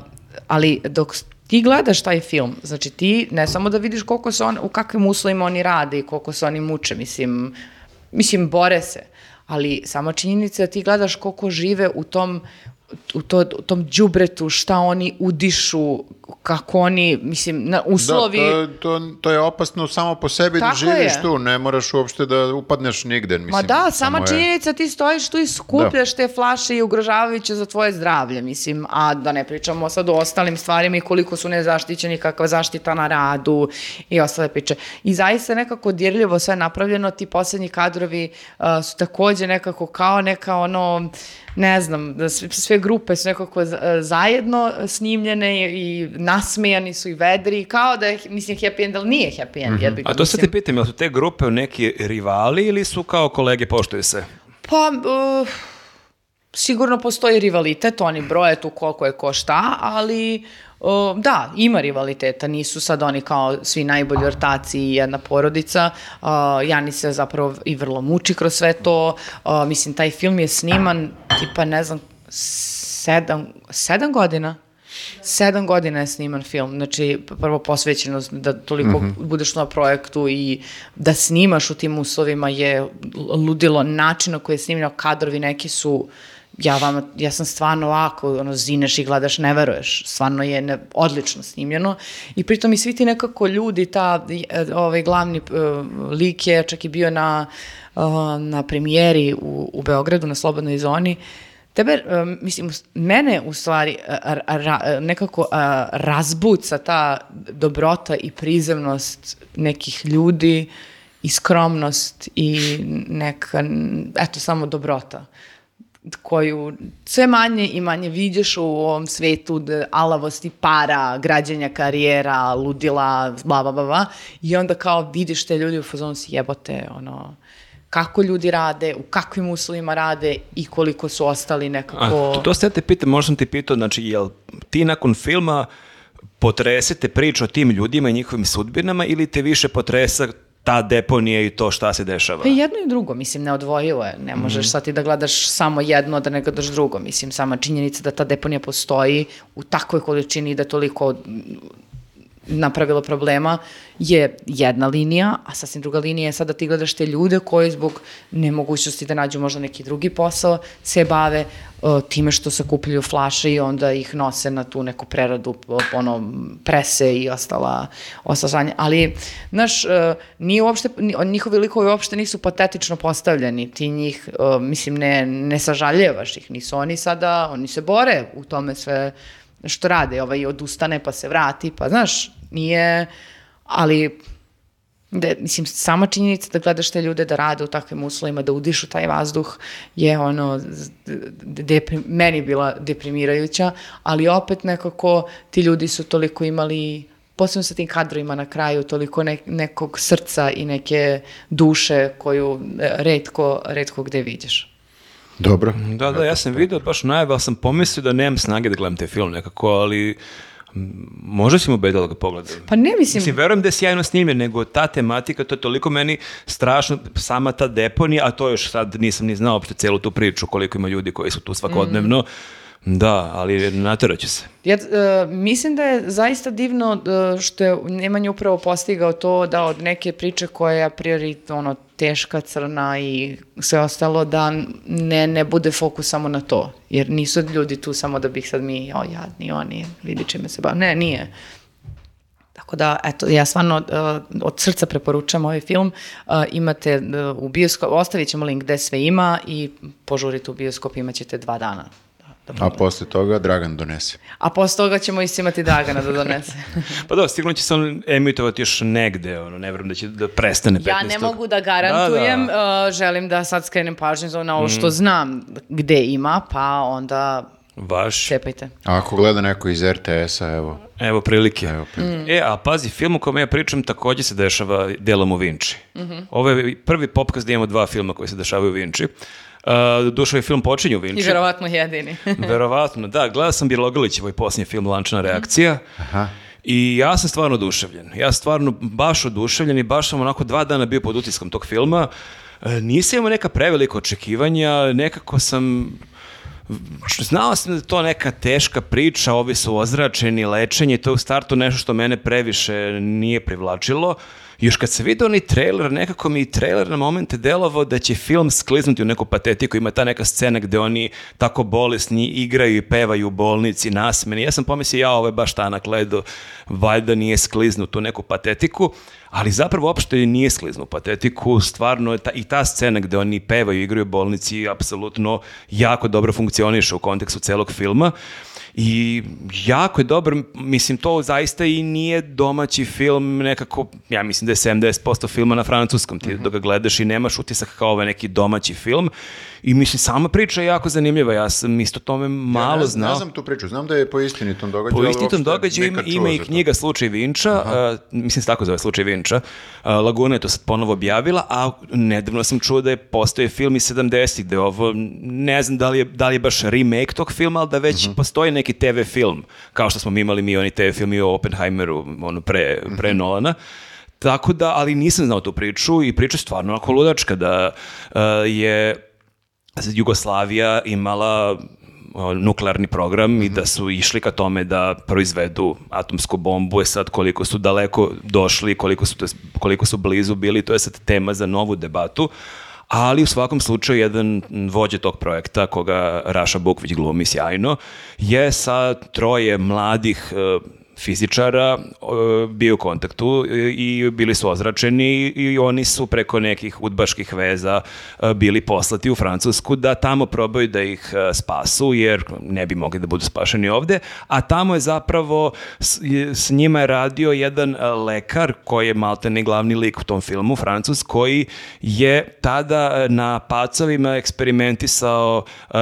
ali dok ti gledaš taj film, znači ti ne samo da vidiš koliko se on, u kakvim uslovima oni rade i koliko se oni muče, mislim, mislim, bore se, ali sama činjenica da ti gledaš koliko žive u tom u, to, u tom đubretu, šta oni udišu, kako oni, mislim, na uslovi... Da, to, je- to, to je opasno samo po sebi da Tako živiš je. tu, ne moraš uopšte da upadneš nigde. Mislim, Ma da, sama samo je- Da. činjenica ti stojiš tu i skupljaš te flaše i ugrožavajuće za tvoje zdravlje, mislim, a da ne pričamo sad o ostalim stvarima i koliko su nezaštićeni, kakva zaštita na radu i ostale priče. I zaista nekako dirljivo sve napravljeno, ti poslednji kadrovi uh, su takođe nekako kao neka ono ne znam, da sve, sve grupe su nekako za- zajedno snimljene i nasmejani su i vedri, kao da je, mislim, happy end, ali nije happy Mhm. end. Mm -hmm. A to sad te pitam, jel su te grupe neki rivali ili su kao kolege, poštuju se? Pa, uh, sigurno postoji rivalitet, oni broje tu koliko je ko šta, ali uh, da, ima rivaliteta, nisu sad oni kao svi najbolji ortaci i jedna porodica. Uh, Jani se zapravo i vrlo muči kroz sve to. Uh, mislim, taj film je sniman, tipa, ne znam, sedam, sedam godina? Sedam godina je sniman film, znači prvo posvećenost da toliko budeš na projektu i da snimaš u tim uslovima je ludilo način na koji je snimljeno kadrovi neki su ja vama, ja sam stvarno ovako, ono, zineš i gledaš, ne veruješ. Stvarno je ne, odlično snimljeno. I pritom i svi ti nekako ljudi, ta, e, ovaj glavni e, lik je čak i bio na, e, na premijeri u, u Beogradu, na Slobodnoj zoni. Tebe, em, mislim, us- mene u stvari a- a- a- ra- e, nekako a, razbuca ta dobrota i prizemnost nekih ljudi i skromnost i neka, n- eto, samo dobrota koju sve manje i manje vidiš u ovom svetu d- alavosti para, građenja karijera, ludila, bla, bla, bla, bla. I onda kao vidiš te ljudi u fazonu si jebote, ono, kako ljudi rade, u kakvim uslovima rade i koliko su ostali A nekako... to, to sad te pitam, možda sam ti pitao, znači, jel ti nakon filma potresete priču o tim ljudima i njihovim sudbinama ili te više potresa ta deponija i to šta se dešava? Pa i jedno i drugo, mislim, neodvojivo je. Ne Mhm. možeš sad ti da gledaš samo jedno, a da ne gledaš drugo. Mislim, sama činjenica da ta deponija postoji u takvoj količini i da je toliko mm, napravilo problema je jedna linija, a sasvim druga linija je sad da ti gledaš te ljude koji zbog nemogućnosti da nađu možda neki drugi posao se bave uh, time što sakupljaju flaše i onda ih nose na tu neku preradu, p- ono, prese i ostala, ostala sranja. Ali, znaš, uh, nije uopšte, ni- njihovi likovi uopšte nisu patetično postavljeni, ti njih, uh, mislim, ne, ne sažaljevaš ih, nisu oni sada, oni se bore u tome sve što rade, ovaj odustane pa se vrati, pa znaš, nije, ali da, mislim, sama činjenica da gledaš te ljude da rade u takvim uslovima, da udišu taj vazduh je ono, z- d- deprim, meni bila deprimirajuća, ali opet nekako ti ljudi su toliko imali, posebno sa tim kadrovima na kraju, toliko ne, nekog srca i neke duše koju e, redko, redko gde vidiš. Dobro. Da, da, ja sam vidio baš najave, ali sam pomislio da nemam snage da gledam te film nekako, ali m, možda si mu bedo da ga pogledam. Pa ne mislim, Mislim, verujem da je sjajno snimljen, nego ta tematika, to je toliko meni strašno, sama ta deponija, a to još sad nisam ni znao uopšte celu tu priču, koliko ima ljudi koji su tu svakodnevno. Mm. Da, ali naterat ću se. Ja e, mislim da je zaista divno e, što je Nemanja upravo postigao to da od neke priče koja je a priori ono, teška, crna i sve ostalo, da ne, ne bude fokus samo na to. Jer nisu ljudi tu samo da bih sad mi, o jadni oni, vidi čime se bavim. Ne, nije. Tako da, eto, ja stvarno uh, od srca preporučam ovaj film. Uh, imate uh, u bioskop, ostavit ćemo link gde sve ima i požurite u bioskop, imat ćete dva dana. Da, da A posle toga Dragan donese. a posle toga ćemo isto imati Dragana da *laughs* donese. Pa da, sigurno će se on emitovati još negde, ono, ne vjerujem da će da prestane 15. ja ne mogu da garantujem, Da, Mm. da. uh, želim da sad skrenem pažnju za na ovo što znam gde ima, pa onda da. Baš. cepajte. A ako gleda neko iz RTS-a, evo. Evo prilike. Evo Mm. E, a pazi, film u kojem ja pričam takođe se dešava delom u Vinči. Mm-hmm. Ovo je prvi popkaz da imamo dva filma koji se dešavaju u Vinči. Uh, Dušo film počinje u Vinči. I verovatno *laughs* jedini. *laughs* Verovatno, da. Gledao sam Birlogalićevoj posljednji film Lančana Mhm. reakcija. I ja sam stvarno oduševljen. Ja stvarno baš oduševljen i baš sam onako dva dana bio pod utiskom tog filma. E, Nisam imao neka prevelika očekivanja, nekako sam... Znao sam da je to neka teška priča, ovi su ozračeni, lečenje, to je u startu nešto što mene previše nije privlačilo. Još kad se vidio onaj trailer, nekako mi i trailer na momente delovao da će film skliznuti u neku patetiku, ima ta neka scena gde oni tako bolesni igraju i pevaju u bolnici, nasmeni. Ja sam pomislio, ja, ovo je baš tanak ledo, valjda nije skliznut u neku patetiku, ali zapravo uopšte i nije skliznu u patetiku, stvarno je ta, i ta scena gde oni pevaju, igraju u bolnici, apsolutno jako dobro funkcioniše u kontekstu celog filma. I jako je dobar, mislim, to zaista i nije domaći film nekako, ja mislim da je 70% filma na francuskom, ti dok ga gledaš i nemaš utisak kao ovaj neki domaći film. I mislim, sama priča je jako zanimljiva, ja sam isto tome malo ne, znao. Ne znam tu priču, znam da je po istinitom događaju. Po ali istitom uopšte događaju ima, nikad čuo ima i za to. knjiga Slučaj Vinča, a, mislim se tako zove Slučaj Vinča. A, Laguna je to sad ponovo objavila, a nedavno sam čuo da je postoje film iz 70-ih, da je ovo, ne znam da li je, da li je baš remake tog filma, ali da već Mhm. postoji neki TV film, kao što smo mi imali mi oni TV film i o Oppenheimeru, ono pre, Mhm. pre Nolana. Tako da, ali nisam znao tu priču i priča je stvarno onako ludačka, da a, je Jugoslavija imala o, nuklearni program i da su išli ka tome da proizvedu atomsku bombu, je sad koliko su daleko došli, koliko su, to jest koliko su blizu bili, to je sad tema za novu debatu, ali u svakom slučaju jedan vođe tog projekta koga Raša Bukvić glumi sjajno je sa troje mladih e, fizičara e, bio u kontaktu e, i bili su ozračeni i oni su preko nekih udbaških veza e, bili poslati u Francusku da tamo probaju da ih e, spasu jer ne bi mogli da budu spašeni ovde, a tamo je zapravo s, je- s njima je radio jedan e, lekar koji je maltene glavni lik u tom filmu, Francus, koji je tada e, na pacovima eksperimentisao e,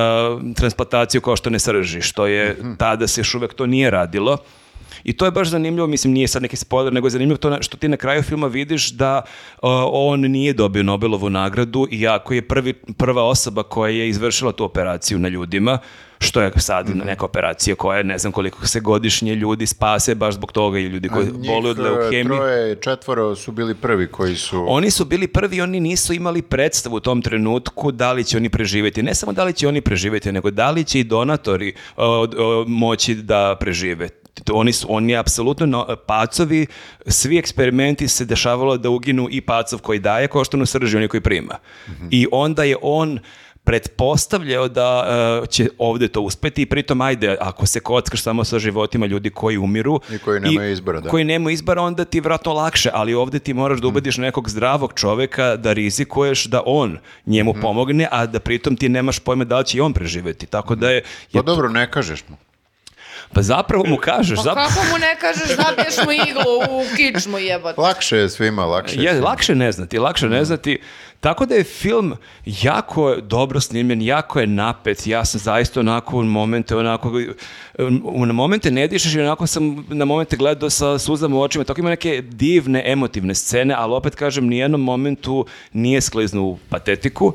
transplantaciju koštane srži, što je tada se još uvek to nije radilo. I to je baš zanimljivo, mislim nije sad neki spoiler, nego je zanimljivo to na- što ti na kraju filma vidiš da uh, on nije dobio Nobelovu nagradu iako je prvi, prva osoba koja je izvršila tu operaciju na ljudima, što je sad Mhm. neka operacija koja je, ne znam koliko se godišnje ljudi spase baš zbog toga i ljudi koji Njih, boluju od e, leukemije. Troje, četvoro su bili prvi koji su... Oni su bili prvi, oni nisu imali predstavu u tom trenutku da li će oni preživjeti. Ne samo da li će oni preživjeti, nego da li će i donatori o, o, moći da prežive. To Oni su, oni apsolutno, no, pacovi, svi eksperimenti se dešavalo da uginu i pacov koji daje koštanu srži, oni koji prima. Mhm. I onda je on pretpostavljao da e, će ovde to uspeti i pritom ajde, ako se kockaš samo sa životima ljudi koji umiru I koji nemaju izbora, da. koji nema izbora, onda ti je vratno lakše, ali ovde ti moraš da ubediš nekog zdravog čoveka da rizikuješ da on njemu pomogne, a da pritom ti nemaš pojma da li će i on preživeti. Tako da je... Pa je dobro, ne kažeš mu. pa zapravo mu kažeš, Pa zapravo... kako mu ne kažeš zabiješ mu iglu u kičmu Pa, jebote? Lakše je svima, lakše je Da. Je, svima. lakše ne znati, lakše ne znati. Tako da je film jako dobro snimljen, jako je napet. Ja sam zaista onako u momente, onako, u- na momente ne dišeš i onako sam na momente gledao sa suzama u očima. Tako ima neke divne emotivne scene, ali opet kažem, nijednom momentu nije skliznu u patetiku.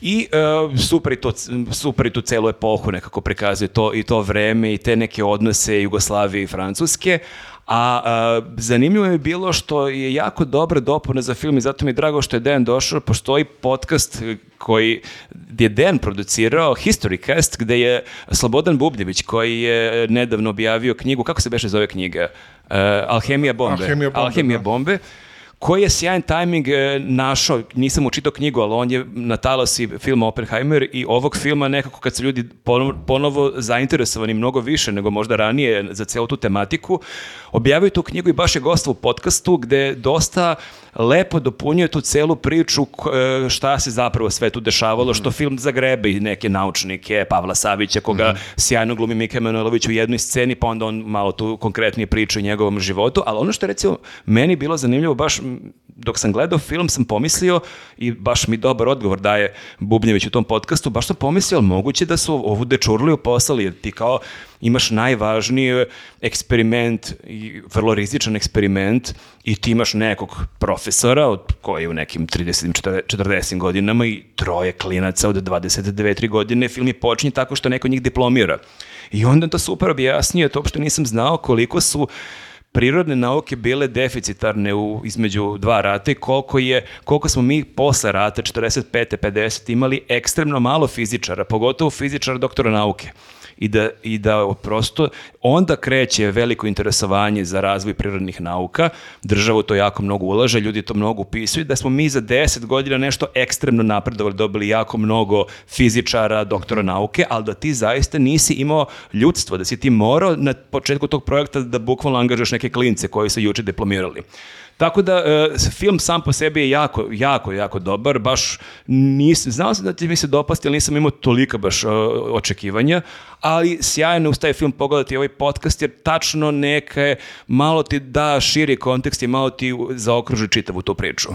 I e, super, i to, super i tu celu epohu nekako prikazuje to, i to vreme i te neke odnose Jugoslavije i Francuske, a, a, zanimljivo je bilo što je jako dobra dopuna za film i zato mi je drago što je Dejan došao. Postoji podcast koji je Dejan producirao, Historycast, gde je Slobodan Bubljević koji je e, nedavno objavio knjigu, kako se beše zove knjiga? E, Alhemija bombe. Alhemija bombe, Alhemija da. bombe koji je sjajan tajming e, našao, nisam učitao knjigu, ali on je na talasi filma Oppenheimer i ovog filma nekako kad su ljudi pono- ponovo zainteresovani mnogo više nego možda ranije za celu tu tematiku, objavio tu knjigu i baš je gostao u podcastu gde dosta lepo dopunjuje tu celu priču k- e, šta se zapravo sve tu dešavalo, što film zagrebe i neke naučnike, Pavla Savića, koga sjajno glumi Mika Emanuelović u jednoj sceni, pa onda on malo tu konkretnije priča o njegovom životu, ali ono što je recimo meni bilo zanimljivo, baš m, dok sam gledao film sam pomislio i baš mi dobar odgovor daje Bubnjević u tom podcastu, baš sam pomislio, ali moguće da su ovu dečurliju poslali, jer ti kao imaš najvažniji eksperiment, i vrlo rizičan eksperiment i ti imaš nekog profesora od, koji je u nekim 30 40 godinama i troje klinaca od 29 godine. Film je počinje tako što neko od njih diplomira. I onda je to super objasnio, to uopšte nisam znao koliko su prirodne nauke bile deficitarne u, između dva rata i koliko, je, koliko smo mi posle rata 45. 50. imali ekstremno malo fizičara, pogotovo fizičara doktora nauke. I da, I da prosto onda kreće veliko interesovanje za razvoj prirodnih nauka, država u to jako mnogo ulaže, ljudi to mnogo upisuju, da smo mi za 10 godina nešto ekstremno napredovali, dobili jako mnogo fizičara, doktora nauke, ali da ti zaista nisi imao ljudstvo, da si ti morao na početku tog projekta da bukvalno angažuješ neke klince koji su juče diplomirali. Tako da, e, s- film sam po sebi je jako, jako, jako dobar, baš nisam, znao sam da će mi se dopasti, ali nisam imao tolika baš e, očekivanja, ali sjajno uz taj film pogledati ovaj podcast, jer tačno neke, malo ti da širi kontekst i malo ti u- zaokruži čitavu tu priču.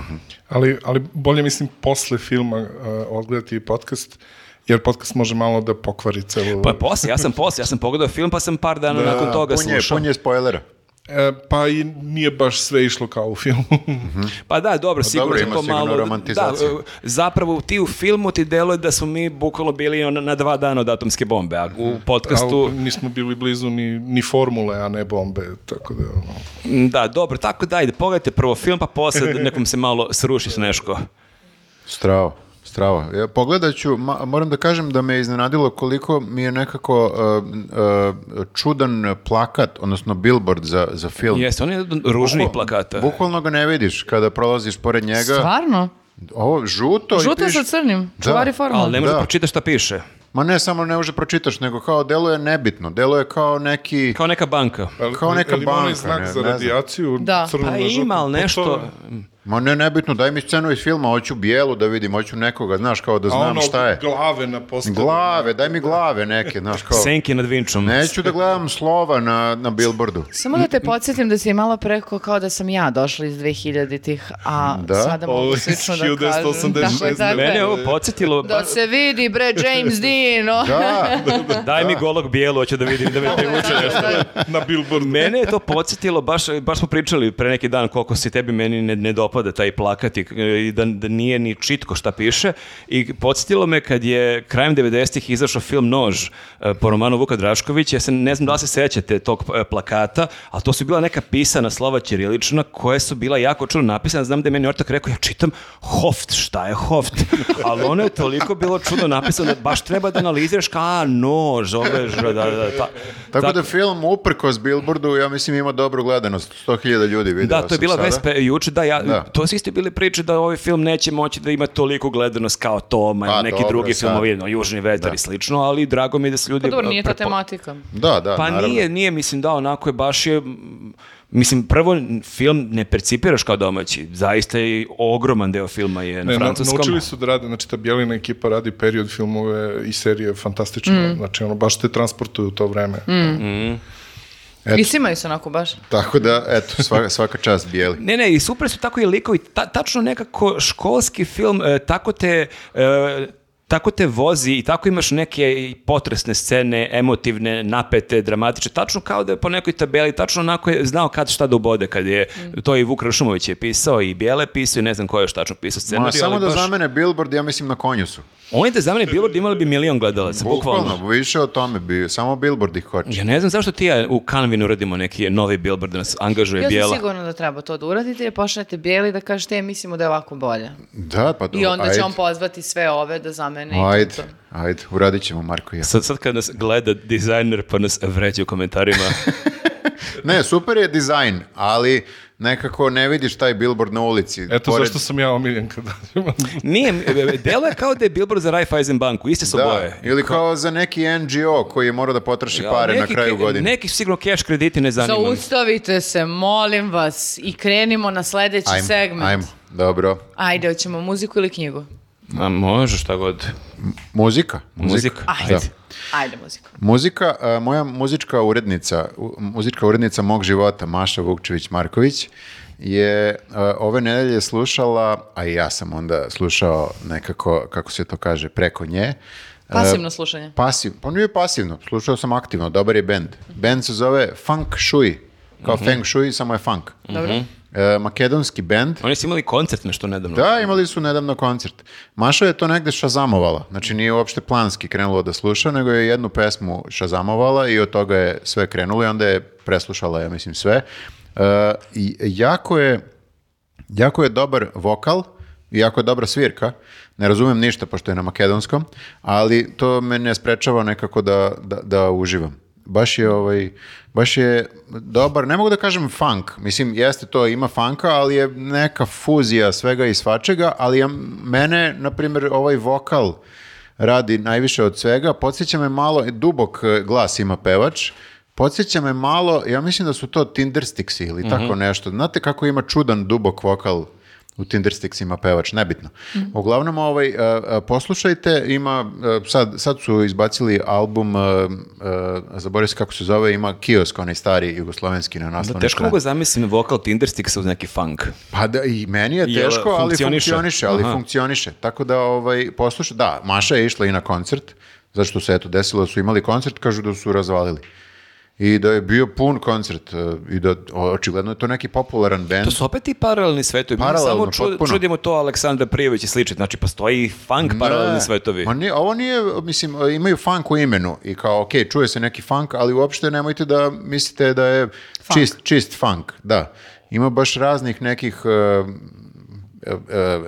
Ali, ali bolje mislim posle filma uh, odgledati podcast, jer podcast može malo da pokvari celu... Pa posle, ja sam posle, ja sam pogledao film, pa sam par Da, dana nakon toga pun je, slušao. pun je spoilera. E, pa i nije baš sve išlo kao u filmu. Pa da, dobro, sigurno dobro, je ima to sigurno malo... romantizacija. Da, e, zapravo ti u filmu ti deluje da smo mi bukvalno bili ono na dva dana od atomske bombe, a u podcastu... Ali nismo bili blizu ni, ni formule, a ne bombe, tako da... Ono. m, Da, dobro, tako da, ajde, pogledajte prvo film, pa *laughs* posle nekom se malo sruši s nešto. Stravo. Stravo. Ja pogledat ću, ma- moram da kažem da me je iznenadilo koliko mi je nekako uh, uh, čudan plakat, odnosno billboard za, za film. Jeste, on je jedan od ružnih Bukval- plakata. Bukvalno ga ne vidiš kada prolaziš pored njega. Stvarno? Ovo, žuto. i Žuto piše- sa crnim, Da. čuvari forma. Ali ne možeš Da. da. pročitaš šta piše. Ma ne, samo ne može pročitaš, nego kao deluje nebitno. Deluje kao neki... Kao neka banka. Ali- Kao neka ali ima onaj banka, znak ne- za ne znam. radijaciju, Da. crno Pa na žuto. ima, ali Pa to- nešto... Ma ne, nebitno, daj mi scenu iz filma, hoću bijelu da vidim, hoću nekoga, znaš, kao da A znam ono, šta je. glave na postavu. Glave, daj mi glave neke, znaš, kao... Senki nad Vinčom. Neću da gledam slova na, na billboardu. Samo da te podsjetim da si malo preko kao da sam ja došla iz 2000-ih, a Da. sada Ovo mogu je slično da kažem. 1986 Tako je, tako Mene je je. ovo podsjetilo, Da se vidi bre James Dean. o. Da, *laughs* daj mi golog bijelu, hoću da vidim da me privuče nešto. na billboardu. Mene je to podsjetilo, baš, baš smo pričali pre neki dan koliko se tebi meni ne, ne dopada taj plakat i, i da, da nije ni čitko šta piše i podsjetilo me kad je krajem 90-ih izašao film Nož e, po romanu Vuka Draškovića, ja se ne znam da li se sećate tog e, plakata, a to su bila neka pisana slova ćirilična koja su bila jako čudno napisana, znam da je meni ortak rekao ja čitam Hoft, šta je Hoft? Ali ono je toliko bilo čudno napisano da baš treba da analiziraš kao a, nož, ovo je, ž- da, da, da, ta- tako da film uprkos billboardu, ja mislim, ima dobru gledanost. 100.000 ljudi vidio Da, to je bila sada. Vespa juče, da, ja, Da. to su isto bile priče da ovaj film neće moći da ima toliku gledanost kao Toma Pa, ili neki dobro, drugi sad. filmovi, no, Južni vetar i slično, ali drago mi je da se ljudi... Pa dobro, nije ta prepo- tematika. Da, da, Pa naravno. nije, nije, mislim da, onako je baš je... mm, Mislim, prvo, n- film ne percipiraš kao domaći. Zaista je ogroman deo filma je na Ne, na- francuskom. naučili su da rade, znači ta Bjelina ekipa radi period filmove i serije fantastično, znači ono baš te transportuju u to vreme. Eto. I simaju se onako baš. Tako da, eto, svaka, svaka čast bijeli. Ne, ne, i super su tako i likovi, ta, tačno nekako školski film, e, tako te... e, tako te vozi i tako imaš neke i potresne scene, emotivne, napete, dramatične, tačno kao da je po nekoj tabeli, tačno onako je znao kad šta da ubode, kad je Mm. to i Vuk Rašumović je pisao i Bijele pisao i ne znam ko je još tačno pisao scenarij, Ma, ali samo da baš- zamene billboard, ja mislim na konju su. Oni da zamene Billboard imali bi milion gledalaca, bukvalno. Bukvalno, više o tome bi, samo billboard ih hoće. Ja ne znam zašto ti ja u Kanvinu radimo neki novi Billboard da nas angažuje Ja Bijela. sam sigurna da treba to da uradite, jer pošaljete bijeli da kažete, e, mislimo da je ovako bolje. Da, pa to, I onda će ajde. on pozvati sve ove da zamene i Ajde, to. ajde, uradit ćemo Marko i ja. Sad, sad kad nas gleda dizajner pa nas vređa u komentarima. *laughs* Ne, super je dizajn, ali nekako ne vidiš taj billboard na ulici. Eto Pored- zašto sam ja omiljen kada *laughs* Nije, delo je kao da je Billboard za Raiffeisen banku, iste su Da, boje. ili kao za neki NGO koji je morao da potroši Ja, pare na neki kraju ke- godine. Neki sigurno cash krediti ne zanima. me. Zaustavite se, molim vas, i krenimo na sledeći Ajmo, segment. ajmo, dobro. Ajde, hoćemo muziku ili knjigu? A može šta god. Muzika. Muzika. Ajde. Da. Ajde, muziku. Muzika, a, moja muzička urednica, u- muzička urednica mog života, Maša Vukčević-Marković, je a, ove nedelje slušala, a i ja sam onda slušao nekako, kako se to kaže, preko nje. e, Pasivno slušanje. Pasiv, pa nije pasivno, slušao sam aktivno, dobar je bend. Bend se zove Funk Shui, kao Feng Shui, samo je funk. Dobro. E, makedonski bend. Oni su imali koncert nešto nedavno. Da, imali su nedavno koncert. Maša je to negde šazamovala, znači nije uopšte planski krenula da sluša, nego je jednu pesmu šazamovala i od toga je sve krenulo i onda je preslušala, ja mislim, sve. E, i jako je, Jako je dobar vokal, i jako je dobra svirka, ne razumem ništa pošto je na makedonskom, ali to me ne sprečava nekako da, da, da uživam. Baš je, ovaj, baš je dobar, ne mogu da kažem funk, mislim jeste to, ima funka, ali je neka fuzija svega i svačega, ali ja, mene, na primjer, ovaj vokal e, radi najviše od svega, podsjeća me malo, dubok eh, glas ima pevač, Podsjeća me malo, ja mislim da su to Tinder Stixi Mhm. ili tako nešto. Znate kako ima čudan dubok vokal u Tinder Stixima pevač, nebitno. Uglavnom, ovaj, e, e, poslušajte, ima, e, sad, sad su izbacili album, e, e, zaboravio se kako se zove, ima kiosk, onaj stari jugoslovenski na Da, naslovnoj teško strani. mogu zamislim vokal Tindersticksa uz neki funk. Pa da, i meni je Jel, teško, ali funkcioniše? funkcioniše, ali Aha. funkcioniše. Tako da, ovaj, poslušaj, da, Maša je išla i na koncert, zašto se eto desilo, da su imali koncert, kažu da su razvalili. I da je bio pun koncert e, i da o, očigledno je to neki popularan bend. To Pa su opet i paralelni svetovi. Mi Paralelno, samo ču- potpuno. Da. čudimo to Aleksandra Prijević i slično. Znači, postoji i funk paralelni Ne. svetovi. Ma nije- ovo nije, mislim, imaju funk u imenu i kao, ok, čuje se neki funk, ali uopšte nemojte da mislite da je čist, čist funk, da. Ima baš raznih nekih e, e,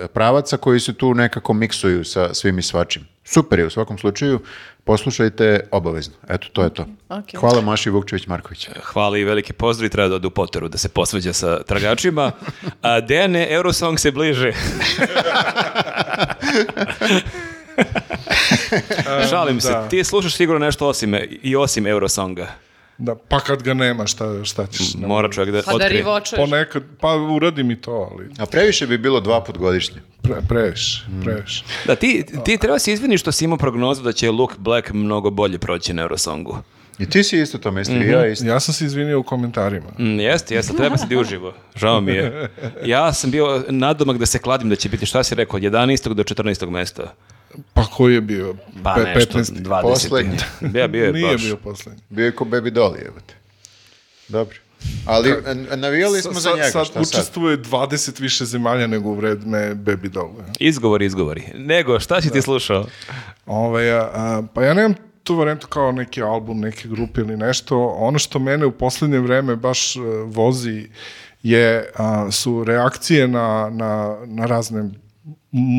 e, pravaca koji se tu nekako miksuju sa svim i svačim. Super je u svakom slučaju, poslušajte obavezno. Eto, to je to. Ok. Hvala Maši Vukčević-Marković. Hvala i veliki pozdrav i treba da odu u poteru da se posveđa sa tragačima. A, Dejane, Eurosong se bliže. E, *laughs* Šalim se, da. ti slušaš sigurno nešto osim, i osim Eurosonga. Da, pa kad ga nema, šta, šta ćeš? Ne Mora čovjek da Pa da otkrije. rivočuješ. Ponekad, pa uradi mi to, ali A previše bi bilo dva put godišnje. pre, previše, previše. Da, ti, ti treba se izvini što si imao prognozu da će Luke Black mnogo bolje proći na Eurosongu. I ti si isto to mislio, i Mhm. ja isto. Ja sam se izvinio u komentarima. Mm, jeste, jeste, treba se di uživo. Žao mi je. Ja sam bio nadomak da se kladim da će biti, šta si rekao, od 11. do 14. mesta. Pa koji je bio? Pa Pe- nešto, 15.. 20. Poslednji. *laughs* Ja, bio je Nije baš. bio poslednji. Bio je ko Baby Dolly, evo te. Dobro. Ali e, navijali smo za Sa- njega, sad šta sad? učestvuje 20 više zemalja nego u vredme Baby Doll. Izgovori, izgovori. Nego, šta Da. si ti slušao? Ovaj, a, a, pa ja nemam tu varijantu kao neki album, neke grupe ili nešto. Ono što mene u posljednje vreme baš e, vozi je, a, su reakcije na, na, na razne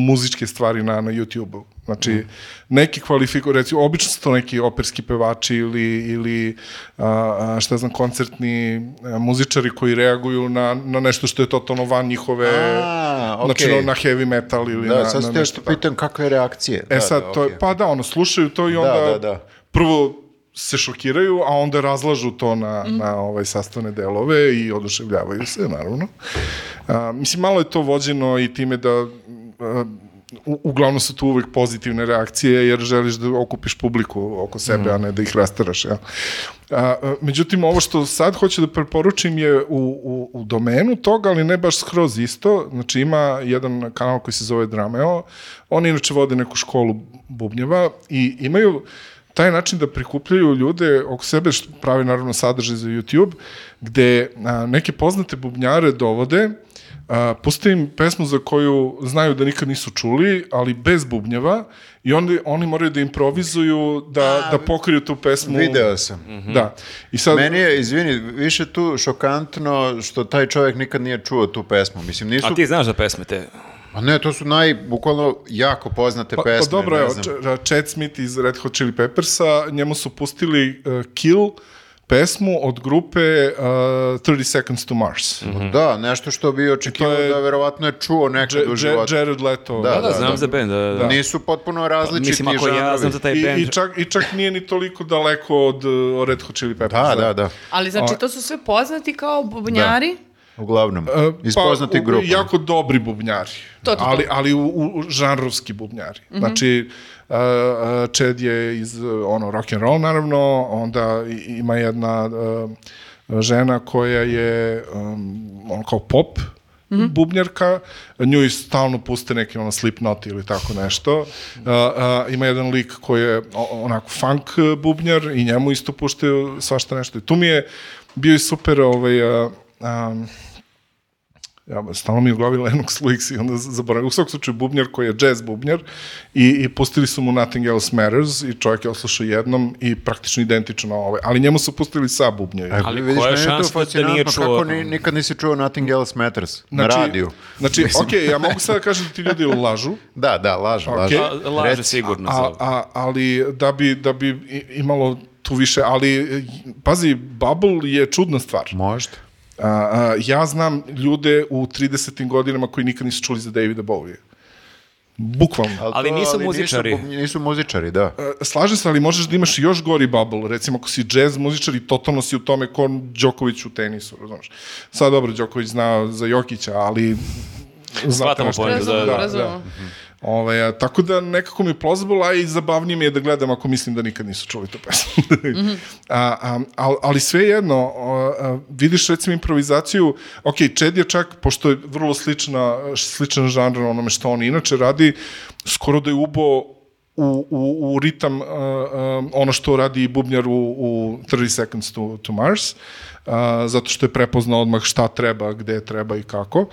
muzičke stvari na, na YouTube-u. Znači, Mhm. neki kvalifikuju, recimo, obično su to neki operski pevači ili, ili a, a, šta znam, koncertni a, muzičari koji reaguju na, na nešto što je totalno van njihove, A, znači okej. na heavy metal ili Da, na, sad na sam te što tako. pitam kakve reakcije. E sad, to je, pa da, ono, slušaju to i onda da, da. prvo se šokiraju, a onda razlažu to na, na ovaj sastavne delove i oduševljavaju se, naravno. A, mislim, malo je to vođeno i time da a, u- uglavnom su tu uvek pozitivne reakcije jer želiš da okupiš publiku oko sebe, a ne da ih rastaraš. Ja. A, a, međutim, ovo što sad hoću da preporučim je u, u, u domenu toga, ali ne baš skroz isto. Znači, ima jedan kanal koji se zove Drameo. Oni inače vode neku školu bubnjeva i imaju taj način da prikupljaju ljude oko sebe, što pravi naravno sadržaj za YouTube, gde a, neke poznate bubnjare dovode, a, puste im pesmu za koju znaju da nikad nisu čuli, ali bez bubnjeva, i onda oni moraju da improvizuju, da, da pokriju tu pesmu. Video sam. Da. I sad, Meni je, izvini, više tu šokantno što taj čovjek nikad nije čuo tu pesmu. Mislim, nisu... A ti znaš za pesme te? A ne, to su naj, bukvalno, jako poznate Pa, pesme. pa dobro, ne evo, znam. Ch- Chad Smith iz Red Hot Chili Peppersa, njemu su pustili uh, Kill, pesmu od grupe uh, 30 Seconds to Mars. Mhm. Da, nešto što bi očekivao je- da verovatno je čuo nekad u Dže- Dže- životu. Jared Leto. Da, Da, da, znam za band. Da, da. Nisu potpuno različiti Mislim, ako ja žanrovi. znam da- za taj I, band... i, čak, I čak nije ni toliko daleko od uh, Red Hot Chili Peppers. Da, da, da. Ali znači to su sve poznati kao bubnjari? Uglavnom, E, iz poznatih u- grupa. Jako dobri bubnjari. To, to, to. Ali, ali u, u, u žanrovski bubnjari. Znači, uh, uh, Čed je iz uh, ono, rock and roll, naravno, onda i- ima jedna uh, žena koja je um, ono kao pop, bubnjarka, nju i stalno puste neki ono Slipknot ili tako nešto. Uh, uh, ima jedan lik koji je o- onako funk uh, bubnjar i njemu isto puštaju svašta nešto. I tu mi je bio i super ovaj, uh, um, ja, stalno mi je u glavi Lennox *laughs* Lewis i onda z- zaboravim. U svakom slučaju bubnjar koji je jazz bubnjar i, i pustili su mu Nothing Else Matters i čovjek je oslušao jednom i praktično identično ovaj. Ali njemu su pustili sa bubnjeve. E, Ali vidiš, koja je meni to šansa da fascinantno nije čuo? Kako ni, nikad nisi čuo Nothing Else Matters na radiju? Znači, okej, ja mogu sad da kažem da ti ljudi *laughs* lažu, Da, da, lažem, lažem. A, Laže sigurno. a, za- a, ali da bi, da bi i- imalo tu više, ali e, pazi, Bubble je čudna stvar. Možda. A, a, ja znam ljude u 30. godinama koji nikad nisu čuli za Davida Bowie. Bukvalno. Ali nisu muzičari. Nisu, nisu muzičari, da. E, Slažem se, ali možeš da imaš još gori bubble. Recimo, ako si jazz muzičar i totalno si u tome ko Đoković u tenisu, razumeš? Sad, dobro, Đoković zna za Jokića, ali... Shvatamo šta- poentu, Razumemo, da, razumemo. Ovaj, a, tako da nekako mi je plausible, a i zabavnije mi je da gledam ako mislim da nikad nisu čuli tu pesmu. Mhm. *laughs* a, a, al- ali sve jedno, a, a, vidiš recimo improvizaciju, ok, Čed je čak, pošto je vrlo slična, sličan žanr onome što on inače radi, skoro da je ubo u, u, u ritam uh, um, ono što radi i bubnjar u, u 30 Seconds to, to Mars, uh, zato što je prepoznao odmah šta treba, gde treba i kako.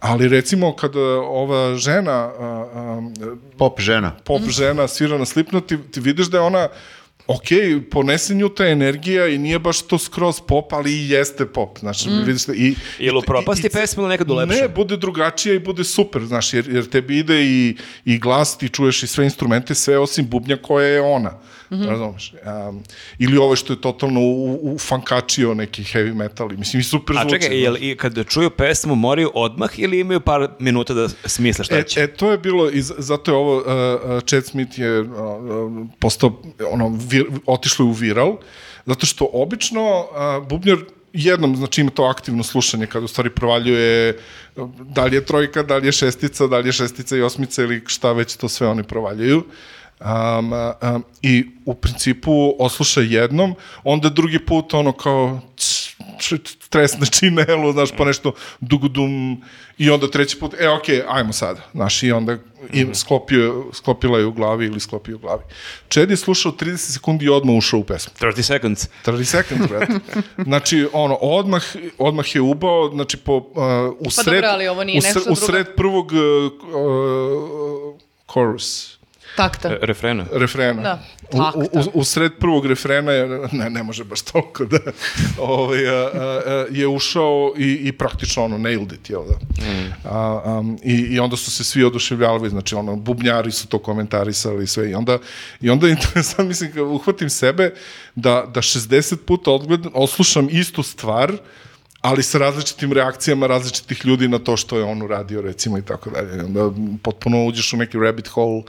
Ali recimo kada ova žena, uh, um, Pop žena. pop žena svira na Slipno, ti, ti vidiš da je ona ok, ponese nju ta energija i nije baš to skroz pop, ali i jeste pop. Znači, vidiš da i, Ili upropasti i- i- pesmu ili nekad ulepša? Ne, bude drugačija i bude super, znaš, jer, jer tebi ide i, i glas, ti čuješ i sve instrumente, sve osim bubnja koja je ona. Razumeš? Um, ili ovo što je totalno u, u fankačio neki heavy metal i mislim i super A zvuči. čekaj, znaš. jel, i kad čuju pesmu moraju odmah ili imaju par minuta da smisle šta E, će? e, to je bilo, i z- zato je ovo, uh, uh, Chad Smith je uh, uh, postao, ono, vir, otišlo je u viral, zato što obično uh, bubnjar jednom, znači ima to aktivno slušanje kada u stvari provaljuje uh, da li je trojka, da li je šestica, da li je šestica i osmica ili šta već to sve oni provaljuju. Um, um, I u principu osluša jednom, onda drugi put ono kao č, č, tresne činelo, znaš, pa nešto dugudum i onda treći put, e, okej, ajmo sada, znaš, i onda i Mhm. sklopio, sklopila je u glavi ili sklopio u glavi. Čed je slušao 30 sekundi i odmah ušao u pesmu. 30 seconds. 30 seconds, *laughs* brate. Znači, ono, odmah, odmah je ubao, znači, po, uh, u sred, Pa dobro, ali ovo nije u, sred, nešto u drugo. sred prvog uh, uh, chorus, Takta. E, Refrena. refrena. Da. U, u, Akta. u, u sred prvog refrena je, ne, ne može baš toliko da ovaj, a, a, a, je ušao i, i praktično ono nailed it, jel da? Mm. A, am, i, I onda su se svi oduševljavali, znači ono, bubnjari su to komentarisali i sve i onda, i onda je *laughs* interesant, mislim, kao uhvatim sebe da, da 60 puta odgledam, oslušam istu stvar ali sa različitim reakcijama različitih ljudi na to što je on uradio recimo i tako dalje. I Onda potpuno uđeš u neki rabbit hole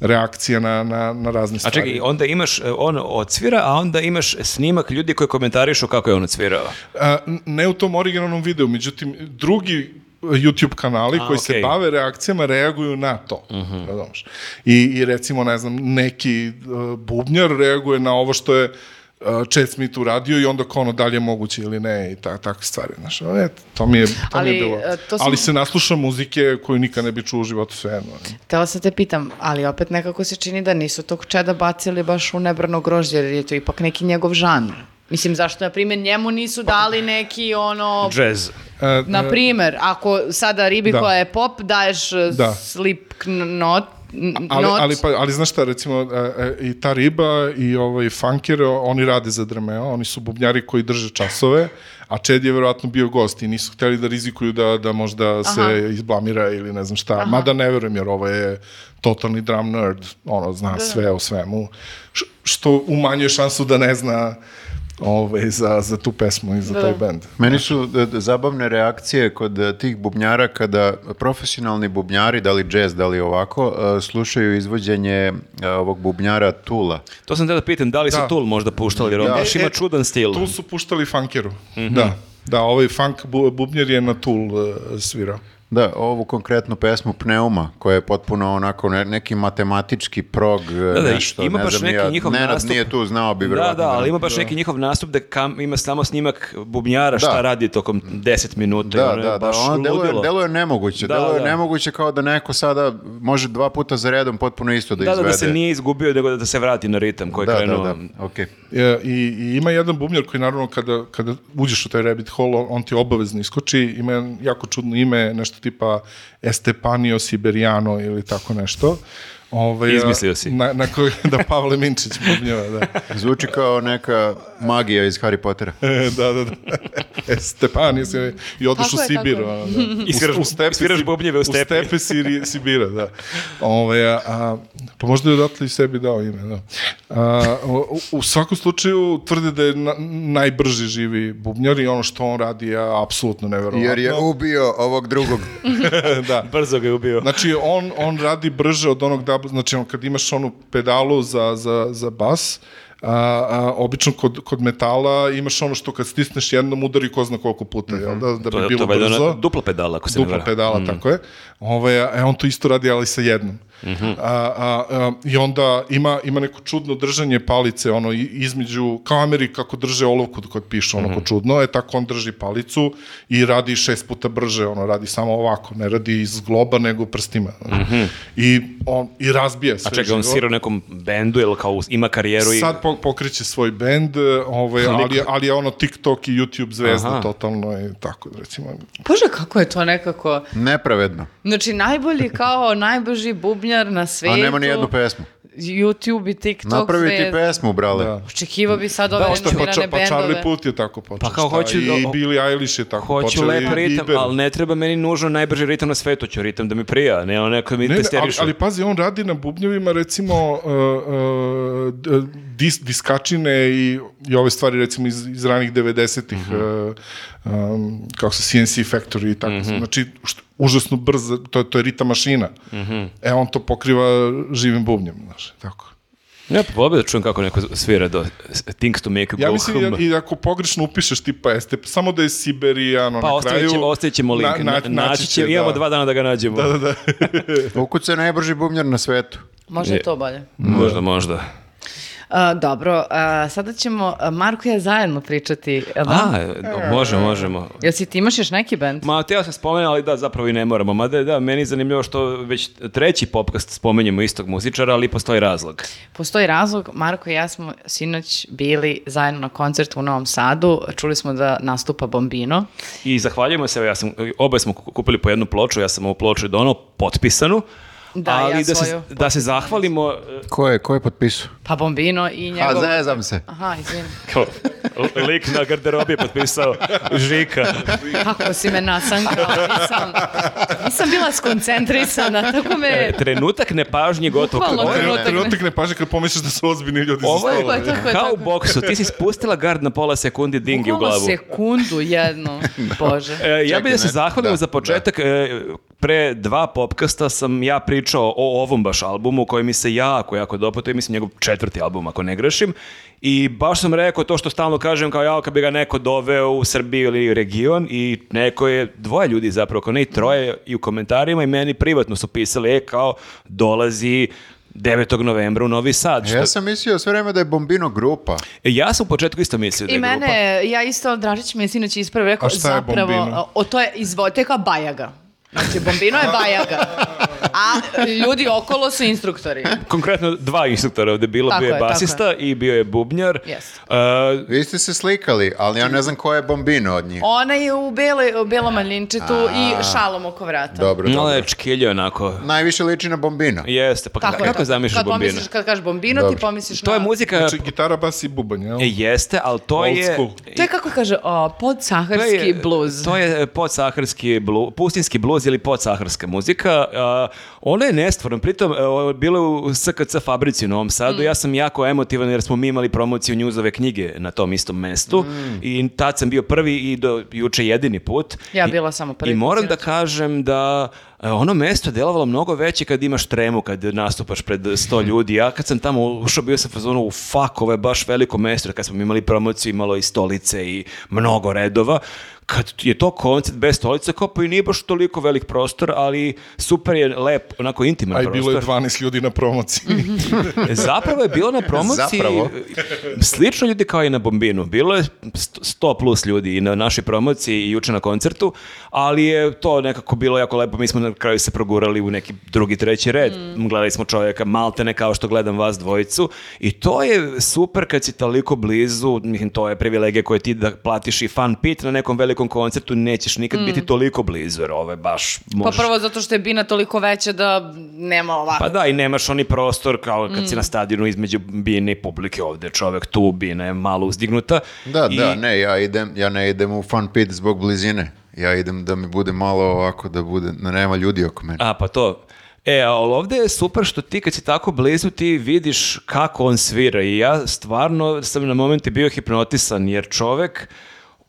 reakcija na, na, na razne A stvari. čekaj, onda imaš, e, on odsvira, a onda imaš snimak ljudi koji komentarišu kako je on odsvirao. A, n- ne u tom originalnom videu, međutim, drugi e, YouTube kanali A, koji se okej. Mhm. bave reakcijama reaguju na to. razumeš. I, I recimo, ne znam, neki uh, bubnjar reaguje na ovo što je uh, Chad Smith uradio i onda kao ono da li je moguće ili ne i ta, takve stvari. Znaš, e, to mi je, to mi Ali, je bilo. e, to sam- Ali se nasluša muzike koju nikad ne bi čuo u životu sve jedno. Teo sam te pitam, ali opet nekako se čini da nisu tog čeda bacili baš u nebrano grožđe, jer je to ipak neki njegov žanr. Mislim, zašto, na primjer, njemu nisu dali neki, ono, Jazz. E, na primjer, ako sada ribi Da. koja je pop, daješ eh, Da. slip kn- not, n- ali, not, ali, pa, ali znaš šta, recimo, e, e, i ta riba i ovaj funker, o- oni rade za Drmeo, oni su bubnjari koji drže časove, a Čed je verovatno bio gost i nisu hteli da rizikuju da, da možda se Aha. izblamira ili ne znam šta. Mada ne verujem, jer ovo je totalni drum nerd, ono, Da, zna sve o svemu, š- što umanjuje šansu da ne zna ovaj, za, za tu pesmu i za Da. taj bend. Meni su d- d- zabavne reakcije kod e, tih bubnjara kada profesionalni bubnjari, da li jazz, da li ovako, e, slušaju izvođenje e, ovog bubnjara Tula. To sam te da pitam, da li su Da. Tool možda puštali, jer on Da. baš E, ima e, čudan stil. Tu su puštali funkeru, da. Da, ovaj funk bu- bubnjer je na Tool e, svirao. Da, ovu konkretnu pesmu Pneuma, koja je potpuno onako ne- neki matematički prog, e, da, i- nešto, ima ne baš znam ni neki ja. njihov Nenad nastup. nije tu, znao bi Da, verovatno da, ali ne. ima baš neki njihov nastup da kam, ima samo snimak bubnjara šta Da. radi tokom 10 minuta. i Da, ono je da, da, baš ono deluje, ludilo. deluje nemoguće, Da, deluje da. nemoguće kao da neko sada može dva puta za redom potpuno isto Da, da, da, izvede. da se nije izgubio, nego da se vrati na ritam koji Da, je da, krenuo. da, okej. E, I, I ima jedan bubnjar koji naravno kada, kada uđeš u taj rabbit hole, on- on ti obavezno iskoči, ima jedan jako čudno ime, nešto tipa Estepanio Siberiano ili tako nešto, Ovaj, Izmislio si. Na, na kojoj, da Pavle Minčić bubnjava, da. Zvuči kao neka magija iz Harry Pottera. E, *laughs* da, da, da. E, Stepan je se- i otišao u Tako je, Sibir. tako je. ono, da. *laughs* I sviraš- U- u stepi sviraš Si- bubnjeve u stepi. U stepi Siri- Sibira, da. Ove, a, a, pa možda je odatle i sebi dao ime, da. A, u, u svakom slučaju tvrde da je na, najbrži živi bubnjar i ono što on radi je apsolutno neverovatno. Jer je ubio ovog drugog. da. Brzo ga je ubio. Znači, on, on radi brže od onog double, znači on, kad imaš onu pedalu za, za, za bas, a, a, obično kod, kod metala imaš ono što kad stisneš jednom udari ko zna koliko puta, jel da, da bi to, bilo to je valjda brzo. ona dupla pedala, ako se ne Dupla varam. pedala, tako je. Ove, e, on to isto radi, ali sa jednom. Mhm. a, a, a, I onda ima, ima neko čudno držanje palice, ono, i- između, kao Ameri kako drže olovku kod piše, onako Mhm. čudno, e, tako on drži palicu i radi šest puta brže, ono, radi samo ovako, ne radi iz globa, nego prstima. I, on, I razbija sve. Mhm. A čekaj, on živo. svira u nekom bendu ili kao ima karijeru i... Sad po- pokreće svoj bend, ovaj, ali, ali je ono TikTok i YouTube zvezda Aha. totalno i tako, recimo. Bože, kako je to nekako... Nepravedno. Znači, najbolji kao najbrži bubnjar na svetu. A nema ni jednu pesmu. YouTube i TikTok. Napravi ti zvezda. pesmu. pesmu, brale. Da. Očekivao bi sad ove Šta, pa, renomirane ča, pa Charlie bendove. Puth je tako počeo. Pa kao šta, hoću I da- Billie Eilish je tako Hoću počeo. lep i ritam, Bieber. ali ne treba meni nužno najbrži ritam na svetu, ću ritam da mi prija, ne ono neko mi Ne, ne, ali, testerišu. ali pazi, on radi na bubnjevima recimo uh, uh, d- dis, diskačine i, i ove stvari recimo iz, iz ranih 90-ih Mhm. uh, um, kako se CNC Factory i tako. Mhm. Znači, što, užasno brzo, to, je- to je rita mašina. Mhm. E, on to pokriva živim bubnjem, znaš, tako. Ja pa volio bi da čujem kako neko svira do s- Things to make you Ja go mislim hum. i, i ako pogrešno upišeš tipa este, samo da je Siberijan, Pa na ostavit kraju... ćemo, ostavit ćemo link, na, naći će, imamo dva dana da ga nađemo. Ukuca je najbrži bubnjar na svetu. Možda Je. je to bolje. Možda, možda. A, dobro, a, sada ćemo a, Marko i ja zajedno pričati. jel da? A, može, možemo. Jel si ti imaš još neki band? Ma, teo sam spomenuo, ali da, zapravo i ne moramo. Mada je, da, meni je zanimljivo što već treći popkast spomenjemo istog muzičara, ali postoji razlog. Postoji razlog, Marko i ja smo sinoć bili zajedno na koncertu u Novom Sadu, čuli smo da nastupa Bombino. I zahvaljujemo se, evo, ja sam, oboje smo ku- kupili po jednu ploču, ja sam ovu ploču donao, potpisanu. Da, ali ja da, se, svoju. da se zahvalimo, e, Ko je, ko je potpisao? Pa Bombino i A njegov... zezam se. Aha, izvini. kao, l- lik na garderobi je potpisao Žika. Kako si me nasankao, nisam, nisam bila skoncentrisana, tako me... Trenutak nepažnje gotovo. E. Bukvalno Ovo je- trenutak. Trenutak ne paže kad pomisliš da su ozbiljni ljudi Ovo za je stolom. Tako je, tako je, kao u tako je. boksu, ti si spustila gard na pola sekundi dingi u Bukvalno glavu. sekundu *laughs* jednu, bože. E, ja bih da se ne, zahvalim da, za početak. e, pre dva popkasta sam ja pričao o ovom baš albumu koji mi se jako, jako dopao. To je mislim njegov četvrti album ako ne grešim. I baš sam rekao to što stalno kažem kao ja kad bi ga neko doveo u Srbiju ili region i neko je, dvoje ljudi zapravo, ako ne i troje i u komentarima i meni privatno su pisali e, kao dolazi 9. novembra u Novi Sad. Ja Što- E, sam mislio sve vreme da je Bombino grupa. ja sam u početku isto mislio da je I grupa. mene, ja isto, Dražić mi je sinoć ispravo rekao, A šta je zapravo, Bombino? o, to je, izvolite kao Bajaga. Znači, Bombino je Bajaga. A ljudi okolo su instruktori. Konkretno dva instruktora ovde bilo, Tako bio je je, tako basista i bio je bubnjar. Jeste. E, Vi ste se slikali, ali ja ne znam ko je Bombino od njih. Ona je u, bele, u belom manjinčetu A. i šalom oko vrata. Dobro, No, dobro. je čkilje onako. Najviše liči na Bombino. Jeste, pa kako, Tako je kako to. zamišljaš kad bombinu? Pomisliš, kad kažeš bombino, Dobro. ti pomisliš To je na- muzika... Znači, gitara, bas i bubanj, jel? e, Jeste, ali to Old je... school. To je kako kaže, o, to je- podsaharski bluz. To je e, podsaharski bluz, pustinski bluz ili podsaharska muzika. A, ona je nestvorna, pritom e, o, bilo je u SKC fabrici u Novom Sadu. Mm. Ja sam jako emotivan jer smo mi imali promociju njuzove knjige na tom istom mestu Mm. i tad sam bio prvi i do juče jedini put. Ja I- bila samo prvi I put, moram da sinoć. kažem da e, ono mesto je delovalo mnogo veće kad imaš tremu, kad nastupaš pred 100 ljudi. Ja kad sam tamo ušao bio sam fazonu u fuck, ovo je baš veliko mesto, jer kad smo imali promociju imalo i stolice i mnogo redova. Kad je to koncert bez stolice, kao pa i nije baš toliko velik prostor, ali super je lep, onako intiman Aj, prostor. bilo je 12 ljudi na promociji. Zapravo je bilo na promociji Zapravo. slično ljudi kao i na Bombinu. Bilo je st- 100 plus ljudi i na našoj promociji i juče na koncertu, ali je to nekako bilo jako lepo. Mi smo na na kraju se progurali u neki drugi, treći red. Mm. Gledali smo čovjeka maltene kao što gledam vas dvojicu i to je super kad si toliko blizu, mislim, to je privilegija koje ti da platiš i fan pit na nekom velikom koncertu, nećeš nikad biti toliko blizu, jer ovo je baš možeš... Mm. Pa prvo zato što je bina toliko veća da nema ovako. Pa da, i nemaš oni prostor kao kad si na stadionu između bine i publike ovde, je čovek tu, bina je malo uzdignuta. Da, I- da, ne, ja, idem, ja ne idem u fan pit zbog blizine. Ja idem da mi bude malo ovako, da bude, da nema ljudi oko mene. A, pa to. E, ali ovde je super što ti kad si tako blizu ti vidiš kako on svira i ja stvarno sam na momente bio hipnotisan jer čovek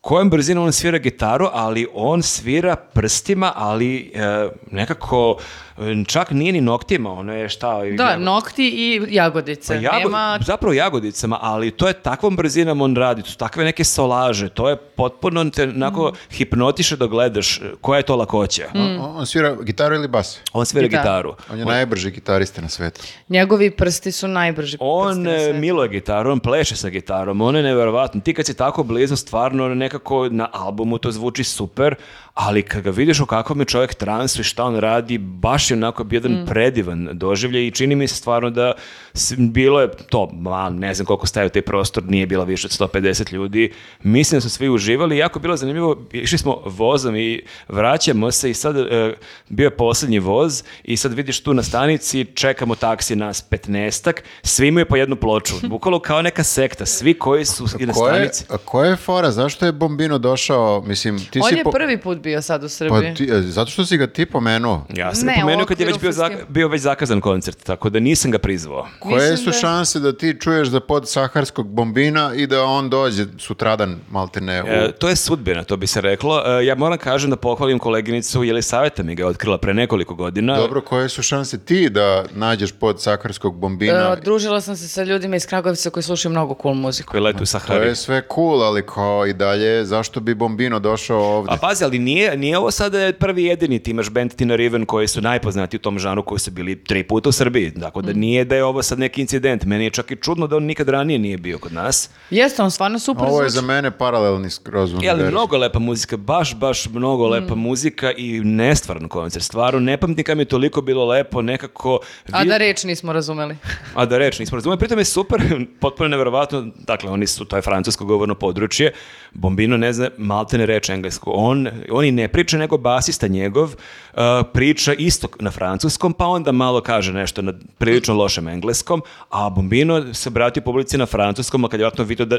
kojom brzinom on svira gitaru, ali on svira prstima, ali e, nekako e, čak nije ni noktima, ono je šta... Da, ja- nokti i jagodice. pa jago- Nema... Zapravo jagodicama, ali to je takvom brzinom on radi, to su takve neke solaže, to je potpuno te onako Mm. hipnotiše da gledaš e, koja je to lakoća. On, on svira gitaru ili bas? On svira Gitaru. gitaru. On je najbrži gitarista na svetu. Njegovi prsti su najbrži On prsti na e, svetu. miluje gitaru, on pleše sa gitarom, on je nevjerovatno. Ti kad si tako blizu, stvarno nekako na albumu to zvuči super, ali kad ga vidiš u kakvom je čovjek transu i šta on radi, baš je onako bio jedan Mm. predivan doživlje i čini mi se stvarno da s- bilo je to, ma, ne znam koliko staje u taj prostor, nije bilo više od 150 ljudi. Mislim da su svi uživali, jako je bilo zanimljivo, išli smo vozom i vraćamo se i sad e, bio je posljednji voz i sad vidiš tu na stanici, čekamo taksi nas 15 svi imaju po jednu ploču, bukvalo kao neka sekta, svi koji su i na Ko je, stanici. a koja je fora? Zašto je Bombino došao? Mislim, ti On si je po- prvi put bio sad u Pa Srbiji. ti, e, zato što si ga ti pomenuo. Ja sam Ne, ne, u pomenuo kad je već okviru bio, za- festivala. bio već zakazan koncert, tako da nisam ga prizvao. Koje Mislim su da- šanse da ti čuješ za pod saharskog bombina i da on dođe sutradan, maltene, u... E, to je sudbina, to bi se reklo. E, ja moram kažem da pohvalim koleginicu Jelisaveta mi ga je otkrila pre nekoliko godina. Dobro, koje su šanse ti da nađeš pod saharskog bombina? da E, družila sam se sa ljudima iz Kragujevca koji slušaju mnogo cool muziku. koji lete u to Sahari. je sve cool, ali kao i dalje, zašto bi bombino došao ovde? A da pazi, ali nije, nije ovo sada prvi jedini, ti imaš band Tina Riven koji su najpoznati u tom žanu koji su bili tri puta u Srbiji, tako Mhm. da nije da je ovo sad neki incident, meni je čak i čudno da on nikad ranije nije bio kod nas. Jeste, on stvarno super Ovo je za zvuči. mene paralelni skroz I ali univerz. mnogo lepa muzika, baš, baš mnogo Mhm. lepa muzika i nestvarno koncert, stvarno, ne pamtim kad mi je toliko bilo lepo, nekako... A vi- da reč nismo razumeli. A da reč, nismo razumeli. Pritom je super, *laughs* potpuno neverovatno, dakle, oni su, to je francusko govorno područje, Bombino ne zna, malte ne reče englesku. On, oni ne priča, nego basista njegov uh, priča isto na francuskom, pa onda malo kaže nešto na prilično lošem engleskom, a Bombino se obratio publici na francuskom, a kad je vjerojatno vidio da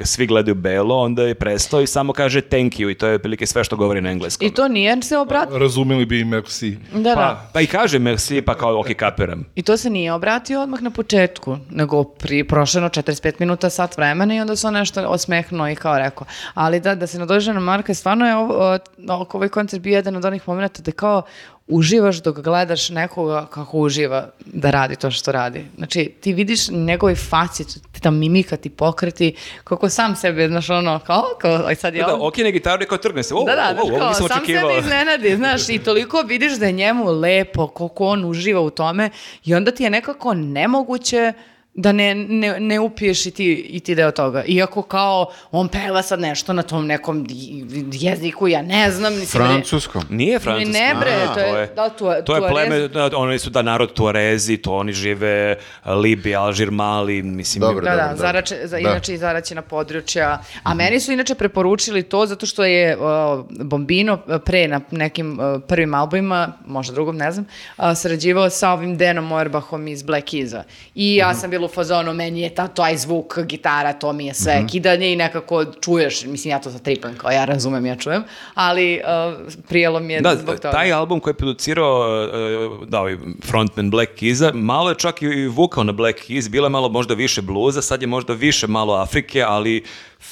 svi gledaju belo, onda je prestao i samo kaže thank you i to je otprilike sve što govori na engleskom. I to nije se obratio. Razumeli bi i merci. Da, da. Pa, pa i kaže merci, pa kao, ok, kapiram. I to se nije obratio odmah na početku, nego pri prošeno 45 minuta, sat vremena i onda se on nešto osmehnuo i kao rekao. Ali da, da se nadođe na Marka, stvarno je ovo, o, oko ovaj koncert bio jedan od onih momenta da kao uživaš dok gledaš nekoga kako uživa da radi to što radi. Znači, ti vidiš njegove faci, ta mimika, ti pokreti, kako sam sebe, znaš, ono, kao, kao, aj sad je Da, on- ok, na gitaru i kao trgne se. O, da, da, o, o, ovo kao, nisam sam očekivao. sebe iznenadi, znaš, i toliko vidiš da je njemu lepo, koliko on uživa u tome i onda ti je nekako nemoguće da ne, ne, ne upiješ i ti, i ti deo toga. Iako kao on peva sad nešto na tom nekom di- jeziku, ja ne znam, mislim, da je- Francuskom. Nije francuski. Ne bre, A, to je- da, tu- to je Tuarez. pleme, da, oni su da narod Tuarezi, to oni žive Libija, Alžir, Mali, mislim. Dobro, Da, da, dobro. zarače, za, Da. inače i zaraćena područja. A meni su inače preporučili to zato što je o, Bombino e, pre na nekim o, prvim albumima, možda drugom, ne znam, a, sarađivao sa ovim Denom Oerbachom iz Black Keys-a. I ja sam bila u fazonu, meni je ta, taj zvuk, gitara, to mi je sve kidanje i nekako čuješ, mislim ja to sa tripam, kao ja razumem, ja čujem, ali o, prijelo mi je Da, zbog toga. taj album koji je producirao e, da, ovaj frontman Black Keys-a, malo je čak i vukao na Black Keys, bilo je malo možda više bluza, sad je možda više malo Afrike, ali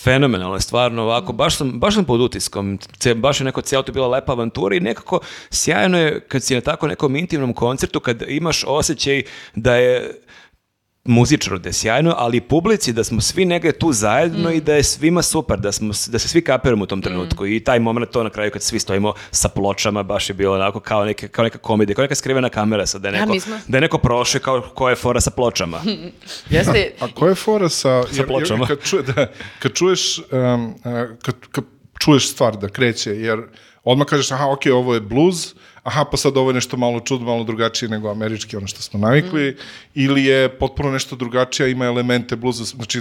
fenomenalno je stvarno ovako, Mm. baš sam, baš sam pod utiskom, Ce- baš je neko cijelo to bila lepa avantura i nekako sjajno je kad si na tako nekom intimnom koncertu, kad imaš osjećaj da je muzičaru da je sjajno, ali i publici da smo svi negdje tu zajedno Mm. i da je svima super, da, smo, s- da se svi kapiramo u tom trenutku i taj moment to na kraju kad svi stojimo sa pločama baš je bilo onako kao, neke, kao neka komedija, kao neka skrivena kamera sad da je Da, neko, mi smo- da je neko prošao kao koja je fora sa *laughs* pločama. *laughs* Jeste, A koja je fora sa... jer- pločama. Kad, čuje, da, kad čuješ, em, e, kad, kad čuješ stvar da kreće, jer odmah kažeš, aha, ok, ovo je blues, aha, pa sad ovo je nešto malo čud, malo drugačije nego američki, ono što smo navikli, Mhm. ili je potpuno nešto drugačije, a ima elemente bluza, znači,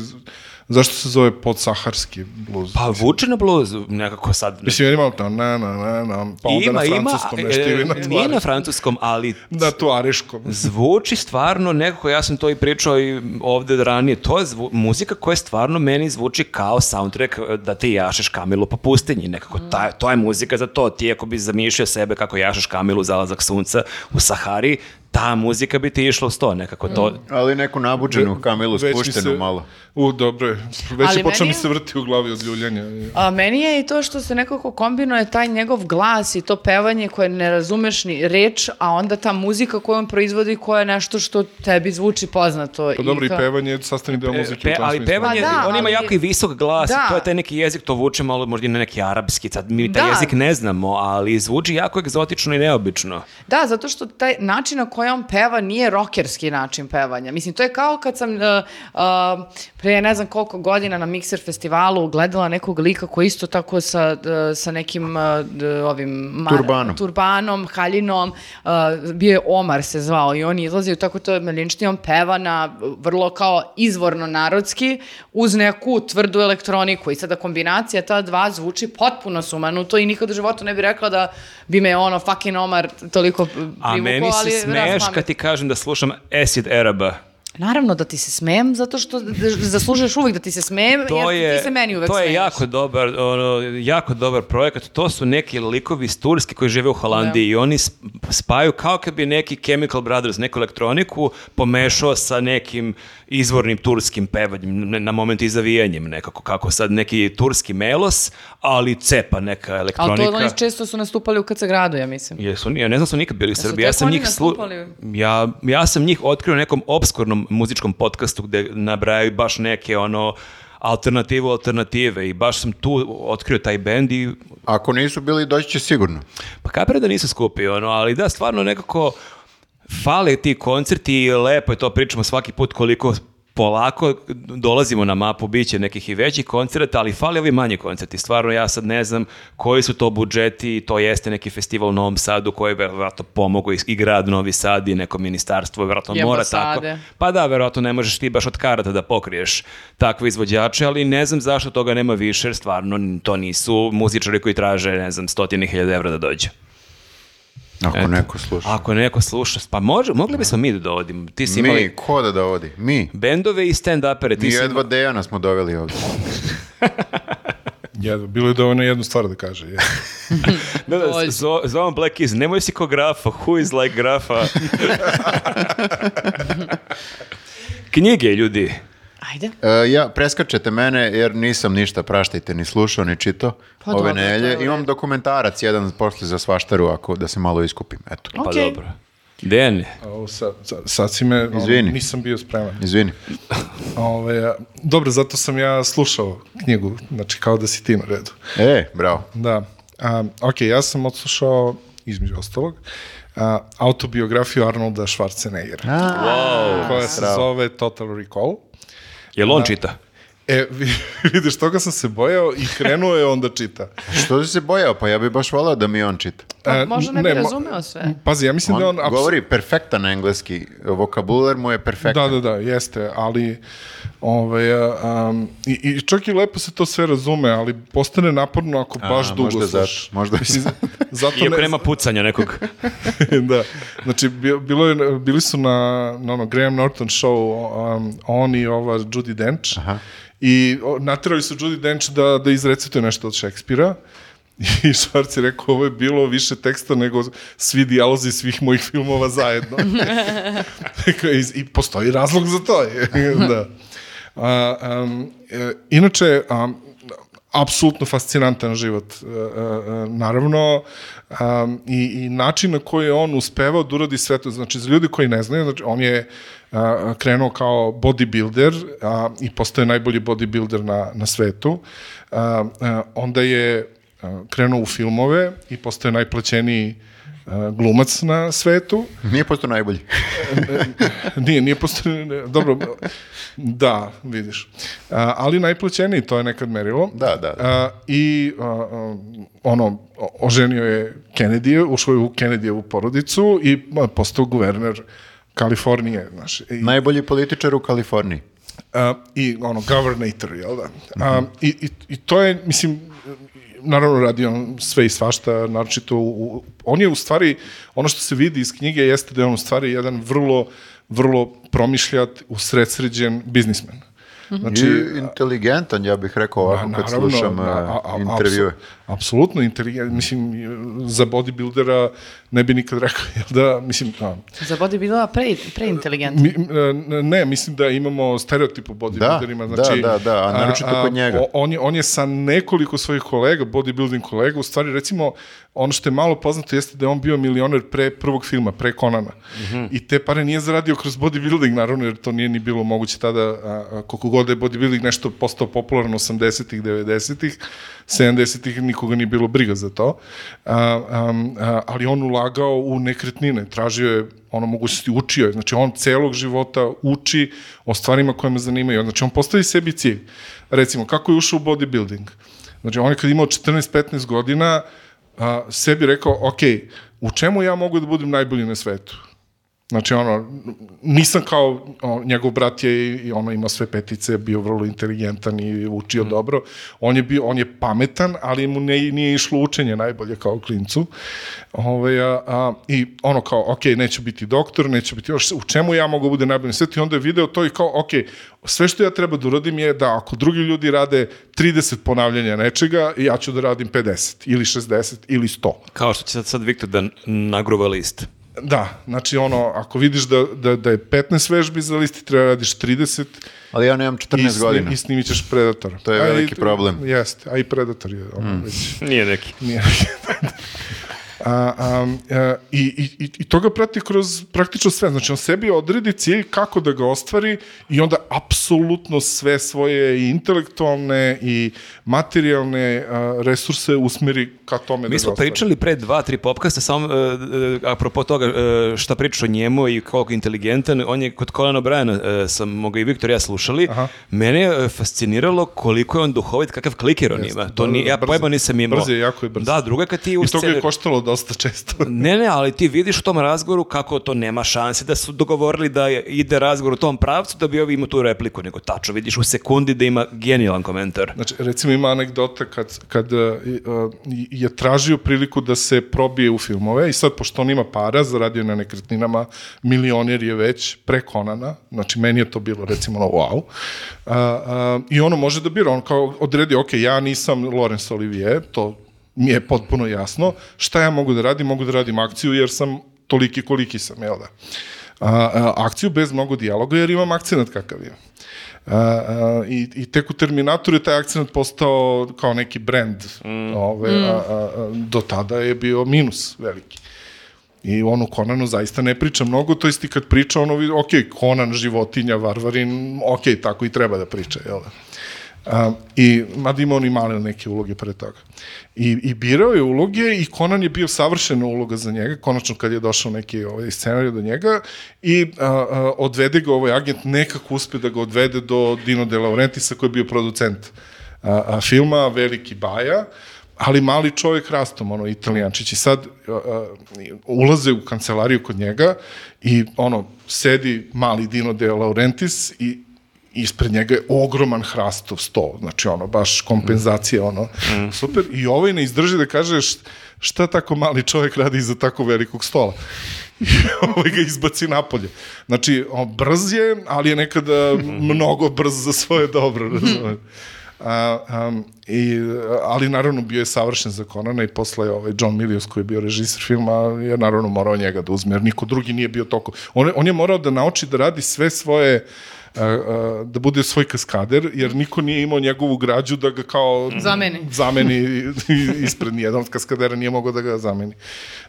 zašto se zove podsaharski bluz? Pa vuče na bluz, nekako sad. Mislim, jer ima to, na, na, na, na, pa onda na francuskom nešto e, ili na nije na tuare- francuskom, ali na tuareškom. zvuči stvarno nekako, ja sam to i pričao i ovde ranije, to je zvu, muzika koja stvarno meni zvuči kao soundtrack e, da ti jašeš kamilu po pustinji, nekako Mm. ta, to je muzika za to, ti ako bi zamišljao sebe kako jašeš kamilu zalazak sunca u Sahari, ta muzika bi ti išla uz to, nekako to, Mm. Ali neku nabuđenu kamilu, Već mi spuštenu se- malo. U, dobro je. Već Ali je počeo meni mi je- se vrti u glavi od ljuljanja. A meni je i to što se nekako kombinuje taj njegov glas i to pevanje koje ne razumeš ni reč, a onda ta muzika koju on proizvodi koja je nešto što tebi zvuči poznato. Pa dobro, i kao- pevanje je sastavni deo muzike. E, Pe, u tom ali smislu. pevanje, Pa da, on ima ali- jako i visok glas, Da. to je taj neki jezik, to vuče malo možda i na neki arapski, sad mi taj Da. jezik ne znamo, ali zvuči jako egzotično i neobično. Da, zato što taj način na koji on peva nije rokerski način pevanja. Mislim, to je kao kad sam uh, uh, pre ne znam koliko godina na Mixer festivalu gledala nekog lika koji isto tako sa, uh, sa nekim uh, d- ovim... mar- Turbanom. Turbanom, haljinom. uh, bio je Omar se zvao i on izlazi u tako to melinčni, on peva na uh, vrlo kao izvorno narodski uz neku tvrdu elektroniku i sada kombinacija ta dva zvuči potpuno sumanuto i nikad u životu ne bi rekla da bi me ono fucking Omar toliko uh, A meni privukao, ali se smeješ razmamio. kad ti kažem da slušam Acid Araba. Naravno da ti se smejem, zato što d- d- zaslužuješ uvek da ti se smejem, To jer je, ti se meni uvek to je smeješ. jako dobar, ono, jako dobar projekat. To su neki likovi iz Turske koji žive u Da. Holandiji i oni sp- spaju kao kad bi neki Chemical Brothers, neku elektroniku pomešao sa nekim izvornim turskim pevanjem, ne- na moment i zavijanjem nekako, kako sad neki turski melos, ali cepa neka Ali elektronika. to oni često su nastupali u KC gradu, ja mislim. Jesu, ja ne znam da su nikad bili u Srbiji. Ja tek sam oni njih slu... nastupali? ja, ja sam njih otkrio u nekom obskurnom muzičkom podcastu gde nabrajaju baš neke ono alternativu alternative i baš sam tu otkrio taj bend i Ako nisu bili, doći će sigurno. pa kapira da nisu skupi, ono, ali da, stvarno nekako fale ti koncerti i lepo je to pričamo svaki put koliko polako dolazimo na mapu, bit će nekih i većih koncerta, ali fali ovi manji koncerti. Stvarno ja sad ne znam koji su to budžeti, to jeste neki festival u Novom Sadu koji verovatno pomogu i, i grad Novi Sad i neko ministarstvo, verovatno I mora ambasade. tako. Pa da, verovatno ne možeš ti baš od karata da pokriješ takve izvođače, ali ne znam zašto toga nema više, jer stvarno to nisu muzičari koji traže, ne znam, stotine hiljada evra da dođu. Ako neko sluša. Ako neko sluša, pa može, mogli bismo mi da dovodimo. Ti si imao Mi, ko da dovodi? Mi. bendove i stand-upere. Ti Mi si imao- jedva Dejana smo doveli ovdje. Jedva, bilo Pa, je dovoljno jednu stvar da kaže. je. Da, da, Dođi. zo- Zoran Black is, nemoj si ko grafa, who is like grafa. Knjige, ljudi. Ajde. E, ja, preskačete mene jer nisam ništa, praštajte, ni slušao, ni čitao Pa dobro, ove to je u nelje. redu. Imam dokumentarac jedan posle za svaštaru, ako da se malo iskupim. Eto, Pa Ok. dobro. Dejan, A ovo sad, sad, sad si me, ono, Izvini. nisam bio spreman. izvini. Ove, a, dobro, zato sam ja slušao knjigu, znači kao da si ti na redu. E, bravo. Da. A, ok, ja sam odslušao, između ostalog, a, autobiografiju Arnolda Schwarzeneggera, koja se zove Total Recall. jel Da. on čita? E, vi- *laughs* vidiš, toga sam se bojao i krenuo je onda čita. Što si se bojao? Pa ja bi baš volao da mi on čita. Pa E, možda ne, ne, bi mo- razumeo sve. Pazi, ja mislim On, da on... apsu- govori perfektan engleski, vokabular mu je perfektan. Da, da, da, jeste, ali ovaj, a, um, i, i čak i lepo se to sve razume, ali postane naporno ako baš dugo možda slušaš. zato, možda Mislim, *laughs* zato Iako ne- nema pucanja nekog. da. Znači, bi- bilo je, bili su na, na ono, Graham Norton show um, on i ova Judy Dench. I o, naterali su Judy Dench da, da izrecituje nešto od Šekspira. *laughs* I Švarc je rekao, ovo je bilo više teksta nego svi dijalozi svih mojih filmova *laughs* zajedno. Rekao je, *laughs* I postoji razlog za to. *laughs* da. A, um, e, inače, um, apsolutno fascinantan život, e, e, e, naravno, um, i, i način na koji je on uspevao da uradi sve to, znači za ljudi koji ne znaju, znači on je a, krenuo kao bodybuilder a, i postao je najbolji bodybuilder na, na svetu, e, a, a, onda je a, krenuo u filmove i postao je najplaćeniji e, glumac na svetu. Nije posto *laughs* najbolji. nije, nije postoji, ne, dobro, da, vidiš. A, ali najplaćeniji, to je nekad merilo. Da, da, da. A, I a, a, ono, o- oženio je Kennedy, ušao je u Kennedyjevu porodicu i a, postao guverner Kalifornije, znaš. I, Najbolji političar u Kaliforniji. a, i ono, governator, jel da? A, i, i, I to je, mislim, naravno radi on sve i svašta, naročito, u, u, on je u stvari, ono što se vidi iz knjige jeste da je on u stvari jedan vrlo, vrlo promišljat, usredsređen biznismen. Znači, I inteligentan, ja bih rekao ovako kad slušam na- a- a- eh, intervjue. apsu- Apsolutno inteligentan, mislim, za bodybuildera ne bi nikad rekao, jel da, mislim, a, Za bodybuildera pre, preinteligentna. Mi, e, ne, mislim da imamo stereotip o bodybuilderima. Da, znači, da, da, da, a naročito kod njega. o- On je, on je sa nekoliko svojih kolega, bodybuilding kolega, u stvari recimo ono što je malo poznato jeste da je on bio milioner pre prvog filma, pre Konana. Mhm. I te pare nije zaradio kroz bodybuilding, naravno, jer to nije ni bilo moguće tada, a, a, koliko god da je bodybuilding nešto postao popularno 80-ih, 90-ih, 70-ih nikoga nije bilo briga za to. A, am, a, ali on ulagao u nekretnine, tražio je ono mogućnosti, učio je. Znači, on celog života uči o stvarima koje me zanimaju. Znači, on postavi sebi cilj. Recimo, kako je ušao u bodybuilding? Znači, on je kad imao 14-15 godina, a, sebi rekao, ok, u čemu ja mogu da budem najbolji na svetu? Znači, ono, nisam kao, on, njegov brat je i- i ono imao sve petice, bio vrlo inteligentan i učio dobro. On je, bio, on je pametan, ali mu ne, nije išlo učenje najbolje kao klincu. Ove, a, a, I ono kao, ok, neću biti doktor, neću biti još, u čemu ja mogu bude najbolji na svetu? I onda je video to i kao, ok, sve što ja treba da uradim je da ako drugi ljudi rade 30 ponavljanja nečega, ja ću da radim 50 ili 60 ili 100. Kao što će sad, sad Viktor da n- nagruva list. Da, znači ono, ako vidiš da, da, da je 15 vežbi za listi, treba da radiš 30 Ali ja nemam i, 14 godina. snim, i snimit ćeš Predatora. To je A i- veliki problem. Mm. Jeste, a i Predator je ono, već Nije neki. nije. *laughs* a, a, a, i, i, i- i to ga prati kroz praktično sve. Znači, on sebi odredi cilj kako da ga ostvari i onda apsolutno sve svoje i intelektualne i materijalne a, resurse usmeri ka tome da Mi ga smo ostvari. pričali pre dva, tri popkasta, samo e, e, apropo toga e, šta priča o njemu i koliko je inteligentan, on je kod Colin O'Briana, e, sam moga i Viktor i ja slušali, mene je e, fasciniralo koliko je on duhovit, kakav kliker on ima. To da, ni, da, ja brz. pojma nisam imao. Brz je, jako je brz. Da, druga kad ti u I to ga je sceni- koštalo dosta *laughs* često. Ne, ne, ali ti vidiš u tom razgovoru kako to nema šanse da su dogovorili da je- ide razgovor u tom pravcu da bi ovi imao tu repliku, nego tačno vidiš u sekundi da ima genijalan komentar. Znači, recimo ima anegdota kad, kad uh, i, uh, i- je tražio priliku da se probije u filmove i sad, pošto on ima para, zaradio je na nekretninama, milioner je već prekonana, znači meni je to bilo recimo ono, wow, uh, uh, i ono može da bira, on kao odredi, ok, ja nisam Laurence Olivier, to mi je potpuno jasno, šta ja mogu da radim, mogu da radim akciju jer sam toliki koliki sam, jel da? A, a, akciju bez mnogo dijaloga jer imam akcent kakav je. A, a, i, I tek u Terminatoru je taj akcent postao kao neki brand. Ove, a, a, a, do tada je bio minus veliki. I ono Konanu zaista ne priča mnogo, to jest i kad priča ono, vidi, ok, Konan, životinja, varvarin, ok, tako i treba da priča, jel da? A, I, mada ima on i male neke uloge pre toga. I, I birao je uloge i Conan je bio savršena uloga za njega, konačno kad je došao neki ovaj, scenarij do njega i a, a, odvede ga ovaj agent, nekako uspe da ga odvede do Dino De Laurentisa koji je bio producent a, a, filma, veliki baja, ali mali čovjek rastom, ono, italijančić. I sad a, a, ulaze u kancelariju kod njega i ono, sedi mali Dino De Laurentiis i ispred njega je ogroman hrastov sto, znači ono, baš kompenzacija, ono, super. I ovaj ne izdrži da kaže š- šta tako mali čovjek radi iza tako velikog stola. *laughs* I ovaj ga izbaci napolje. Znači, on brz je, ali je nekada mnogo brz za svoje dobro, razumem. A, am, i, ali naravno bio je savršen za Conana i posle je ovaj John Milius koji je bio režisir filma je naravno morao njega da uzme jer niko drugi nije bio toliko on, je- on je morao da nauči da radi sve svoje a, a, da bude svoj kaskader jer niko nije imao njegovu građu da ga kao Zameni. zameni i- ispred nijedan od kaskadera nije mogao da ga zameni.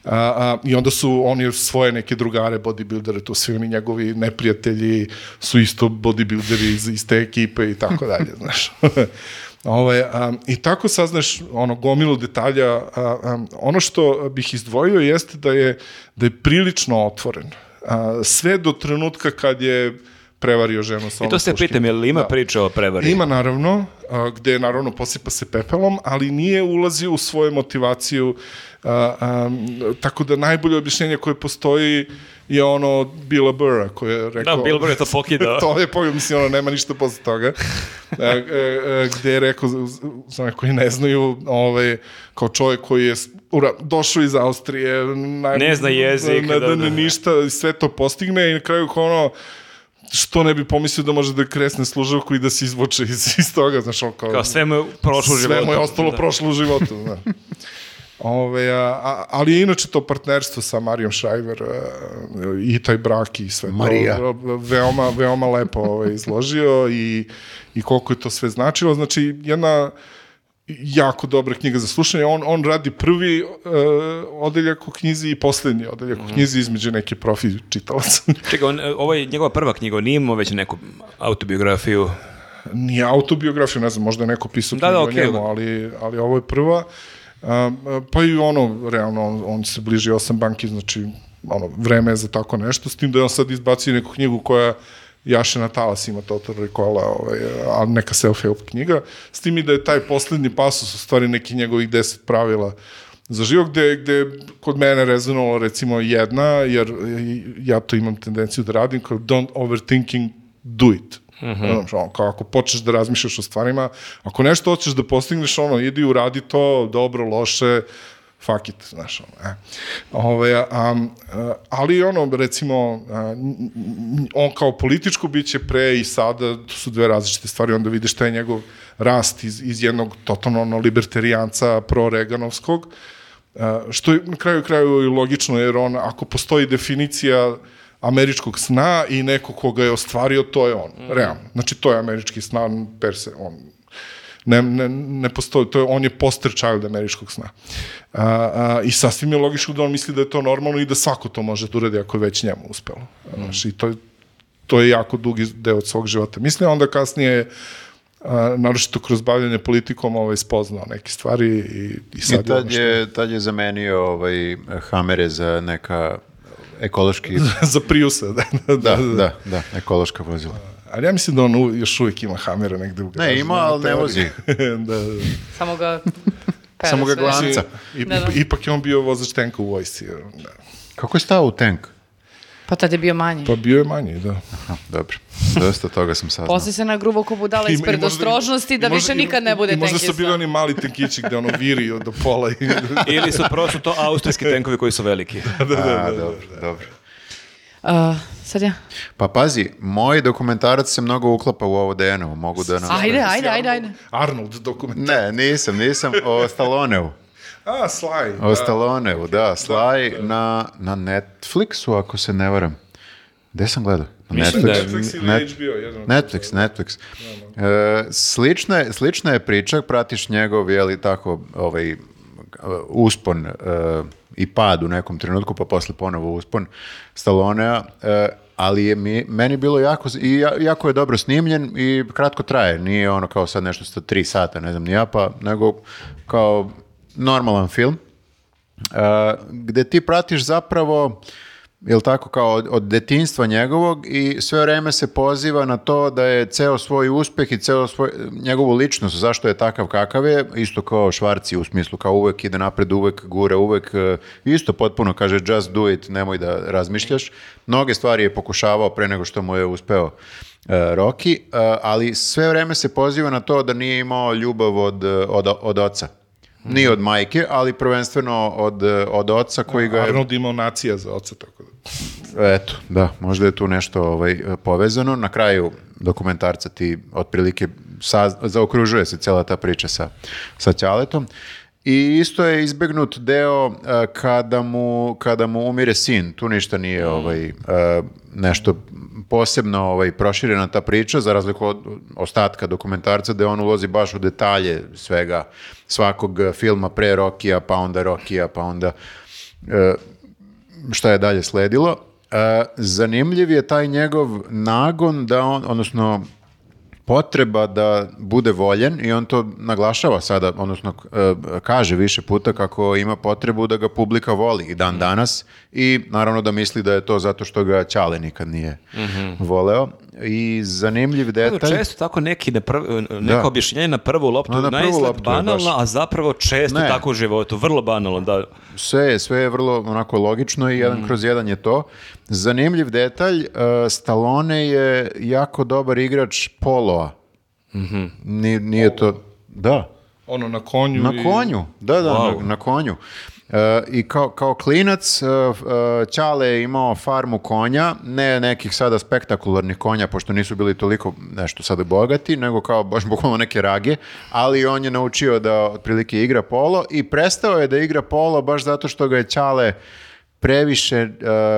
A, a, I onda su oni svoje neke drugare bodybuildere, tu svi oni njegovi neprijatelji su isto bodybuilderi iz, iz te ekipe i tako dalje, znaš. *laughs* Ovaj, a, I tako saznaš ono, gomilu detalja. A, a, ono što bih izdvojio jeste da je, da je prilično otvoren. A, sve do trenutka kad je prevario ženu sa I to onom se puškim. pitam, je li ima Da. priča o prevari? Ima naravno, a, gde naravno posipa se pepelom, ali nije ulazio u svoju motivaciju, a, a, tako da najbolje objašnjenje koje postoji je ono Billa Burra koje je Da, rekao... Bill Burr je to pokidao. *laughs* to je pogledao, mislim, ono, nema ništa posle toga. *laughs* E, e, e, gde je rekao, za- za- za one koji ne znaju, ovaj, kao čovjek koji je s- ura, došao iz Austrije, naj- Ne zna jezik, ne, da, da, da, da. ništa, i sve to postigne i na kraju kao ono, što ne bi pomislio da može da kresne služavku i da se izvuče iz, iz toga, znaš, on kao, Pa, Kao sve mu je prošlo u sve životu. mu je ostalo Da. prošlo u životu, *laughs* da. Ove, a, a, ali je inače to partnerstvo sa Marijom Šajver a, i taj brak i sve Marija. to a, veoma, veoma lepo ovaj, izložio i, i koliko je to sve značilo. Znači, jedna jako dobra knjiga za slušanje. On, on radi prvi e, odeljak u knjizi i poslednji odeljak Mhm. u knjizi između neke profi čitalaca. Čekaj, on, e, ovo je njegova prva knjiga, on nije imao već neku autobiografiju. nije autobiografiju, ne znam, možda je neko pisao Da, da, da, da, okej. o njemu, ali, ali ovo je prva. Um, pa i ono, realno, on, on se bliži osam banki, znači, ono, vreme je za tako nešto, s tim da je on sad izbacio neku knjigu koja jaše na talas ima Total Recall, ovaj, a neka self-help knjiga, s tim i da je taj poslednji pasus u stvari neki njegovih deset pravila za život, gde, gde je kod mene rezonovalo recimo jedna, jer ja to imam tendenciju da radim, kao don't overthinking, do it. Mm -hmm. ono, kao ako počneš da razmišljaš o stvarima, ako nešto hoćeš da postigneš, ono, idi uradi to, dobro, loše, fuck it, znaš, ono, e. Ove, a, a, ali ono, recimo, a, n- n- on kao političko biće pre i sada, to su dve različite stvari, onda vidiš taj njegov rast iz, iz jednog totalno ono, libertarijanca pro-reganovskog, a, što je na kraju kraju i logično, jer on, ako postoji definicija američkog sna i neko koga je ostvario, to je on, Mhm. realno. Znači, to je američki sna, per se, on ne, ne, ne postoji, to je, on je poster child američkog sna. A, a, I sasvim je logično da on misli da je to normalno i da svako to može da uradi ako je već njemu uspelo. Mhm. Znaš, i to je, to je jako dugi deo od svog života. Mislim, onda kasnije je a, naročito kroz bavljanje politikom ovaj, spoznao neke stvari i, i sad I tad ono što- je, tad je zamenio ovaj, hamere za neka ekološki... za Priusa. *laughs* Da, Da, da, da, da, ekološka vozila. Ali ja mislim da on u, još uvijek ima hamera negde u garaži. Ne, ima, ali ne vozi. *laughs* da, da. Samo ga... pere Samo ga sve. glavni- Tanca. I, Da, da. Ipak je on bio vozač tenka u vojsci. Da. Kako je stao u tank? Pa tad je bio manji. Pa bio je manji, da. Ha, dobro, dosta toga sam saznao. Posle se na grubo ko budala I- i iz predostrožnosti da i možda- više i- nikad ne bude i Možda tenkista. su bili oni mali tenkići gde ono viri od do pola. *laughs* I, *laughs* Ili su prosto to austrijski tenkovi koji su veliki. da, da, dobro, dobro. Uh, sad ja. Pa pazi, moj dokumentarac se mnogo uklapa u ovo Dejanovo, mogu da nam... Ajde, ajde, ajde, ajde. Arnold dokument. Ne, nisam, nisam, o Stalloneu. A, Sly. O Stalloneu, da, Sly na, na Netflixu, ako se ne varam. Gde sam gledao? Na Mislim Da, da je Netflix ili Net- HBO. Jedan od Netflix, Netflix. E, slična, je, slična je priča, pratiš njegov, je li tako, ovaj, e, uspon e, i pad u nekom trenutku, pa posle ponovo uspon Stallonea, e, ali je mi, meni bilo jako, z- i ja- jako je dobro snimljen i kratko traje, nije ono kao sad nešto sa tri sata, ne znam ni ja, pa nego kao normalan film. Uh, gde ti pratiš zapravo jel tako kao od, od detinjstva njegovog i sve vreme se poziva na to da je ceo svoj uspeh i ceo svoj, njegovu ličnost zašto je takav kakav je, isto kao Švarci u smislu kao uvek ide napred, uvek gura, uvek uh, isto potpuno kaže just do it, nemoj da razmišljaš. Mnoge stvari je pokušavao pre nego što mu je uspeo e, Rocky, e, ali sve vreme se poziva na to da nije imao ljubav od, e, od, od oca. Ni od majke, ali prvenstveno od, e, od oca koji ga je... Arnold imao nacija za oca, tako da. Eto, da, možda je tu nešto ovaj, e, povezano. Na kraju dokumentarca ti otprilike saz- zaokružuje se cela ta priča sa, sa Ćaletom. I isto je izbegnut deo e, kada, mu, kada mu umire sin. Tu ništa nije ovaj, e, nešto posebno ovaj, proširena ta priča, za razliku od ostatka dokumentarca, gde on ulozi baš u detalje svega, svakog e, filma pre Rokija, pa onda Rokija, pa onda šta je dalje sledilo. E, zanimljiv je taj njegov nagon da on, odnosno potreba da bude voljen i on to naglašava sada, odnosno e, kaže više puta kako ima potrebu da ga publika voli i dan danas i naravno da misli da je to zato što ga Ćale nikad nije voleo. I zanimljiv Evo, detalj... često tako neki na prv, neko E, Da. objašnjenje na prvu loptu, Na- na, na prvu naizgled loptu, banalno, baš. a zapravo često Ne. tako u životu, vrlo banalno, da. Sve je, sve je vrlo onako logično i jedan kroz jedan je to. Zanimljiv detalj, uh, Stallone je jako dobar igrač poloa. Ni- nije to... Da, Ono, na konju. na i- konju. Da, da, Wow. na, na konju. Uh, I kao, kao klinac, uh, uh, Ćale je imao farmu konja, ne nekih sada spektakularnih konja, pošto nisu bili toliko nešto sada bogati, nego kao baš bukvalno neke rage, ali on je naučio da otprilike igra polo i prestao je da igra polo baš zato što ga je Ćale previše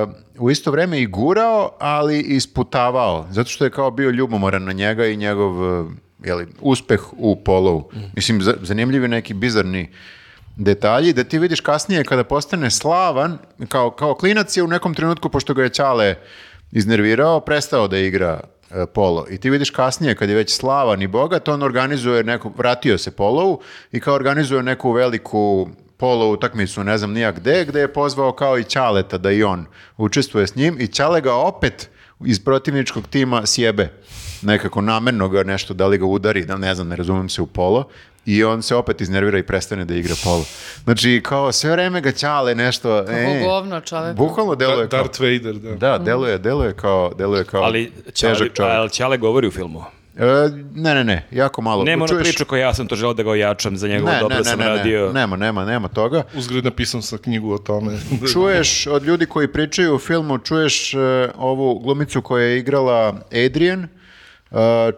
uh, u isto vreme i gurao, ali i sputavao, zato što je kao bio ljubomoran na njega i njegov uh, jeli, uspeh u polovu. Mislim, za- zanimljivi neki bizarni detalji, da ti vidiš kasnije kada postane slavan, kao, kao klinac je u nekom trenutku, pošto ga je Ćale iznervirao, prestao da igra e, polo. I ti vidiš kasnije, kad je već slavan i bogat, on organizuje neku, vratio se polovu i kao organizuje neku veliku polo utakmicu, ne znam nija gde, gde je pozvao kao i Ćaleta da i on učestvuje s njim i Ćale ga opet iz protivničkog tima sjebe nekako namerno ga nešto, da li ga udari, da ne znam, ne razumem se u polo i on se opet iznervira i prestane da igra polo. Znači, kao sve vreme ga ćale nešto... e, govno, čoveče. Bukvalno deluje Da, kao... Darth Vader, da. Da, deluje, deluje kao, deluje kao Ali Ćale, Pa, težak čovjek. ali Ćale govori u filmu. E, ne, ne, ne, jako malo. Nema ona Čuješ- priča koja ja sam to želeo da ga ojačam za njegovo Ne, dobro ne, ne, sam ne, ne, radio. nema, nema, nema toga. Uzgred napisam sa knjigu o tome. Čuješ od ljudi koji pričaju u filmu, čuješ e, ovu glumicu koja je igrala Adrian, e,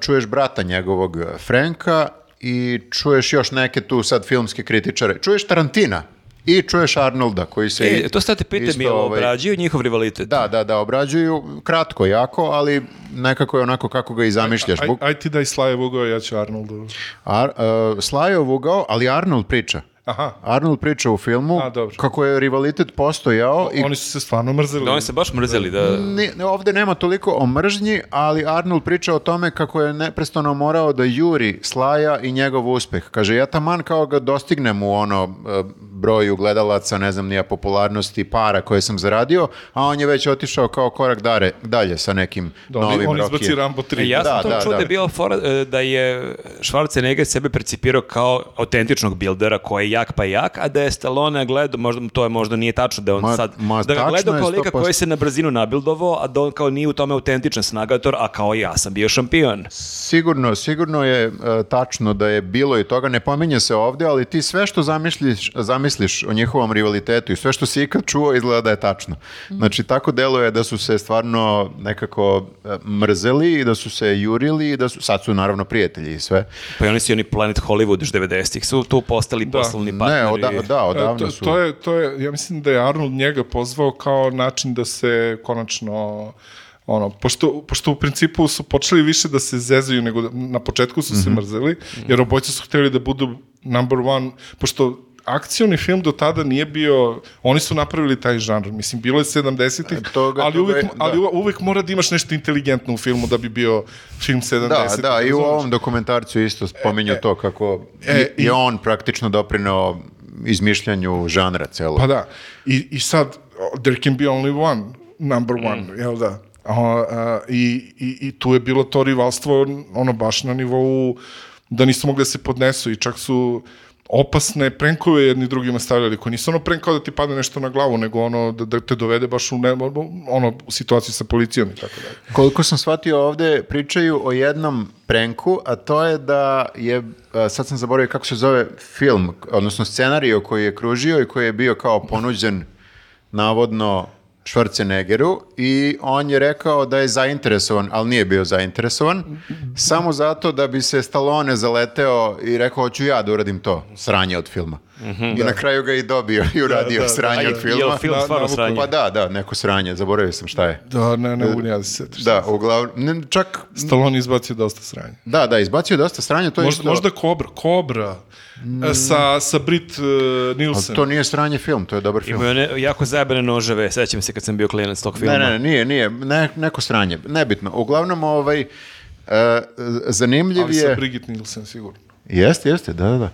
čuješ brata njegovog Franka i čuješ još neke tu sad filmske kritičare. Čuješ Tarantina i čuješ Arnolda koji se... E, to sad te pita isto, mi, ovaj... ovaj, obrađuju njihov rivalitet. Da, da, da, obrađuju kratko jako, ali nekako je onako kako ga i zamišljaš. Aj, Buk- aj ti daj Slajev ugao, ja ću Arnoldu. Ar, e, Slajov ugao, ali Arnold priča. Aha. Arnold priča u filmu A, dobro. kako je rivalitet postojao i Oni su se stvarno mrzeli. Da, oni se baš mrzeli, da... Ni, ne, ovde nema toliko o mržnji, ali Arnold priča o tome kako je neprestano morao da juri Slaja i njegov uspeh. Kaže, ja taman kao ga dostignem u ono e, broju gledalaca, ne znam, nija popularnosti, para koje sam zaradio, a on je već otišao kao korak dare, dalje sa nekim Da, oni, novim on izbaci Rockyjem. Rambo 3. E, ja sam Da, to da, čuo da, da. je bio fora, e, da je Schwarzenegger sebe percipirao kao autentičnog bildera koji je jak pa jak, a da je Stallone gledao, možda to je možda nije tačno da je on Ma- sad, ma, da ga tačno gledao je kao lika 100%. koji se na brzinu nabildovao, a da on kao nije u tome autentičan snagator, a kao ja sam bio šampion. Sigurno, sigurno je e, tačno da je bilo i toga, ne pominje se ovdje, ali ti sve što zamisliš, zamisliš o njihovom rivalitetu i sve što si ikad čuo izgleda da je tačno. Znači, tako deluje da su se stvarno nekako e, mrzeli i da su se jurili i da su, sad su naravno prijatelji i sve. Pa i oni su i oni Planet Hollywood još 90-ih su tu postali poslovni partneri. Ne, oda- da, odavno E, to, su. to je, to je, ja mislim da je Arnold njega pozvao kao način da se konačno ono, pošto, pošto u principu su počeli više da se zezaju nego da, na početku su Mhm. se mrzeli, jer obojica su hteli da budu number one, pošto akcioni film do tada nije bio, oni su napravili taj žanr, mislim, bilo je 70-ih, E, toga- ali, toga uvek, je- ali da. u- uvek mora da imaš nešto inteligentno u filmu da bi bio film 70-ih. Da, da, i u razumeš? ovom dokumentarcu isto E, spominju to kako je- je on praktično doprineo izmišljanju žanra celog. Pa da, i, i sad, o, there can be only one, number one, jel da? O, a, i, i, I tu je bilo to rivalstvo, ono, baš na nivou da nisu mogli da se podnesu i čak su opasne prenkove jedni drugima stavljali, koji nisu ono prenk kao da ti padne nešto na glavu, nego ono da, da te dovede baš u ne, ono, u situaciju sa policijom i tako dalje. Koliko sam shvatio ovde, pričaju o jednom prenku, a to je da je, a, sad sam zaboravio kako se zove film, odnosno scenario koji je kružio i koji je bio kao ponuđen navodno Schwarzeneggeru i on je rekao da je zainteresovan, ali nije bio zainteresovan, samo zato da bi se Stallone zaleteo i rekao hoću ja da uradim to, sranje od filma. Mhm, I da. na kraju ga i dobio i uradio da, da. sranje A od je- filma. jel film Na- stvarno navuku- sranje? Pa da, da, neko sranje, zaboravio sam šta je. Da, ne, ne mogu ni ja da se setiš. Da, uglavnom, ne, čak Stallone je izbacio dosta sranja. Da, da, izbacio je dosta sranja, to je Možda, isto- možda Kobra, Kobra, e, sa, sa Brit uh, Ali Nielsen. to nije sranje film, to je dobar film. Imaju one jako zajebane noževe, da. sećam se kad sam bio klinac tog filma. Ne, ne, ne, nije, nije, ne, neko sranje, nebitno. Uglavnom, ovaj, e, E, zanimljiv ali je... sa Brigitte Nielsen sigurno. Jeste, jeste, da, da, da.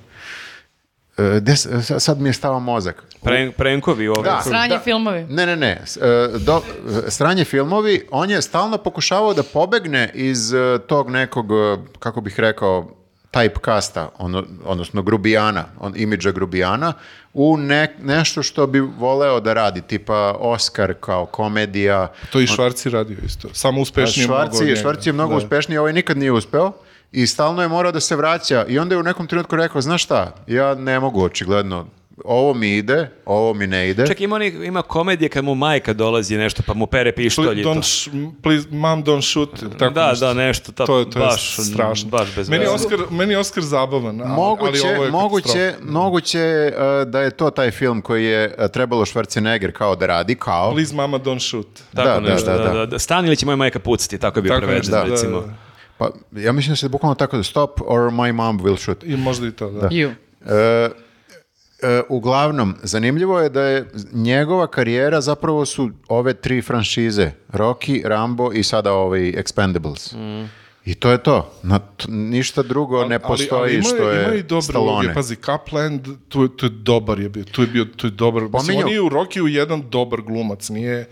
E, gde s- sa- sad mi je stao mozak. Pren- prenkovi ovdje. Da. Sranje filmovi. Ne, ne, ne. S- e, do- e, stranje filmovi, on je stalno pokušavao da pobegne iz e, tog nekog, e, kako bih rekao, typecasta, ono, odnosno grubijana, on, imidža grubijana, u ne- nešto što bi voleo da radi, tipa Oscar kao komedija. To i Švarci radio isto. Samo uspešnije mnogo od Švarci, njega. Švarci je mnogo Da. uspešniji, ovaj nikad nije uspeo i stalno je morao da se vraća i onda je u nekom trenutku rekao, znaš šta, ja ne mogu očigledno, ovo mi ide, ovo mi ne ide. Čak ima, oni, ima komedije kad mu majka dolazi nešto pa mu pere pištolj i to. Don't, sh- please, mom, don't shoot. ili Tako Da, nešto. da, nešto. Ta, to je, to je baš, strašno. Baš bez meni, je veze. Oscar, meni je Oscar zabavan, ali, Moguće, ali ovo je katastrofa. moguće, moguće e, da je to taj film koji je e, trebalo Schwarzenegger kao da radi, kao. Please mama don't shoot. Tako da, nešto, da, da. Stani ili će moja majka pucati, tako bi Tako preveden, nešto, da, recimo. da, da. Pa, ja mislim da se bukvalno tako da stop or my mom will shoot. I možda i to, da. You. E, uglavnom, zanimljivo je da je njegova karijera zapravo su ove tri franšize. Rocky, Rambo i sada ovaj Expendables. Mm. I to je to. Na t- ništa drugo ne E, postoji ima, što je ima i dobre Stallone. uloge. Pa Pazi, Kapland, tu je, tu je dobar je bio. Tu je bio, tu je dobar. Mislim, Pominjao- on je u Rockiju jedan dobar glumac, nije...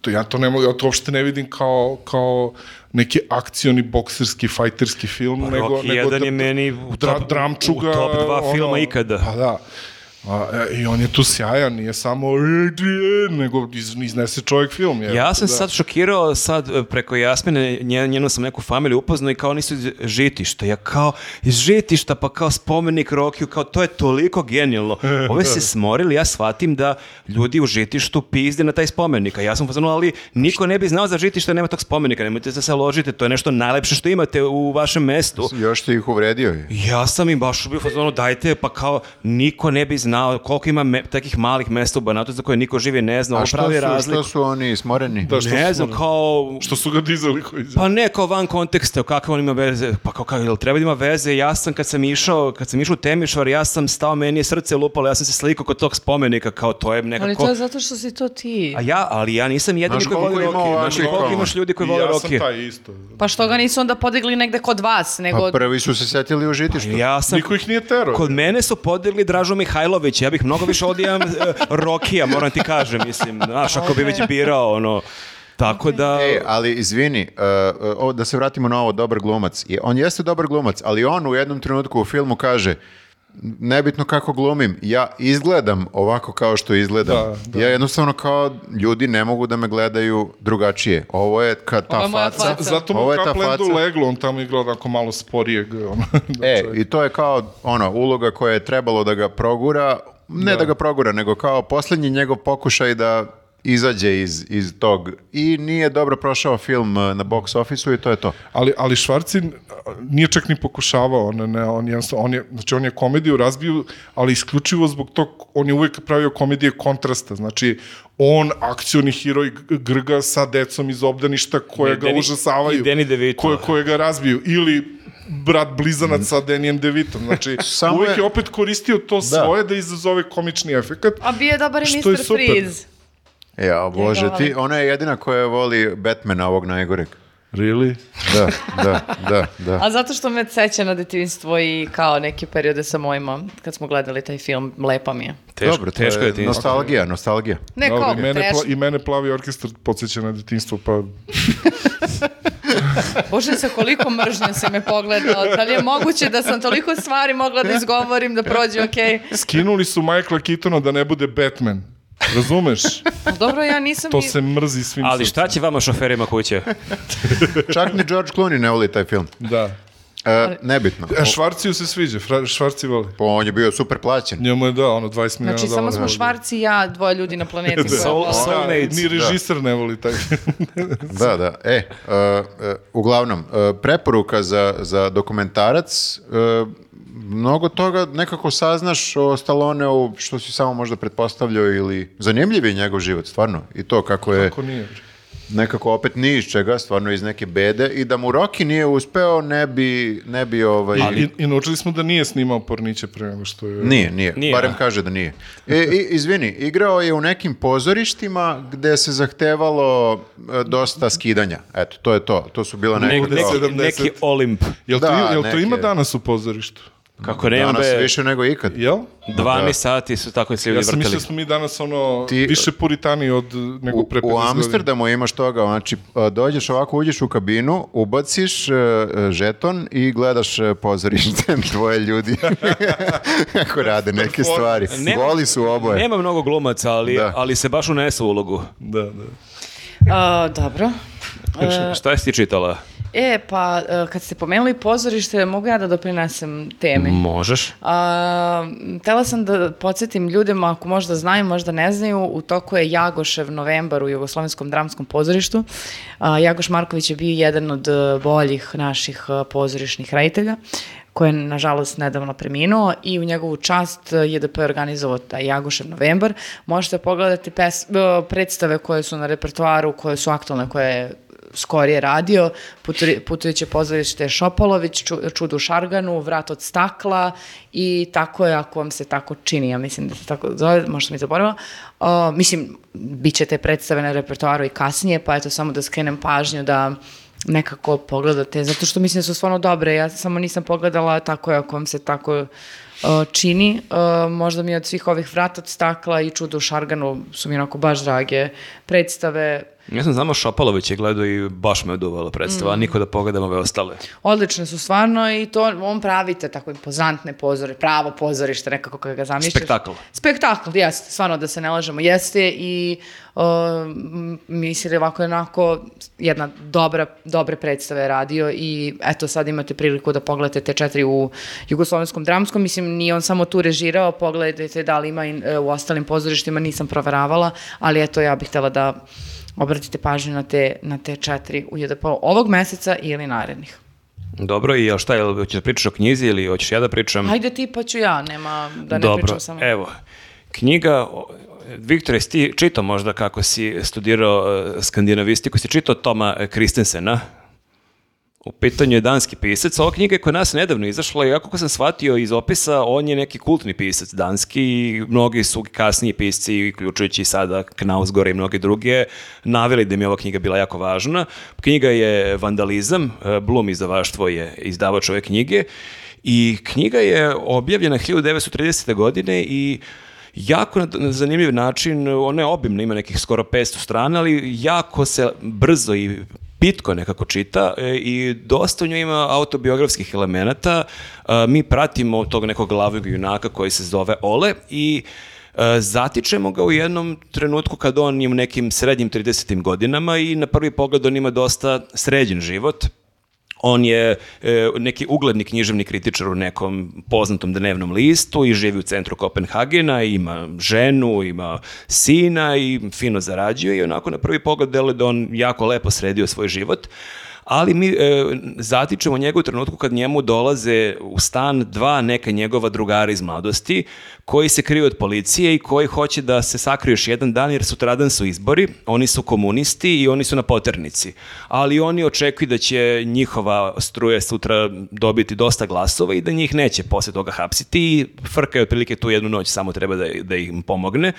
To, ja to ne mogu, ja to uopšte ne vidim kao, kao neki akcioni, bokserski, fajterski film, nego... Pa Rocky nego jedan je meni u dra- top- dramčuga, u top dva ono, filma ikada. Pa da. A, e, I on je tu sjajan, nije samo Adrian, nego iz- iznese čovjek film. Je, Ja sam da. se sad šokirao sad e, preko Jasmine, nje- njenu sam neku familiju upoznao i kao nisu iz žitišta. Ja kao iz žitišta pa kao spomenik Rokiju, kao to je toliko *laughs* genijalno. Ove se smorili, ja shvatim da ljudi u žitištu pizde na taj spomenik. A ja sam poznao, ali niko ne bi znao za žitište, nema tog spomenika, nemojte da se ložite, to je nešto najlepše što imate u vašem mestu. Još ti ih uvredio je. Ja sam im baš bio u fazonu, dajte, pa kao, niko ne bi znao koliko ima me- takih malih mesta u Banatu za koje niko živi ne zna, A ovo što pravi su, razliku. što su oni smoreni? Da, što ne su- znam, kao... Što su ga dizali koji iz- Pa ne, kao van konteksta, kakve on ima veze, pa kao, kao, jel treba da ima veze, ja sam kad sam išao, kad sam išao u Temišvar, ja sam stao, meni je srce lupalo, ja sam se slikao kod tog spomenika, kao to je Ali nekako... to je zato što si to ti. A ja, ali ja nisam jedini Znaš koji voli koliko ima Pa, Rocky, znaš ovakvih koliko kao- imaš ljudi koji I vole ja sam Rocky. taj isto. Pa što ga nisu onda podigli negde kod vas, nego... Pa prvi su se setili u žitištu. Ja sam Niko ih nije terao. Kod mene su podigli Dražu Mihajlović, ja bih mnogo više odijam Rokija, moram ti kažem, mislim, znaš, ako bi već birao, ono, tako da... E, ali izvini, uh, uh, ovo, da se vratimo na ovo, dobar glumac. Je- On jeste dobar glumac, ali on u jednom trenutku u filmu kaže nebitno kako glumim, ja izgledam ovako kao što izgledam. Da, da. Ja jednostavno kao ljudi ne mogu da me gledaju drugačije. Ovo je ka, ta Ovo je moja faca. faca. Zato mu Ovo je je ta Kaplandu faca. leglo, on tamo igrao onako malo sporijeg. Ono, *laughs* da E, čovjek- i to je kao ono, uloga koja je trebalo da ga progura, ne da, ga progura, nego kao posljednji njegov pokušaj da izađe iz, iz tog. I nije dobro prošao film uh, na box office i to je to. ali, ali Švarcin nije čak ni pokušavao, on, ne, on, jednostavno- on je, znači on je komediju razbio, ali isključivo zbog tog, on je uvijek pravio komedije kontrasta, znači on, akcioni heroj G- Grga sa decom iz obdaništa koje I ga Danny- užasavaju, i Danny DeVito. koje, koje ga razbiju, ili brat blizanac sa Denijem Devitom, znači Samo uvijek je- je opet koristio to svoje da izazove komični efekat. A bio je dobar i Što je Mr. super. Freeze. Ja, E, bože, Njegova ti, ona je jedina koja voli Batmana ovog najgoreg. Really? Da, da, da, da. A zato što me seća na detinjstvo i kao neke periode sa mojima, kad smo gledali taj film, lepa mi je. Teško, Dobro, to teško je, ti. Nostalgija, nostalgija. Ne, Dobro, kao, i mene, treš- pla- i mene plavi orkestar podsjeća na detinstvo, pa Bože, sa koliko mržnje se me pogledao. Da li je moguće da sam toliko stvari mogla da izgovorim, da prođe okej? skinuli su Michaela Keatona da ne bude Batman. Razumeš? Ali Dobro, ja nisam... To ni- se mrzi svim Ali srcem. šta će vama šoferima kuće? Čak ni George Clooney ne voli taj film. Da. E, nebitno. E, Švarciju se sviđa, Fra- Švarci voli. Po, on je bio super plaćen. Njemu je da, ono, 20 miliona Znači, samo smo dolara. Švarci i ja, dvoje ljudi na *laughs* planeti. Da. koje Soul- vole. soulmates. Ni režiser ne voli taj film. Da, da. E, e, e, uglavnom, e, preporuka za, za dokumentarac, e, mnogo toga nekako saznaš o Stalloneu što si samo možda pretpostavljao ili... Zanimljiv je njegov život, stvarno. I to kako je... Ko nije. nekako opet ni iz čega, stvarno iz neke bede i da mu Rocky nije uspeo, ne bi, ne bi ovaj... I, I naučili smo da nije snimao porniće pre nego što je... Nije, nije, Nije, barem a? kaže da nije. E, i, izvini, igrao je u nekim pozorištima gde se zahtevalo e, dosta skidanja. Eto, to je to, to su bila Ne- neke... Ovdje neki, 70. neki Olimp. Jel, to, Da, jel to neke- ima danas u pozorištu? Kako nema Danas be, više nego ikad. Jel? 12 sati su tako se ljudi Ja sam mislio vrteli. da smo mi danas ono Ti- više puritani od uh, nego U, pre 50 u godina. Amsterdamu imaš toga, znači a, dođeš ovako, uđeš u kabinu, ubaciš e, e, žeton i gledaš e, pozorište *laughs* dvoje ljudi kako rade neke stvari. Nema- Goli su oboje. Nema mnogo glumaca, ali, Da. ali se baš unesu u ulogu. Da, da. A, dobro. Š- Šta jesi ti čitala? E, pa e, kad ste pomenuli pozorište, mogu ja da doprinesem temi? Možeš. A, htela sam da podsjetim ljudima, ako možda znaju, možda ne znaju, u toku je Jagošev novembar u Jugoslovenskom dramskom pozorištu. A, Jagoš Marković je bio jedan od e, boljih naših e, pozorišnih reditelja koji je, nažalost, nedavno preminuo i u njegovu čast e, JDP je organizovao taj Jagošev novembar. Možete pogledati pes, e, predstave koje su na repertoaru, koje su aktualne, koje je skorije radio, putri- putujuće pozorište Šopolović, Ču- Čudu u Šarganu, Vrat od stakla i tako je, ako vam se tako čini, ja mislim da se tako zove, možda sam i zaboravila. O, mislim, bit će te predstave na repertoaru i kasnije, pa eto samo da skrenem pažnju da nekako pogledate, zato što mislim da su stvarno dobre, ja samo nisam pogledala tako je, ako vam se tako o, čini. O, možda mi od svih ovih Vrat od stakla i Čudu u Šarganu su mi onako baš drage predstave, Ja sam znamo Šopalović je gledao i baš me oduvala predstava, Mm. a niko da pogledam ove ostale. Odlične su stvarno i to on pravite tako impozantne pozore, pravo pozorište nekako kada ga zamišljaš. Spektakl. Spektakl, jeste, stvarno da se ne lažemo, jeste i um, mislim ovako i onako jedna dobra, dobre predstave je radio i eto sad imate priliku da pogledate te četiri u jugoslovenskom dramskom, mislim nije on samo tu režirao, pogledajte da li ima i, e, u ostalim pozorištima, nisam proveravala, ali eto ja bih htela da obratite pažnju na te, na te četiri u JDP ovog meseca ili narednih. Dobro, i jel šta, jel hoćeš da pričaš o knjizi ili hoćeš ja da pričam? Hajde ti pa ću ja, nema da ne Dobro, E, pričam samo. evo, knjiga, o, Viktor, jesi ti čitao možda kako si studirao e, skandinavistiku, si čitao Toma e, Kristensena? U pitanju je danski pisac. Ova knjiga je kod nas nedavno izašla i ja kako sam shvatio iz opisa, on je neki kultni pisac danski i mnogi su kasniji pisci, uključujući i sada Knausgore i mnoge druge, naveli da mi je ova knjiga bila jako važna. Knjiga je Vandalizam, e, Blum izdavaštvo je izdavač ove knjige i knjiga je objavljena 1930. godine i jako na- na zanimljiv način, ona je obimna, ima nekih skoro 500 strana, ali jako se brzo i pitko nekako čita e, i dosta u njoj ima autobiografskih elemenata. E, Mi pratimo tog nekog glavnog junaka koji se zove Ole i e, zatičemo ga u jednom trenutku kad on je u nekim srednjim 30. godinama i na prvi pogled on ima dosta sređen život, on je e, neki ugledni književni kritičar u nekom poznatom dnevnom listu i živi u centru Kopenhagena, ima ženu, ima sina i fino zarađuje i onako na prvi pogled deluje da on jako lepo sredio svoj život. Ali mi e, zatičemo njega u trenutku kad njemu dolaze u stan dva neka njegova drugara iz mladosti koji se kriju od policije i koji hoće da se sakriju još jedan dan jer sutradan su izbori, oni su komunisti i oni su na poternici. Ali oni očekuju da će njihova struja sutra dobiti dosta glasova i da njih neće posle toga hapsiti i frka je otprilike tu jednu noć, samo treba da, da im pomogne.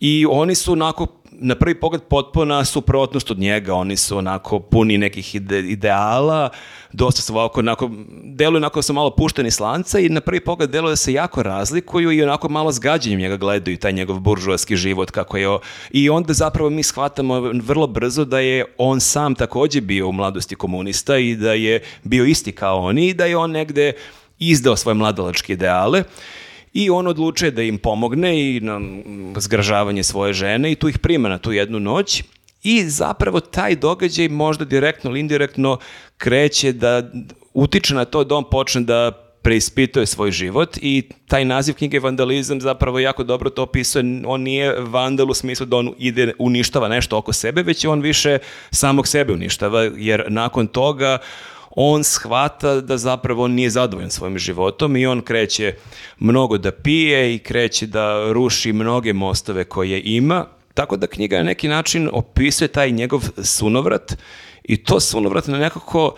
I oni su onako na prvi pogled potpuna suprotnost od njega, oni su onako puni nekih ide- ideala, dosta su ovako, onako, deluju onako da su malo pušteni s lanca i na prvi pogled deluje da se jako razlikuju i onako malo s gađenjem njega gledaju taj njegov buržuarski život kako je o- i onda zapravo mi shvatamo vrlo brzo da je on sam takođe bio u mladosti komunista i da je bio isti kao oni i da je on negde izdao svoje mladalačke ideale i on odlučuje da im pomogne i na mm, zgražavanje svoje žene i tu ih prima na tu jednu noć i zapravo taj događaj možda direktno ili indirektno kreće da d- utiče na to da on počne da preispituje svoj život i taj naziv knjige Vandalizam zapravo jako dobro to opisuje. On nije vandal u smislu da on ide, uništava nešto oko sebe, već on više samog sebe uništava, jer nakon toga on shvata da zapravo on nije zadovoljan svojim životom i on kreće mnogo da pije i kreće da ruši mnoge mostove koje ima Tako da knjiga na neki način opisuje taj njegov sunovrat i to sunovrat na nekako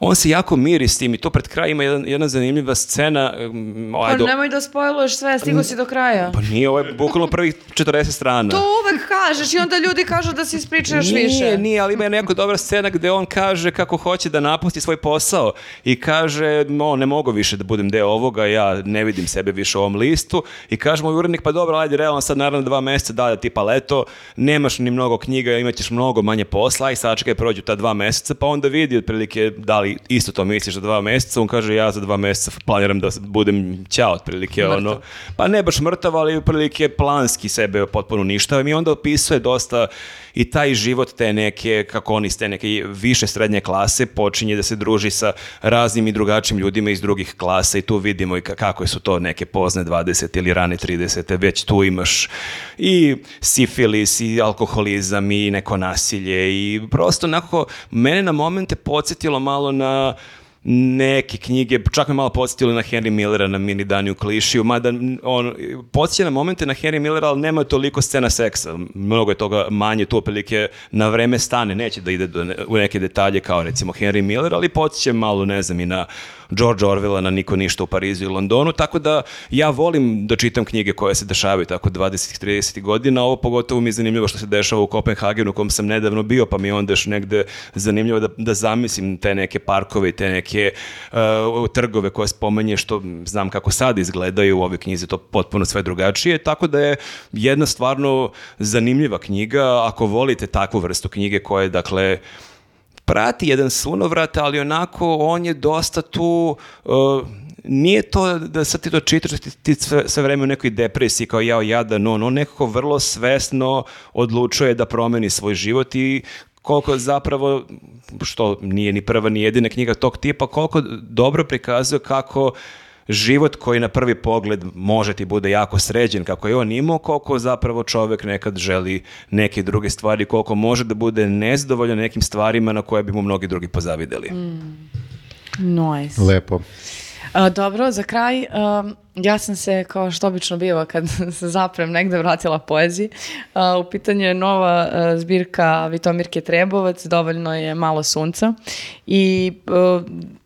on se jako miri s tim i to pred kraj ima jedan, jedna zanimljiva scena. mm, Pa ajde, nemoj da spojluješ sve, stigo si do kraja. pa nije, ovo je bukvalno prvih 40 strana. To uvek kažeš i onda ljudi kažu da si ispričaš nije, više. Nije, ali ima je neka dobra scena gde on kaže kako hoće da napusti svoj posao i kaže, no, ne mogu više da budem deo ovoga, ja ne vidim sebe više u ovom listu i kaže mu urednik, pa dobro, ajde, realno sad naravno dva meseca dalje tipa leto, nemaš ni mnogo knjiga, imat ćeš mnogo manje posla i sačekaj prođu ta dva meseca, pa onda vidi otprilike da li isto to misliš za dva meseca, on kaže ja za dva meseca planiram da budem ćao otprilike ono. Pa ne baš mrtav, ali otprilike planski sebe potpuno ništavam i onda opisuje dosta i taj život te neke, kako on iz te neke više srednje klase počinje da se druži sa raznim i drugačijim ljudima iz drugih klasa i tu vidimo i ka- kako su to neke pozne 20 ili rane 30, već tu imaš i sifilis i alkoholizam i neko nasilje i prosto onako mene na momente podsjetilo malo na neke knjige, čak me malo podsjetilo na Henry Millera na mini dani u klišiju, mada n- on podsjeća na momente na Henry Millera, ali nema toliko scena seksa, mnogo je toga manje, tu otprilike na vreme stane, neće da ide do ne- u neke detalje kao recimo Henry Miller, ali podsjeća malo, ne znam, i na George Orwella, na Niko ništa u Parizu i Londonu, tako da ja volim da čitam knjige koje se dešavaju tako 20-30 godina, ovo pogotovo mi je zanimljivo što se dešava u Kopenhagenu u kom sam nedavno bio, pa mi je onda još negde zanimljivo da, da zamislim te neke parkove i te neke uh, trgove koje spomenje, što znam kako sad izgledaju u ovoj knjizi, to potpuno sve drugačije, tako da je jedna stvarno zanimljiva knjiga, ako volite takvu vrstu knjige koja je, dakle, prati jedan sunovrat, ali onako on je dosta tu... uh, nije to da sad ti to čitaš, da ti, ti sve, sve vreme u nekoj depresiji kao jao jadan, on, on nekako vrlo svesno odlučuje da promeni svoj život i koliko zapravo, što nije ni prva ni jedina knjiga tog tipa, koliko dobro prikazuje kako život koji na prvi pogled može ti bude jako sređen kako je on imao, koliko zapravo čovek nekad želi neke druge stvari, koliko može da bude nezadovoljan nekim stvarima na koje bi mu mnogi drugi pozavideli. Mm. Nice. Lepo. A, dobro, za kraj, um, ja sam se, kao što obično biva kad *laughs* se zaprem negde vratila poeziji, a, u pitanju je nova a, zbirka Vitomirke Trebovac, dovoljno je malo sunca i a, to-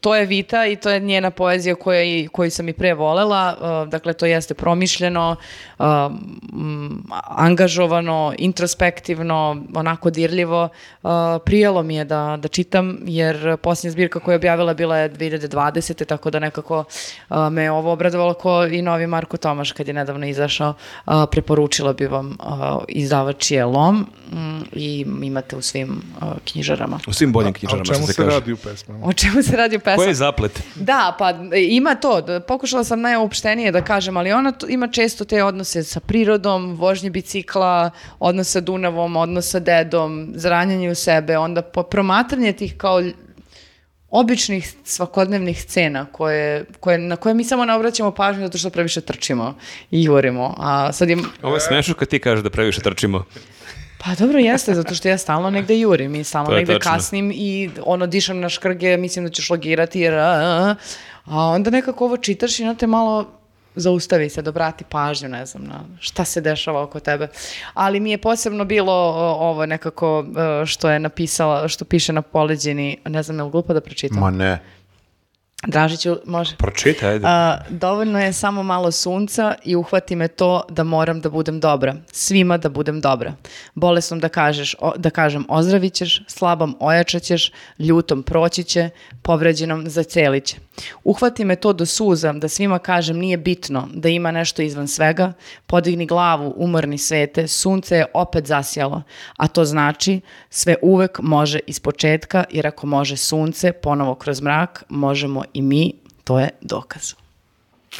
to je Vita i to je njena poezija koja, i- koju sam i pre volela, a, dakle to jeste promišljeno, a, m, mm, angažovano, introspektivno, onako dirljivo. A, Prijelo mi je da, da čitam jer posljednja zbirka koju je objavila bila je 2020. tako da nekako a, me je ovo obradovalo ko i novi Marko Tomaš kad je nedavno izašao. A, Preporučila bi vam a, izdavač je Lom mm, i imate u svim a, knjižarama. U svim boljim A o knjižarama što čemu se se kaže. radi E u pesmama? O čemu se radi u pesama? Koji je zaplet? Da, pa e, ima to. da- Pokušala sam najopštenije da kažem, ali ona to- ima često te odnose sa prirodom, vožnje bicikla, odnos sa Dunavom, odnos sa dedom, zranjanje u sebe, onda po promatranje tih kao lj- običnih svakodnevnih scena koje, koje, na koje mi samo ne obraćamo pažnju zato što previše trčimo i jurimo. A sad je, Ovo je smešno kad ti kažeš da previše trčimo. pa dobro jeste, zato što ja stalno negde jurim i stalno To je negde tačno. kasnim i ono dišem na škrge, mislim da ćeš logirati jer... a, a, a. A onda nekako ovo čitaš i onda te malo zaustavi se, da obrati pažnju, ne znam, na šta se dešava oko tebe. Ali mi je posebno bilo o, ovo nekako e, što je napisala, što piše na poleđini, ne znam, je li glupo da pročitam? Ma ne. Dražiću, može? Pa- E, Pročitaj, ajde. A, dovoljno je samo malo sunca i uhvati me to da moram da budem dobra. Svima da budem dobra. Bolesnom da, kažeš, o- da kažem ozdravit ćeš, slabom ojačat ćeš, ljutom proći će, povređenom zacelit će. Uhvati me to do suza da svima kažem nije bitno da ima nešto izvan svega, podigni glavu, umorni svete, sunce je opet zasjalo, a to znači sve uvek može iz početka, jer ako može sunce ponovo kroz mrak, možemo i mi, to je dokaz.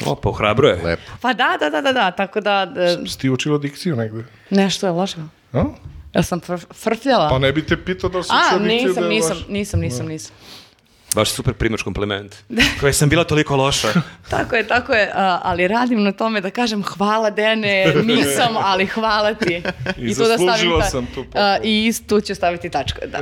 Opa, ohrabro je. *laughs* Lepo. Pa da, da, da, da, da, tako da e, Si ti učila dikciju negde? nešto je loše. A? Ja sam fr frfljala. Pa ne bi te pitao da li si A, učila dikciju. nisam, da je nisam, loša. nisam, nisam, nisam. Baš super primaš *laughs* kompliment. Koja sam bila toliko loša. Tako je, tako je, a, ali radim na tome da kažem hvala *laughs* Dene, nisam, ali hvala ti. I to da stavim zaslužila ta- sam tu pohvalu. a, I tu ću staviti tačku, da.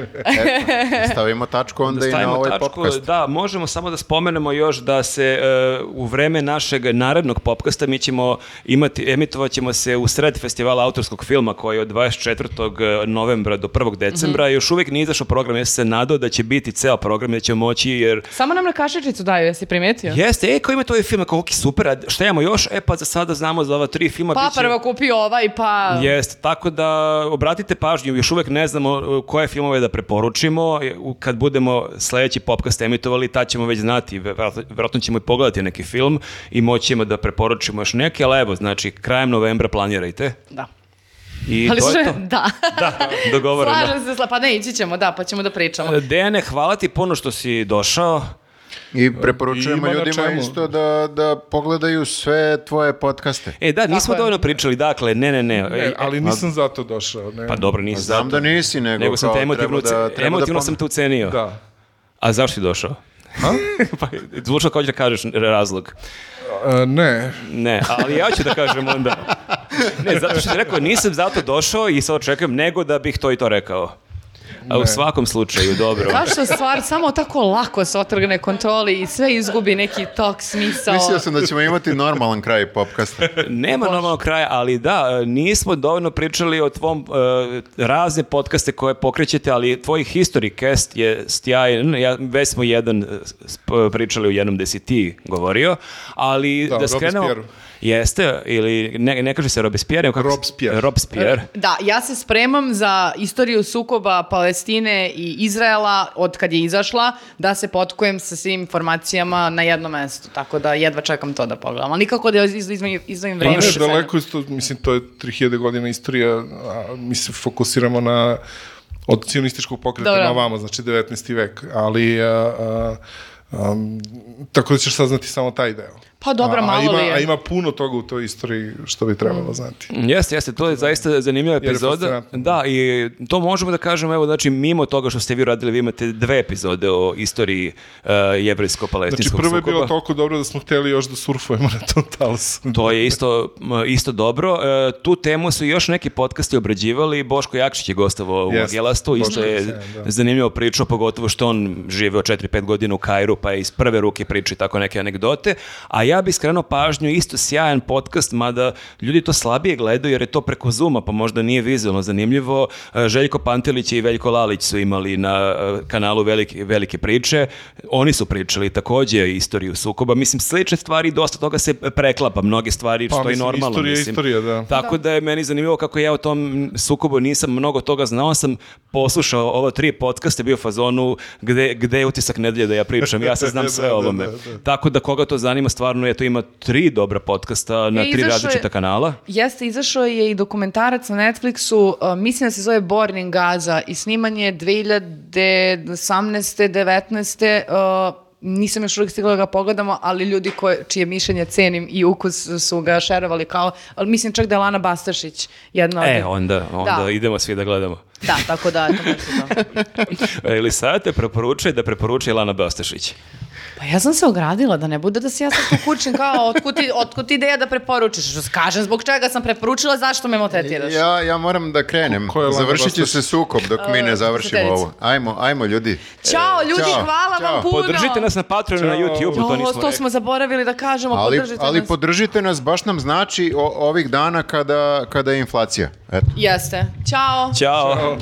Stavimo tačku onda i Da na Stavimo ovaj tačku. podcast. Da, možemo samo da spomenemo još da se e, u vreme našeg narednog popkasta mi ćemo imati, emitovat ćemo se u sred festivala autorskog filma koji je od 24. novembra do 1. decembra. Mhm. Još uvijek nije izašao program, ja sam se nadao da će biti ceo program, da ćemo moći jer Samo nam na kašičicu daju, jesi primetio? Jeste, e, ko ima to ovaj film, ako ok, super, a šta imamo još? E, pa za sada znamo za ova tri filma. Pa bit će- prvo kupi ovaj, pa... Jeste, tako da obratite pažnju, još uvek ne znamo e, koje filmove da preporučimo, e, u- kad budemo sledeći popkast emitovali, tad ćemo već znati, verovatno verovatno ćemo i pogledati neki film i moćemo da preporučimo još neke, ali evo, znači, krajem novembra planirajte. Da. I Ali to je sve- to. *laughs* da. Da, dogovoreno. Slažem se, sla- pa ne, ići ćemo, da, pa ćemo da pričamo. Dejane, hvala ti puno što si došao. I preporučujemo Ima na ljudima čemu. isto da, da pogledaju sve tvoje podcaste. E, da, nismo je. dovoljno pričali, dakle, ne, ne, ne. E, E, ali nisam zato došao. Ne. Pa dobro, nisi Znam zato. da nisi, nego, Nego sam kao te emotivno, treba da, uce- treba emotivno da sam pom- te ucenio. Da. A zašto si došao? Ha? *laughs* pa, zvučno kao da kažeš razlog. E, ne. Ne, ali ja ću da kažem onda. Ne, zato što si rekao, nisam zato došao i sad očekujem, nego da bih to i to rekao. A u svakom slučaju, dobro. Zašto stvar samo tako lako se otrgne kontroli i sve izgubi neki tok, *laughs* smisao? Mislio sam da ćemo imati normalan kraj popkasta. Nema normalno kraja, ali da, e, nismo dovoljno pričali o tvom e, razne podcaste koje pokrećete, ali tvoj history cast je sjajan. Ja, već smo jedan e, sp- pričali u jednom gde si ti govorio, ali da, Da, o skrenemo... Robespierreu. Jeste, ili ne, ne kaže se Robespierre, kako se- Robespierre. E. Robespierre. Da, ja se spremam za istoriju sukoba Palestine i Izraela od kad je izašla, da se potkujem sa svim informacijama na jednom mestu, tako da jedva čekam to da pogledam, ali nikako da iz- izvojim Pa izvojim vreme. ne, za sebe. daleko isto, mislim, to je 3000 godina istorija, a mi se fokusiramo na od cionističkog pokreta Dobro. na vama, znači 19. vek, ali a, a, am, tako da ćeš saznati samo taj deo. Pa dobro, A- a malo ima, li je. Mm. A ima puno toga u toj istoriji što bi trebalo znati. Jeste, jeste, to je zaista zanimljiva je epizoda. fascinantno. Da, i to možemo da kažemo, evo, znači, mimo toga što ste vi radili, vi imate dve epizode o istoriji uh, Znači, jevrejsko-palestinskog prvo je sukoba. bilo toliko dobro da smo hteli još da surfujemo na tom talasu. To je isto, m, isto dobro. E, tu temu su još neki podcasti obrađivali. Boško Jakšić je gostovao u Jeste, Agelastu. Isto Boško je Jakšić, da. zanimljivo pričao, pogotovo što on žive od 4-5 godina u Kairu, pa je iz prve ruke priča i tako neke anegdote. A ja bih skrenuo pažnju, isto sjajan podcast, mada ljudi to slabije gledaju jer je to preko Zuma, pa možda nije vizualno zanimljivo. E, Željko Pantelić i Veljko Lalić su imali na e, kanalu velike, velike priče. Oni su pričali takođe istoriju sukoba. Mislim, slične stvari, dosta toga se preklapa. Mnoge stvari Pa, što je mislim, normalno. istorija je mislim. istorija, da. Tako da. je meni zanimljivo kako ja o tom sukobu nisam mnogo toga znao sam, poslušao ova tri podcasta, bio u fazonu gde, gde je utisak nedelje da ja pričam, ja *laughs* se znam Da, sve da, o ovome. da, da, da. Tako da koga to zanima, stvarno je to ima tri dobra podcasta na tri E, izašao je- različita kanala. Jeste, izašao je i dokumentarac na Netflixu, a, mislim da se zove Born in Gaza i sniman je 2018. 19. a, e, nisam još uvijek stigla da ga pogledamo, ali ljudi koje, čije mišljenje cenim i ukus su ga šerovali kao, ali mislim čak da je Lana Bastašić jedna od... E, onda, onda Da. idemo svi da *laughs* gledamo. Da, tako da, eto, možda to. E, Ili sad te preporučuje da preporučuje Lana Bastašić. *laughs* Pa ja sam se ogradila, da ne bude da se ja sad tu kučim kao, otkud ti, otkud ti ideja da preporučiš? Što kažem, zbog čega sam preporučila, zašto me motetiraš? Ja, ja moram da krenem. Ko je Lana Završit će Bastašić? se sukob dok mi E, ne završimo sedelica. ovo. Ajmo, ajmo ljudi. Ćao, ljudi, E, Ćao, hvala ćao. vam puno! Podržite nas na Patreonu, na Ćao. YouTubeu, to To, nismo to rekli. smo zaboravili da kažemo, Ali, podržite ali nas. podržite nas, baš nam znači o- ovih dana kada, kada je inflacija. Eto. Jeste. Ćao. Ćao.